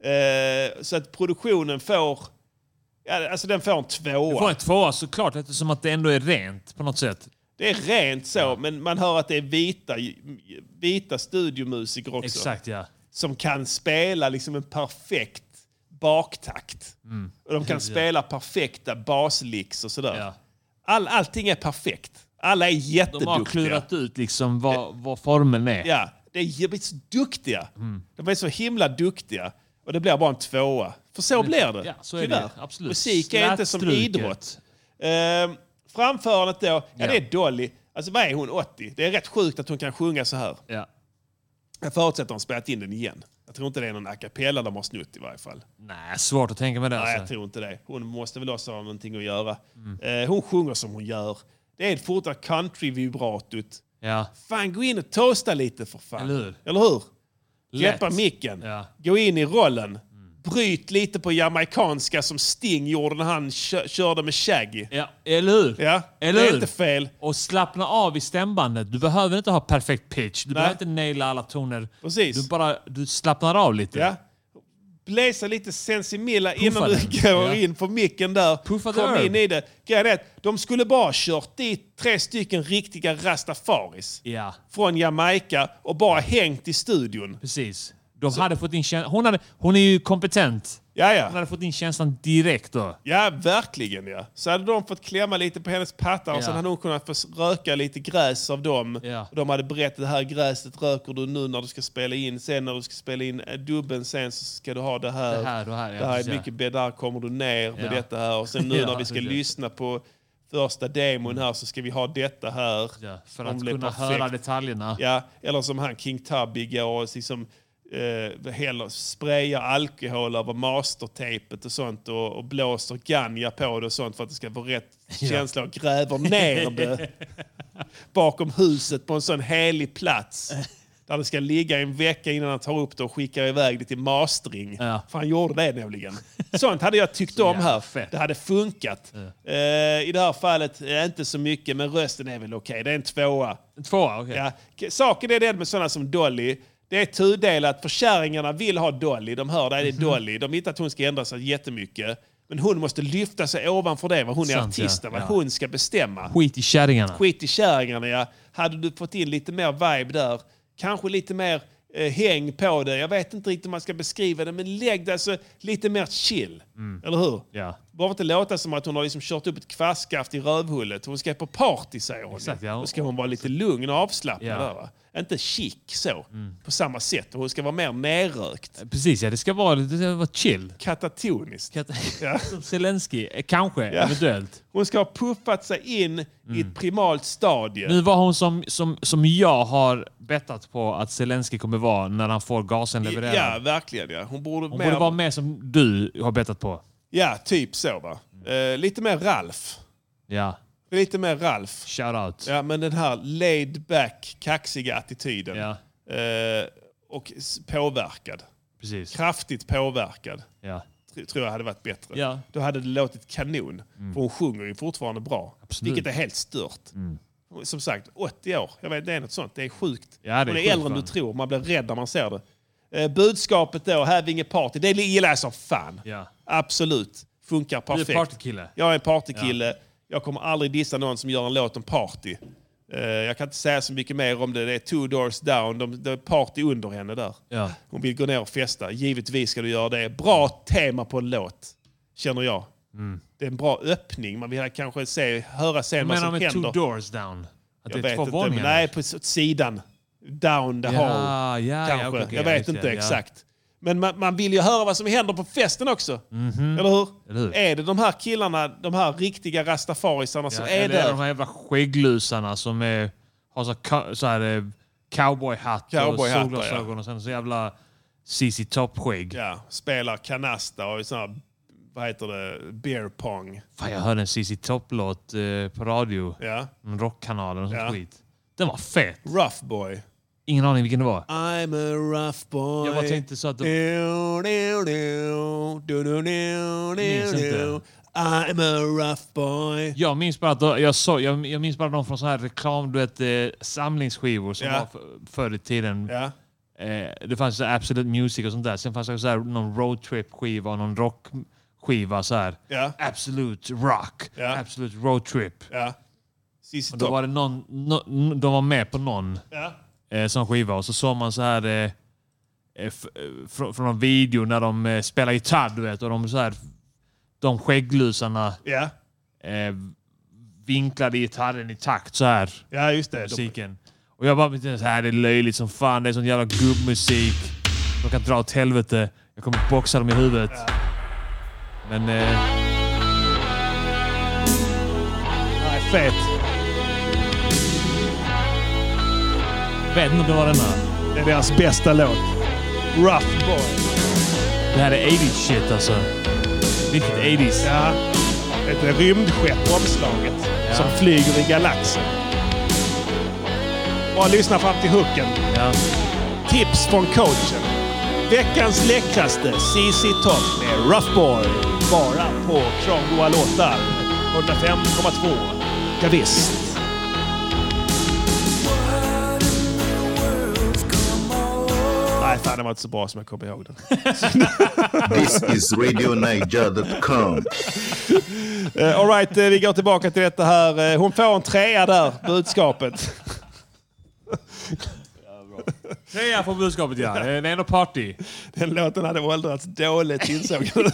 Eh, så att produktionen får... Ja, alltså den får en tvåa.
Du får en tvåa såklart eftersom att det ändå är rent på något sätt.
Det är rent så, men man hör att det är vita, vita studiomusiker också.
Exakt, ja.
Som kan spela liksom en perfekt baktakt.
Mm.
Och de
Ja.
kan spela perfekta baslicks och sådär. All, allting är perfekt. Alla är
De
jätteduktiga.
har klurat ut liksom vad, vad formen är.
Ja, det är, de är så duktiga.
Mm.
De är så himla duktiga. Och det blir bara en tvåa. För så blir det.
Ja, så är det.
Tyvärr.
Absolut.
Musik är inte som
Slätstruket.
idrott. Ehm, framförandet då. Ja,
Ja.
det är Dolly. Alltså vad är hon, 80? Det är rätt sjukt att hon kan sjunga så här.
Ja.
Jag förutsätter att de har spelat in den igen. Jag tror inte det är någon a cappella de har snott i varje fall.
Nej, svårt att tänka mig det.
Nej, jag
alltså. Mm.
tror inte det. Hon måste väl också ha någonting att göra. Eh, hon sjunger som hon gör. Det är fortare country-vibratot.
Ja.
Fan, gå in och toasta lite för fan.
Eller hur?
Eller hur?
Lätt.
Släppa micken. Gå in i rollen. Bryt lite på jamaicanska som Sting gjorde när han kö- körde med Shaggy.
Ja, eller hur?
Ja,
eller
det är
hur?
inte fel.
Och slappna av i stämbandet. Du behöver inte ha perfekt pitch. Du
Nej.
behöver inte naila alla toner.
Precis.
Du, bara, du slappnar av lite.
Ja. Bläsa lite sensimilla
Puffa
innan du
den.
går
Ja.
in på micken där.
the
Kom
herb.
in i det. Grejen är att de skulle bara ha kört dit tre stycken riktiga rastafaris.
Ja.
Från Jamaica och bara hängt i studion.
Precis. De hade fått in känslan. Hon, hade, hon är ju kompetent.
Ja, ja.
Hon hade fått in känslan direkt då.
Ja, verkligen ja. Så hade de fått klämma lite på hennes pattar
Ja.
och sen hade hon kunnat få s- röka lite gräs av dem. Och de hade berättat det här gräset röker du nu när du ska spela in. Sen när du ska spela in eh, dubben sen så ska du ha det här.
Det här och här, ja,
det här
precis,
är
ja.
mycket bättre. Där kommer du ner med
Ja.
detta här. Och sen nu
Ja,
när vi ska
precis. Mm.
lyssna på första demon här så ska vi ha detta här.
För
Om
att
det är
kunna höra detaljerna.
Ja, eller som han King Tubby går och liksom, eh, häller, sprayar alkohol över mastertejpet och sånt och, och blåser ganja på det och sånt för att det ska vara rätt känsla och gräver ner det bakom huset på en sån helig plats. Där det ska ligga en vecka innan han tar upp det och skickar iväg det till mastering. För han gjorde det nämligen. Sånt hade jag tyckt om här. Det hade funkat. Eh, I det här fallet eh, inte så mycket, men rösten är väl okej. Det är en tvåa.
En tvåa, okej.
Ja. K- Saken är den med sådana som Dolly. Det är tudelat, för kärringarna vill ha Dolly. De hör det, det är
Mhm.
Dolly. De vill inte att hon ska ändra sig jättemycket. Men hon måste lyfta sig ovanför det, vad hon är
Sant, ja.
artisten, vad
Ja.
hon ska bestämma.
Skit i kärringarna.
Skit i kärringarna, ja. Hade du fått in lite mer vibe där, kanske lite mer eh, häng på det. Jag vet inte riktigt hur man ska beskriva det, men lägg det alltså lite mer chill.
Mm.
Eller hur?
Ja.
Behöver inte låta som att hon har liksom kört upp ett kvastskaft i rövhullet. Hon ska på party, säger hon.
Exakt, ja.
Då ska hon vara lite lugn och avslappnad.
Ja. Mm.
Där, va? Inte chic så, på samma sätt. Hon ska vara mer nerrökt.
Precis, ja. Det ska vara, det ska vara chill.
Katatoniskt. Ja.
Zelensky, eh, kanske,
Ja.
eventuellt.
Hon ska ha puffat sig in i ett primalt stadie.
Mm. Nu var hon som, som, som jag har bettat på att Zelensky kommer vara när han får gasen levererad.
Ja, verkligen. Ja. Hon borde,
Hon
mer,
borde vara med som du har bettat på.
Ja, typ så. Va? Eh, lite mer Ralf.
Ja.
Lite mer Ralf.
Shoutout.
Ja, men den här laid back, kaxiga attityden. Eh, och s- påverkad.
Precis.
Kraftigt påverkad.
Ja.
Tr- Tror jag hade varit bättre.
Ja.
Då hade det låtit kanon. För hon sjunger ju fortfarande bra.
Mm. Absolut. Mm.
Vilket är helt stört. Och Som sagt, 80 år. Jag vet, det är något sånt. Det är sjukt.
Ja, det är
hon är
sjukt,
äldre än du
fan.
tror. Man blir rädd när man ser det. Eh, budskapet då, Hävinge Party, det gillar jag som fan.
Ja.
Absolut. Funkar
Du är
perfekt.
partykille.
Jag är en partykille. Jag kommer aldrig dissa någon som gör en låt om party. Eh, jag kan inte säga så mycket mer om det. Det är two doors down. De, det är party under henne där.
Ja.
Hon vill gå ner och festa. Givetvis ska du göra det. Bra tema på en låt, känner jag.
Mm.
Det är en bra öppning. Man vill kanske se, höra sen
Jag
vad
menar
som
med
händer.
two doors down. Att
jag
det är
vet
två
inte,
våningar. liksom.
men Nej, på s- sidan. Down the
Ja,
hall.
ja, ja,
kanske.
okej, okej,
jag
ja,
vet
just
inte
det, ja.
exakt. Men man, man vill ju höra vad som händer på festen också. Eller, hur?
Mhm. Eller hur?
Är det de här killarna, de här riktiga rastafarisarna som
Ja,
är
eller
där?
de här jävla skägglusarna som är, har så, här ka- så här, eh, cowboyhatt
Cowboyhattar,
och solglasögon och sen så jävla CC Top-skägg.
Ja, spelar kanasta och sån här, vad heter det, beer pong.
Fan, jag hörde en CC Top-låt eh, på radio.
Ja.
Någon rockkanal eller något sånt
Ja.
skit. Den var fet.
Rough boy.
Ingen aning vilken det var.
I'm a rough boy.
Jag bara tänkte så att de-
Eh. Du, du, du, du, du, du,
Minns
du, du.
inte.
I'm a rough boy.
Jag minns bara, att de, jag så, jag, jag minns bara dem från såna här reklam, du vet, eh, samlingsskivor som
Ja.
var för, förr i tiden.
Ja.
Eh, det fanns så här Absolute Music och sånt där. Sen fanns det så här någon roadtrip-skiva och någon rockskiva. Så här.
Ja.
Absolute rock, absolute roadtrip.
Ja.
Och då var det någon, nå- n- de var med på någon
Ja.
eh, sån skiva och så såg man så här eh, eh, f- eh, fr- från en video när de eh, spelar gitarr, du vet. Och de så här, de skägglusarna
Ja.
eh, vinklade gitarren i takt så här.
Ja, just det.
Musiken. Och jag bara tänkte så här, det är löjligt som fan. Det är sån jävla gubbmusik. De kan dra åt helvete. Jag kommer boxa dem i huvudet. Men... Eh,
Nej, fet.
vet inte om det var denna.
Det är deras bästa låt. Rough boy.
Det här är 80s shit alltså. Riktigt 80s.
Ja. Ett rymdskepp på omslaget som flyger i galaxen. Bara lyssna fram till hooken. Tips från coachen. Veckans läckraste CC Top med Rough Boy. Bara på Kramgoa låtar. 105,2. Ja, visst. Nej, fan den var inte så bra som jag kommer ihåg den.
This is RadioNiger.com.
Eh, All right, eh, vi går tillbaka till detta här. Eh, Hon får en trea där, budskapet.
Trea på budskapet ja. Det är ändå party.
Den låten hade åldrats dåligt insåg jag.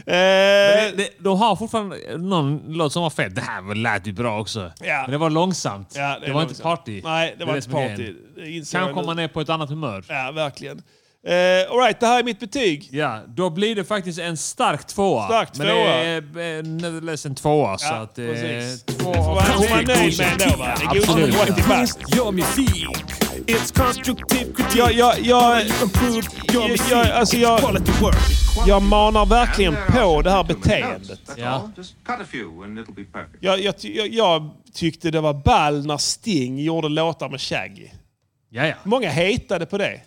Eh,
Men det- det- De har fortfarande någon låt som var fet. Det här lät ju bra också.
Ja.
Men det var långsamt.
Ja,
det,
är
var
nog
inte
så.
party.
Nej, det,
är
var inte
som är
party.
grejen.
Det inser jag
Kanske
nu.
om man är på ett annat humör.
Ja, verkligen. Eh, all right, det här är mitt betyg.
Ja, då blir det faktiskt en stark tvåa.
Stark
Men
tvåa.
det är eh, nevertheless en tvåa. så att, eh,
precis.
två
Det får man- får man nöjd med ändå, va? Det är godkänt.
Absolut.
80 pass.
Your music. It's constructive critique.
Jag, jag, jag, jag, jag, alltså jag, jag manar verkligen
alltså
på det här beteendet.
Cut a few and it'll be perfect.
Jag, jag, ty- jag, jag tyckte det var ball när Sting gjorde låtar med Shaggy. Många hatade på det.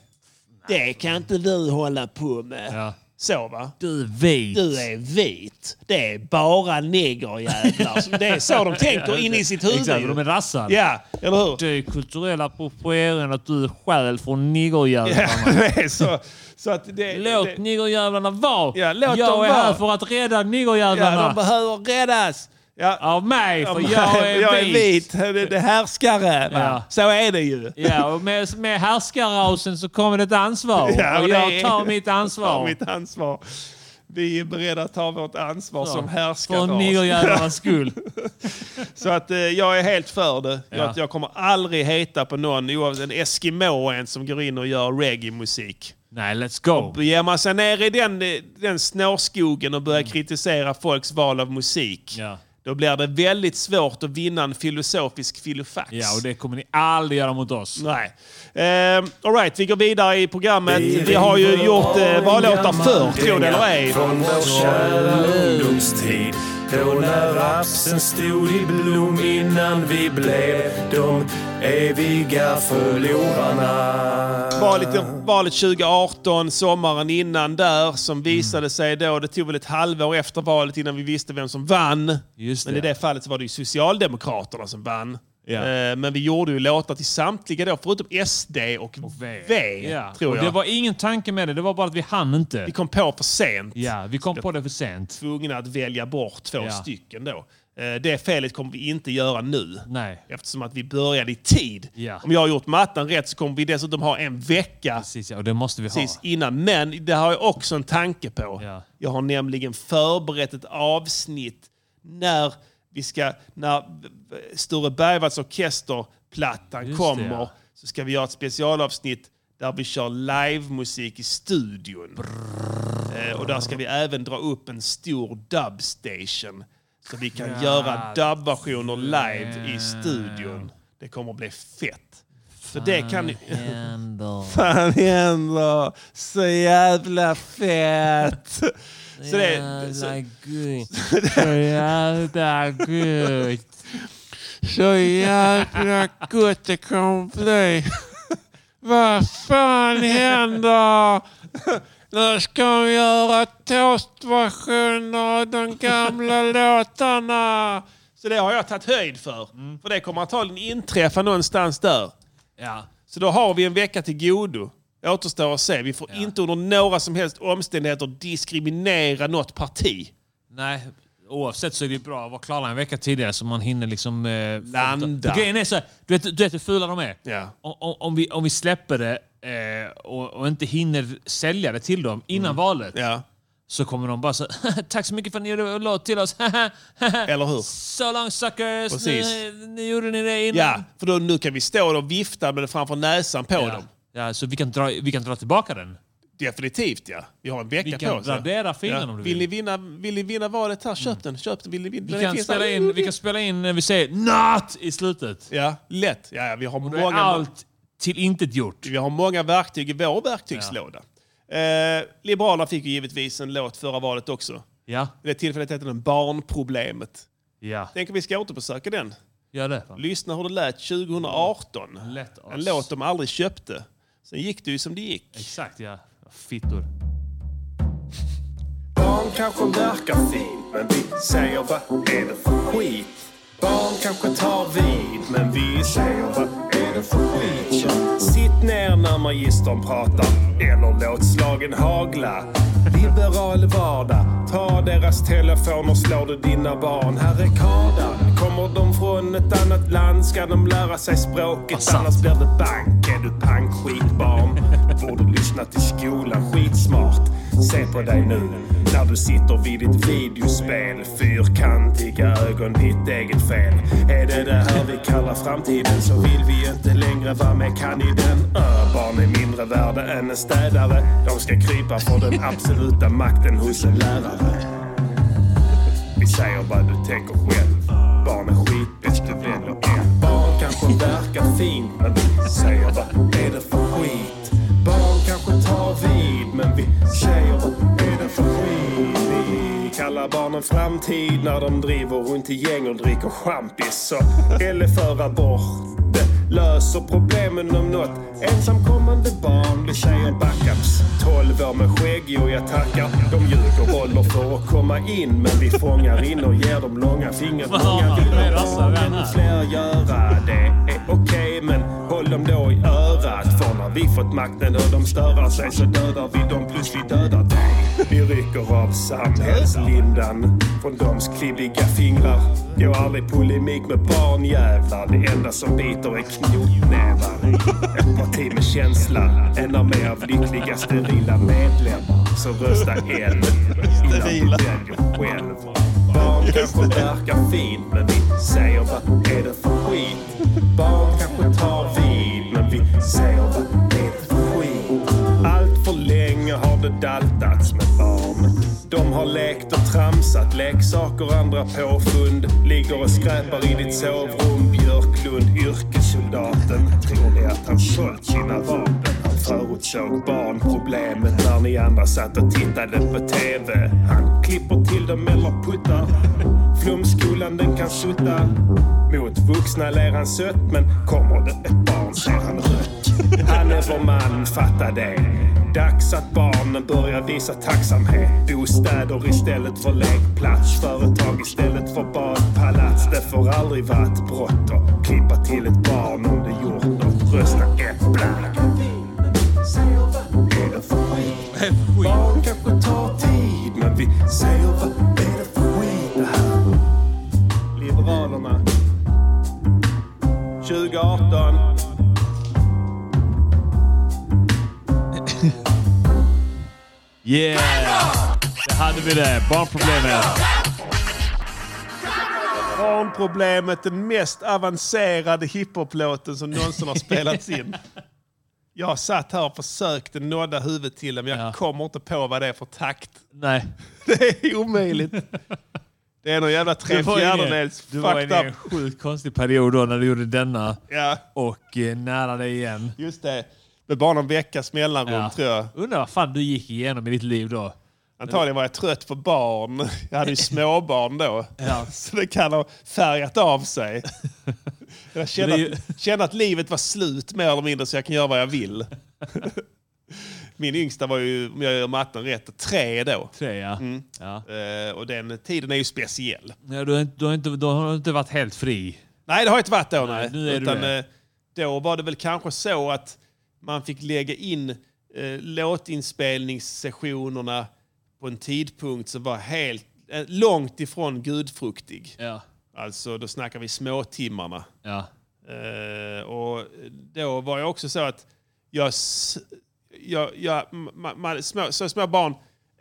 Det kan inte vi hålla på med. Så va?
Du är vit.
Du är vit. Det är bara negerjävlar. som- det är så de tänker in i sitt huvud.
Exakt,
ju.
de är rassar.
Ja, eller hur?
Det är kulturell appropriering att du är själ från negerjävlarna.
det är så. så att det,
låt negerjävlarna vara.
låt
jag
dem
är
vara.
här för att rädda negerjävlarna.
Ja, de behöver räddas. Ja.
Av mig, för
Ja,
jag är
jag är
vit.
vit. Det, det härskare. Va?
Ja.
Så är det ju.
Ja, och med, med härskarrasen så kommer det ett ansvar.
Ja,
och
det
jag
är-
tar mitt ansvar.
tar mitt ansvar. Vi är beredda att ta vårt ansvar
Ja,
som härskare.
för negerjävlarnas skull.
Så att eh, jag är helt för det.
Ja.
Jag, jag kommer aldrig heta på någon, oavsett en eskimo ens, som går in och gör reggae-musik.
Nej, let's go.
Och ger man sig ner i den, eh, den snårskogen och börjar
Mm.
kritisera folks val av musik, då blir det väldigt svårt att vinna en filosofisk filofax.
Ja, och det kommer ni aldrig göra mot oss.
Nej. Eh, all right, vi går vidare i programmet. Vi har ju gjort eh, vallåtar förr, tror det eller ej.
Från vår kära ungdomstid. Då när rapsen stod i blom innan vi blev de eviga förlorarna.
Valet, valet 2018, sommaren innan där, som visade sig då, det tog väl ett halvår efter valet innan vi visste vem som vann. Men i det fallet så var det ju Socialdemokraterna som vann. Eh, Men vi gjorde ju låtar till samtliga då, förutom SD och, V,
Ja.
tror
och
jag.
det var ingen tanke med det, det var bara att vi hann inte. Vi
kom på för sent.
Ja, vi kom på det för sent.
Tvungna att välja bort två
Ja.
stycken då. Eh, Det felet kommer vi inte göra nu.
Nej.
Eftersom att vi började i tid.
Ja.
Om jag har gjort matten rätt så kommer vi dessutom ha en vecka
Precis, ja, och det måste vi ha.
precis innan. Men det har jag också en tanke på.
Ja.
Jag har nämligen förberett ett avsnitt när vi ska, när Sture Bergwalds orkesterplattan
Just det,
kommer
ja.
så ska vi göra ett specialavsnitt där vi kör livemusik i studion. Eh, och där ska vi även dra upp en stor dubstation så vi kan
Ja.
göra dubversioner live i studion. Det kommer att bli fett. Så det kan ni... Fan händer. Så jävla fett. Så det, så,
jävla gött.
Så jävla gött det kommer bli. Vad fan händer? Nu ska vi göra toastversioner av de gamla låtarna.
så det har jag tagit höjd för.
Mm.
För det kommer antagligen inträffa någonstans där.
Ja.
Så då har vi en vecka till godo. Återstår att se. Vi får inte under några som helst omständigheter diskriminera något parti.
Nej, oavsett så är det ju bra att vara klara en vecka tidigare så man hinner liksom... Eh,
Landa.
För Grejen är så här, du vet, du vet hur fula de är?
Ja.
Om, om- om, vi, om vi släpper det eh, och, och inte hinner sälja det till dem innan
Mm.
valet så kommer de bara så Tack så mycket för att ni gjorde en låt till oss. Eller
hur?
So long suckers!
Precis.
Nu, nu gjorde ni det innan.
Ja, för då, nu kan vi stå där och vifta med det framför näsan på dem.
Ja, så vi kan, dra, vi kan dra tillbaka den.
Definitivt ja. Vi har en vecka
Vi
på oss.
kan radera filen om du
vill.
vill. Mm.
Ni vinna, vill ni vinna valet här? Köp den. Köp den. Vill ni vinna?
Vi
den
kan,
finns
spela
där.
in, vi kan spela in när vi säger NOT i slutet.
Ja, lätt. Ja, ja, vi har
då är
många...
allt till intet gjort.
Vi har många verktyg i vår verktygslåda. Eh, Liberalerna fick ju givetvis en låt förra valet också.
Ja.
Vid det tillfället hette den Barnproblemet.
Ja.
Tänk om vi ska återbesöka den.
Gör det.
Lyssna hur det lät 2018.
Lätt oss.
en låt de aldrig köpte. Sen gick det ju som det gick.
Exakt ja. Fittor.
Barn kanske verkar fin, men vi säger vad är det för skit? Barn kanske tar vid, men vi säger vad är det för skit? Sitt ner när magistern pratar, eller låt slagen hagla. Liberal vardag, ta deras telefoner, slår du dina barn. Här är kardan, kommer de från ett annat land ska de lära sig språket, annars blir det bank. Är du pangskitbarn? Borde lyssna till skolan, skitsmart. Se på dig nu när du sitter vid ditt videospel. Fyrkantiga ögon, ditt eget fel. Är det det här vi kallar framtiden så vill vi inte längre vara med kan i den. Ö, barn är mindre värda än en städare. De ska krypa för den absoluta makten hos en lärare. Vi säger vad du tänker själv. Barn är skitbäst, du väljer en. Barn kanske verkar fin, men vi säger vad är det för skit? Barn kanske tar vid, men vi säger vad är det för skit? Vi kallar barnen framtid när de driver runt i gäng och dricker champis. Så eller för abort. löser problemen om något. Ensamkommande barn blir tjejer backups. 12 år med skägg, och jag tackar. De ljuger håller för att komma in, men vi fångar in och ger dem långa fingret. Många vill ha barn, men fler göra det är okej. Men håll dem då i örat, för när vi fått makten och de störar sig så dödar vi dem plus vi dödar dig. Vi rycker av samhällslindan från doms klibbiga fingrar. Går aldrig i polemik med barnjävlar. Det enda som biter är knotnävar. Ett parti med känsla, en armé av lyckliga sterila medlemmar. Så rösta en innan du väljer själv. Barn kanske verkar fint, men vi säger vad är det för skit? Barn kanske tar vid, men vi säger vad är det för skit? Allt för länge har det daltats med barn. De har lekt och tramsat leksaker och andra påfund. Ligger och skräpar i ditt sovrum. Björklund, yrkessoldaten. Tror ni att han sålt sina vapen? Han förutsåg barnproblemet när ni andra satt och tittade på TV. Han klipper till dem eller puttar. Flumskolan den kan sutta. Mot vuxna ler han sött men kommer det ett barn ser han rött. Han är vår man, fatta det. Dags att barnen börjar visa tacksamhet. Bostäder istället för lekplats. Företag istället för badpalats. Det får aldrig vara ett brott att klippa till ett barn om det gjort något. Rösta ett blankt. Är det för skit? Barn kanske tar tid, men vi säger vad är det för skit? Det här. Liberalerna. 2018.
Yeah! Det hade vi det. Barnproblemet.
Barnproblemet, den mest avancerade hiphop-låten som någonsin har spelats in. Jag satt här och försökte nodda huvudet till den, men jag kommer inte på vad det är för takt.
Nej.
Det är omöjligt. Det är någon jävla tre
Du var inne-
fjärdedels
Du var inne i
fucked
en
up.
sjukt konstig period då när du gjorde denna.
Ja.
Och eh, nära dig igen.
Just det. Med bara någon veckas mellanrum
Ja.
tror jag.
Undrar vad fan du gick igenom i ditt liv då.
Antagligen var jag trött på barn. Jag hade ju småbarn då.
Ja.
Så det kan ha färgat av sig. Jag kände,
Men det är ju-
att, kände att livet var slut mer eller mindre så jag kan göra vad jag vill. Min yngsta var ju, om jag gör matten rätt, tre då.
Tre, ja.
Mm. Eh, och den tiden är ju speciell.
Ja, du, har inte, du, har inte, du har inte varit helt fri.
Nej, det har inte varit då. Nej.
nu är du
Utan,
det.
eh, då var det väl kanske så att man fick lägga in eh, låtinspelningssessionerna på en tidpunkt som var helt eh, långt ifrån gudfruktig. Alltså, då snackar vi småtimmarna.
Ja.
Eh, och då var jag också så att jag, s- jag, jag ma, ma, små, så små barn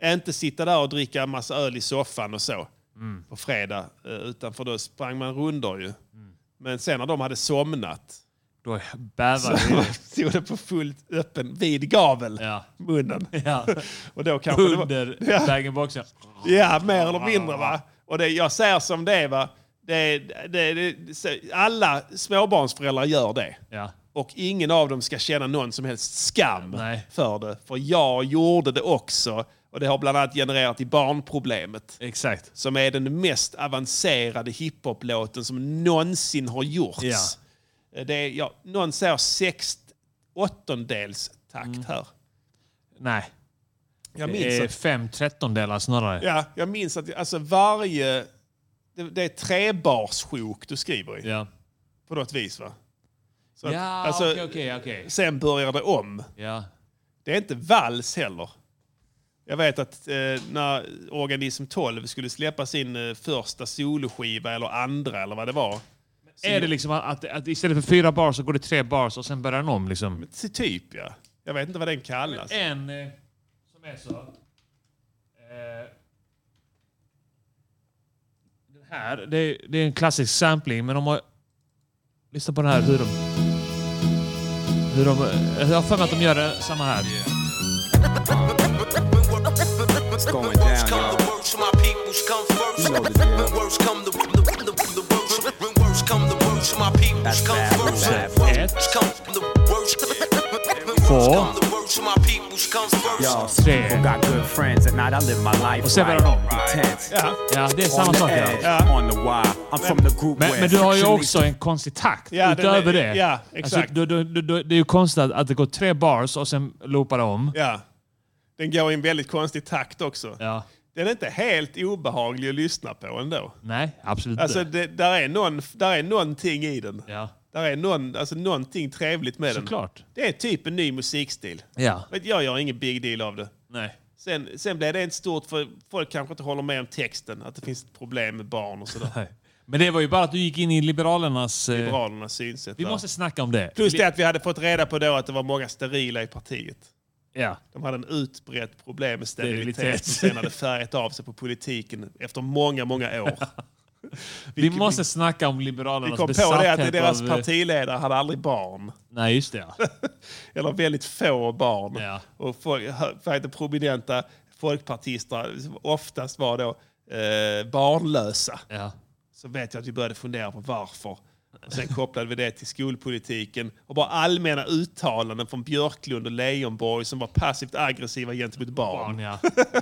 inte sitta där och dricka en massa öl i soffan och så
Mm.
på fredag. eh, Utan för då sprang man rundor ju.
Mm.
Men sen när de hade somnat
Då bävade
så stod det på fullt öppen, vid gavel, munnen. och då kanske
Under
det var,
bag boxen
Ja, mer eller mindre. va. Och det, jag säger som det är. Va? Det, det, det, så- alla småbarnsföräldrar gör det. Och ingen av dem ska känna någon som helst skam för det. För jag gjorde det också. Och det har bland annat genererat i barnproblemet.
Exakt.
Som är den mest avancerade hiphop-låten som någonsin har gjorts. Eh,
Ja.
Det är, ja, någon säger sext åttondels takt här.
Nej.
Jag
Mm. det
minns
är
att-
fem trettondelar snarare.
Ja, jag minns att alltså varje... Det, det är trebarssjok du skriver i.
Ja.
På något vis va? Så
Ja,
att, alltså,
okej, okej, okej.
Sen börjar det om.
Ja.
Det är inte vals heller. Jag vet att eh, när Organism 12 skulle släppa sin eh, första soloskiva eller andra eller vad det var. så-
Är det liksom att, att, att istället för fyra bars så går det tre bars och sen börjar den om? Liksom?
Typ ja. Jag vet inte vad den kallas.
En eh, som är så. Eh, den här, det är, det är en klassisk sampling, men de har... Lyssna på den här, hur de... Hur de jag har för mig att de gör det samma här.
It's going down, y'all.
Två.
Y'all
Tre.
got good
good friends at night I live my life
Och sen var det
right.
någon.
Intense.
Ja, det är samma
On the
sak. Ja.
edge, On the wire. I'm from the group
Men,
where
men du har ju
friction
också en konstig takt
Ja, den
utöver
är-
det. Alltså,
ja, exakt.
du, du, du, du, det är ju konstigt att- att det går tre bars och sen loopar det om.
Ja. Den går i en väldigt konstig takt också. Den är inte helt obehaglig att lyssna på ändå.
Nej, absolut
Alltså,
inte.
det, där, är någon, där är någonting i den.
Ja.
Där är någon, alltså, någonting trevligt med
Såklart.
den. Det är typ en ny musikstil.
Ja.
Men jag gör ingen big deal av det.
Nej.
Sen, sen blev det inte stort för folk kanske inte håller med om texten, att det finns problem med barn och sådär.
Nej. Men det var ju bara att du gick in i Liberalernas... eh,
Liberalernas synsätt.
Vi
där.
måste snacka om det.
Plus det att vi hade fått reda på då att det var många sterila i partiet.
Ja.
De hade en utbrett problem med
Sterilitet.
sterilitet som sen hade färgat av sig på politiken efter många, många år.
Vi måste snacka om Liberalernas
Vi kom på
besatthet
det att deras
av, eh,
partiledare hade aldrig barn.
Nej, just det. ja.
Eller väldigt få barn. Och för, för att prominenta folkpartister liksom oftast var då eh, barnlösa. Så vet jag att vi började fundera på varför. Och sen kopplade vi det till skolpolitiken och bara allmänna uttalanden från Björklund och Leijonborg som var passivt aggressiva gentemot barn.
Barn, ja.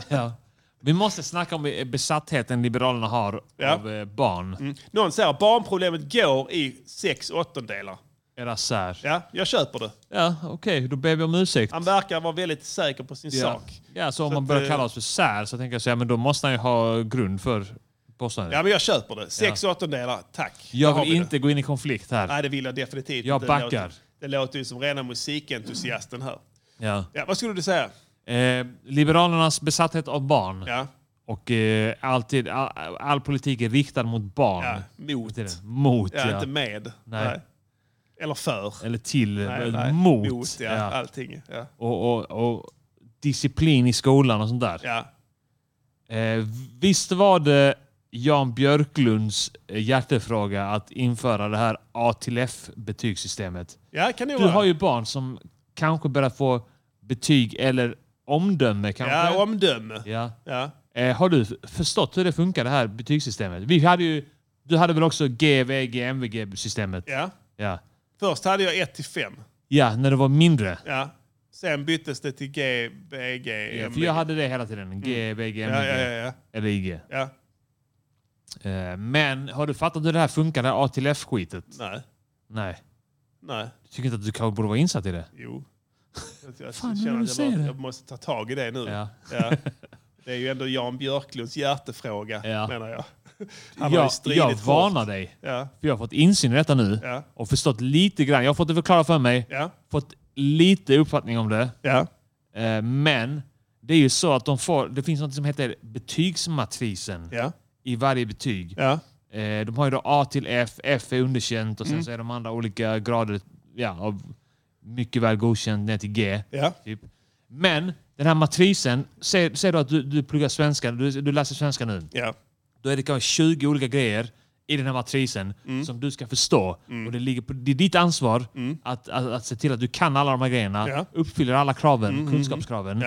ja. Vi måste snacka om eh, besattheten Liberalerna har av eh, barn.
Mm. Någon säger att barnproblemet går i sex åttondelar.
Era sär.
Ja, jag köper det.
Ja, okej. Då ber vi om ursäkt.
Han verkar vara väldigt säker på sin
Ja.
sak.
Ja, så om
Så
man
att,
börjar
eh,
kalla oss för sär så tänker jag säga, men då måste han ju ha grund för påståendet.
Ja, men jag köper det. Sex åttondelar, tack. Där har
jag
vi
vill
det.
inte gå in i konflikt här.
Nej, det vill jag definitivt
Jag
inte. Det
backar.
låter, det låter ju som rena musikentusiasten här.
Ja.
Ja, vad skulle du säga?
Eh, Liberalernas besatthet av barn.
Ja.
Och eh, alltid, all, all politik är riktad mot barn.
Ja, mot.
Det är det. Mot,
ja,
ja.
Inte med.
Nej.
Eller för.
Eller till.
Nej,
eh,
nej.
Mot.
ja, Allting. Ja.
Och, och, och disciplin i skolan och sånt där. Eh, visst var det Jan Björklunds eh, hjärtefråga att införa det här A till F-betygssystemet?
Ja, kan det
Du
vara.
har ju barn som kanske börjar få betyg eller omdöme kanske?
Ja, omdöme.
Ja.
Ja.
Eh, har du f- förstått hur det funkar, det här betygssystemet? Vi hade ju, du hade väl också GVG, MVG-systemet?
Ja.
Ja.
Först hade jag 1 till 5.
ja, när du var mindre.
Ja. Sen byttes det till G, B, G,
Ja,
M,
för jag hade det hela tiden. G, VG,
Ja,
MVG.
ja, ja, ja.
Eller IG.
Ja.
Eh, Men har du fattat hur det här funkar, det här A till F-skitet?
Nej.
Nej.
Nej.
Du tycker inte att du kanske borde vara insatt i det?
Jo. Jag, jag
Fan,
känner
när du
att jag,
säger
bara,
det.
jag måste ta tag i det nu.
Ja.
Det är ju ändå Jan Björklunds hjärtefråga, menar jag. Han har ju
jag,
stridit
jag
hårt.
varnar dig.
Ja.
För jag har fått insyn i detta nu
Ja.
och förstått lite grann. Jag har fått det förklarat för mig.
Ja.
Fått lite uppfattning om det.
Ja.
Eh, Men det är ju så att de får, det finns något som heter betygsmatrisen
Ja.
i varje betyg. Eh, De har ju då A till F, F är underkänt och sen
Mm.
så är de andra olika grader ja, av mycket väl godkänd ner till G.
Ja.
Typ. Men den här matrisen, säg, säg då att du, du pluggar svenska, du, du läser svenska nu.
Ja.
Då är det kanske 20 olika grejer i den här matrisen
Mm.
som du ska förstå. Och det, ligger på, det är ditt ansvar att, att, att se till att du kan alla de här grejerna,
Ja.
uppfyller alla kraven,
Mm, mm,
kunskapskraven.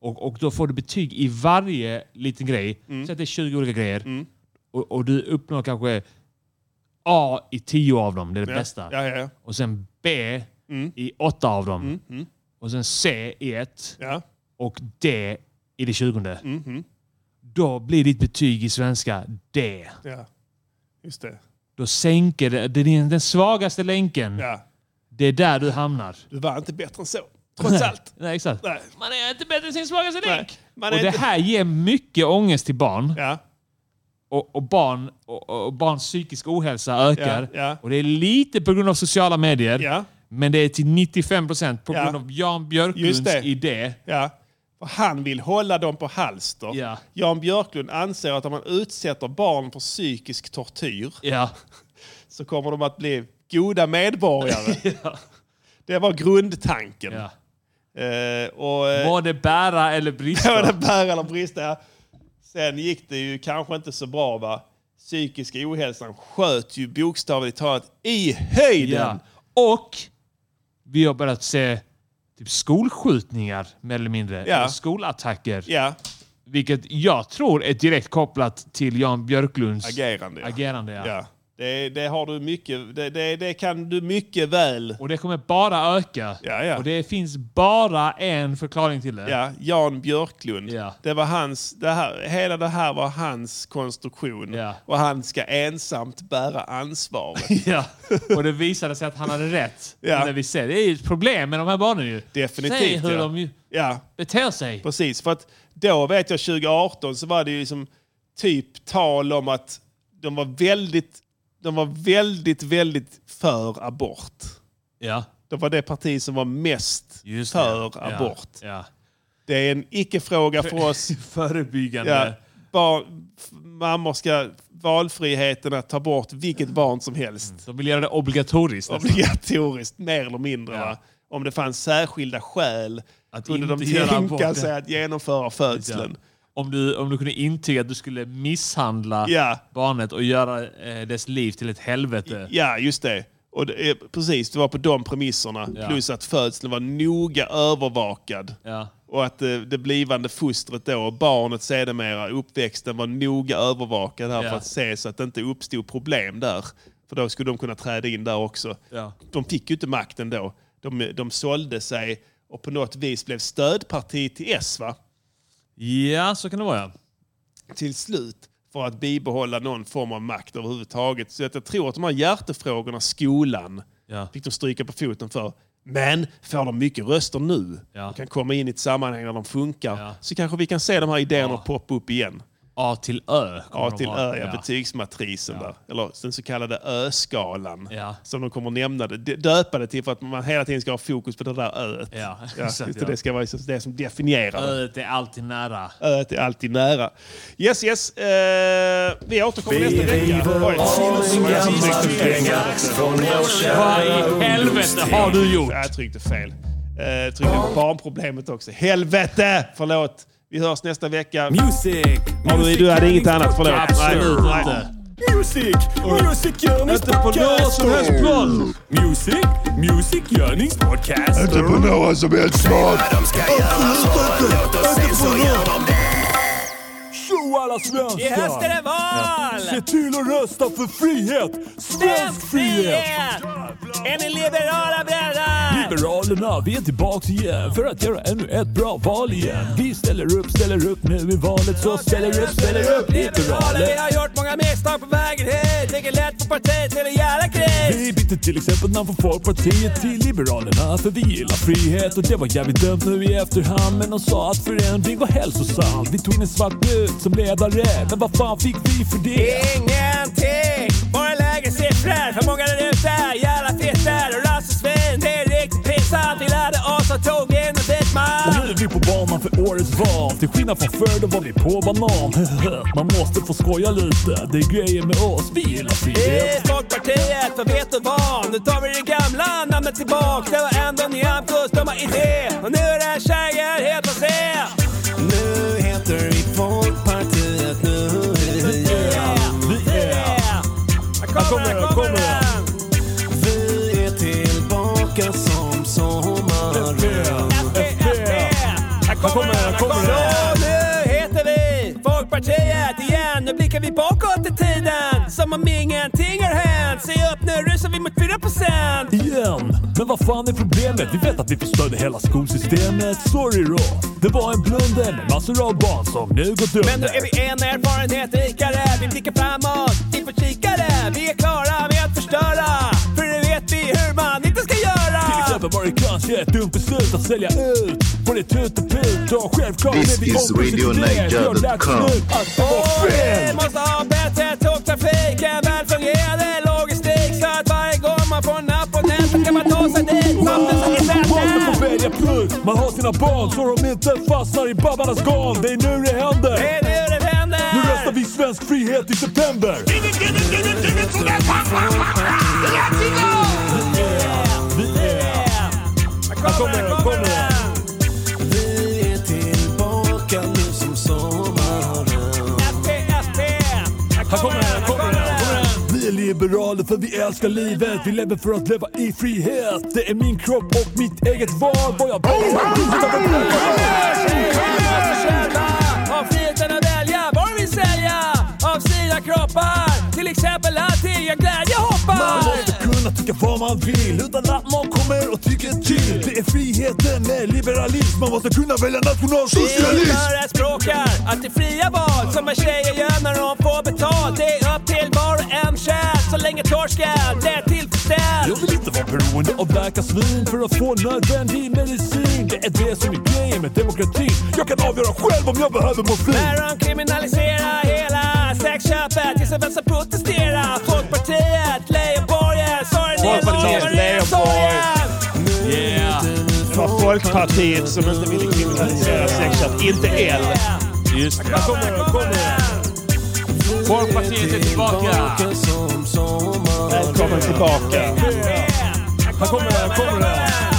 Och, och då får du betyg i varje liten grej.
Mm.
Säg att det är 20 olika grejer. Och, och du uppnår kanske A i 10 av dem, det är det
Ja.
bästa.
Ja, ja, ja.
Och sen B i 8 av dem.
Mm, mm.
Och sen C i 1.
Ja.
Och D i det 20.
Mhm.
Då blir ditt betyg i svenska D.
Ja, just det.
Då sänker det, det är din- den svagaste länken. Det är där du hamnar.
Du var inte bättre än så, trots allt.
Nej, exakt.
Nej.
Man är inte bättre än sin svagaste länk.
Man
och
är
det
inte-
här ger mycket ångest till barn.
Ja.
Och, och, barn och, och barns psykiska ohälsa ökar.
Ja, ja.
Och det är lite på grund av sociala medier. Men det är till 95% på
Ja.
grund av Jan Björklunds
Just det.
idé.
Ja. För han vill hålla dem på halster.
Ja.
Jan Björklund anser att om man utsätter barn för psykisk tortyr
Ja.
så kommer de att bli goda medborgare. Det var grundtanken. Eh, och, eh,
Må det bära eller brista.
Må det bära eller brista. ja. Sen gick det ju kanske inte så bra. va? Psykiska ohälsan sköt ju bokstavligt talat i höjden.
Ja. Och vi har börjat se typ skolskjutningar mer eller mindre.
Ja.
Eller skolattacker.
Ja.
Vilket jag tror är direkt kopplat till Jan Björklunds
Agerande, ja.
agerande, ja.
Ja. Det, det har du mycket, det, det, det kan du mycket väl. Och det kommer bara öka. Ja, ja.
Och det finns bara en förklaring till det.
Ja, Jan Björklund. Det var hans, det här, hela det här var hans konstruktion. Och han ska ensamt bära ansvaret.
Ja. Och det visade sig att han hade rätt.
Ja.
Det, vi ser. det är ju ett problem med de här barnen ju.
Definitivt.
Säg hur
ja.
de ju
ja.
beter sig.
Precis, för att då vet jag 2018 så var det ju liksom typ tal om att de var väldigt, de var väldigt, väldigt för abort.
Ja.
Det var det parti som var mest för
Ja.
abort.
Ja.
Det är en icke-fråga för oss.
Förebyggande.
barn, f- mammor ska valfriheten att ta bort vilket barn som helst.
De vill göra det obligatoriskt. nästan.
Obligatoriskt, mer eller mindre. Va? Om det fanns särskilda skäl att kunde de
inte göra
tänka
aborten.
sig att genomföra födseln.
Om du, om du kunde intyga att du skulle misshandla
Ja.
barnet och göra eh, dess liv till ett helvete.
Ja, just det. Och det är, precis, det var på de premisserna.
Ja.
Plus att födseln var noga övervakad.
Ja.
Och att det, det blivande fostret då, och barnet sedermera, uppväxten var noga övervakad här
Ja.
för att se så att det inte uppstod problem där. För då skulle de kunna träda in där också.
Ja.
De fick ju inte makten då. De, de sålde sig och på något vis blev stödparti till S va?
Ja, så kan det vara.
Till slut för att bibehålla någon form av makt överhuvudtaget. Så att jag tror att de här hjärtefrågorna, skolan,
Ja.
fick de stryka på foten för. Men får de mycket röster nu, och kan komma in i ett sammanhang där de funkar, så kanske vi kan se de här idéerna poppa upp igen.
A till Ö. kommer
A
de
till
ha.
Ö, ja,
Ja.
betygsmatrisen där. Eller den så kallade Ö-skalan. Som de kommer nämna det. d- Döpa det till för att man hela tiden ska ha fokus på det där öet.
Ja,
just
exakt,
det,
ja.
det ska vara liksom det som definierar det.
Öet är alltid nära.
Öet är alltid nära. Yes, yes. eh, vi återkommer nästa vecka. Oj.
Vad i helvete har du gjort?
Jag tryckte fel. Eh, tryckte på barnproblemet också. Helvete! Förlåt. Vi hörs nästa vecka. Music! Du, du hade inget annat? Förlåt.
Absolut
Nej,
inte.
nej.
Music! Music Görnings podcast! Music! Music Görnings podcast!
Uh,
Inte på någon som helst plan.
Tjo alla svenskar!
I höst är det
val! Se till att rösta för frihet! Svensk frihet!
Är ni liberala bröder?
Liberalerna, vi är tillbaks igen för att göra ännu ett bra val igen. Vi ställer upp, ställer upp nu i valet så ställer upp, ställer upp
Liberaler, vi
liberaler.
har gjort många misstag på vägen hit. Tänker lätt på partiet till en jävla kris.
Vi bytte till exempel namn på Folkpartiet till Liberalerna för vi gillar frihet och det var jävligt dumt nu i efterhand men de sa att förändring var hälsosam. Vi tog in en svart brud som ledare men vad fan fick vi för det?
Ingenting! Bara lägre siffror, för många där ute. Jävla fittor och rassesvin. Det är riktigt pinsamt. Vi lärde oss och tog in och dit
Och
man.
nu är vi på banan för årets val. Till skillnad från förr då var vi på banan. Man måste få skoja lite. Det är grejer med oss. Vi gillar frihet.
I Folkpartiet, vad vet du vad? Nu tar vi det gamla namnet tillbaks. Det var ändå Nyamkos dumma idé. Och nu är det tjejer helt att se.
Nu heter vi Folkpartiet nu. Vi är, vi är. Här kommer den, kommer den. Vi är tillbaka som sommaren.
Här kommer den, här kommer den. nu heter vi Folkpartiet igen. Nu blickar vi bakåt i tiden. Som om ingenting har hänt. Se upp nu, rusar vi mot 4%.
Igen! Men vad fan är problemet? Vi vet att vi förstörde hela skolsystemet. Sorry då. Det var en blunder med massor av barn som nu gått under.
Men nu är vi en erfarenhet rikare. Vi blickar framåt inför kikare. Vi är klara med att förstöra. För nu vet vi hur man inte ska göra.
Till exempel var det kanske ett dumt beslut att sälja ut. Var det tut och put? Ja, självklart
This
blev vi
is RadioNiger.com.
Vi måste ha bättre tågtrafik, en väl fungerande logistik så att varje gång man får en app på nätet kan man ta sig dit. Mappen som är
Måste få
bättre.
välja plus. Man har sina barn så de inte fastnar i babbarnas garn. Det är nu det händer.
Det är nu det händer.
Nu röstar vi svensk frihet i september.
Här kommer den, här kommer den. Vi är tillbaka nu som sommaren.
Här kommer den, här kommer den, här kommer den. Vi är liberaler för vi älskar livet. Vi lever för att leva i frihet. Det är min kropp och mitt eget val. Vad jag
Av friheten att välja vad vi sälja av sina kroppar till till exempel att det är glädje
Man
hoppar.
måste kunna tycka vad man vill utan att någon kommer och tycker till. Det är friheten med liberalism. Man måste kunna välja
Vi
nationalsocialism.
förespråkar att det är fria val som en tjejer gör när de får betalt. Det är upp till var och en själv så länge torsken blir
Jag
tillfredsställd.
vill inte vara beroende av läkarsvin för att få nödvändig medicin. Det är det som är grejen med demokratin. Jag kan avgöra själv om jag behöver morfin.
När de kriminaliserar hela sexköpet gissa vem som protesterar. Folkpartiet, Leijonborgen, Sören
Folkpartiet,
Nilsson, Maria
Leijonborg.
Sorgen.
Yeah. Det var Folkpartiet som inte ville kriminalisera sexköp, inte L.
Just det.
Kommer, kommer.
Folkpartiet är tillbaka!
Välkommen tillbaka.
Här kommer det, här kommer det.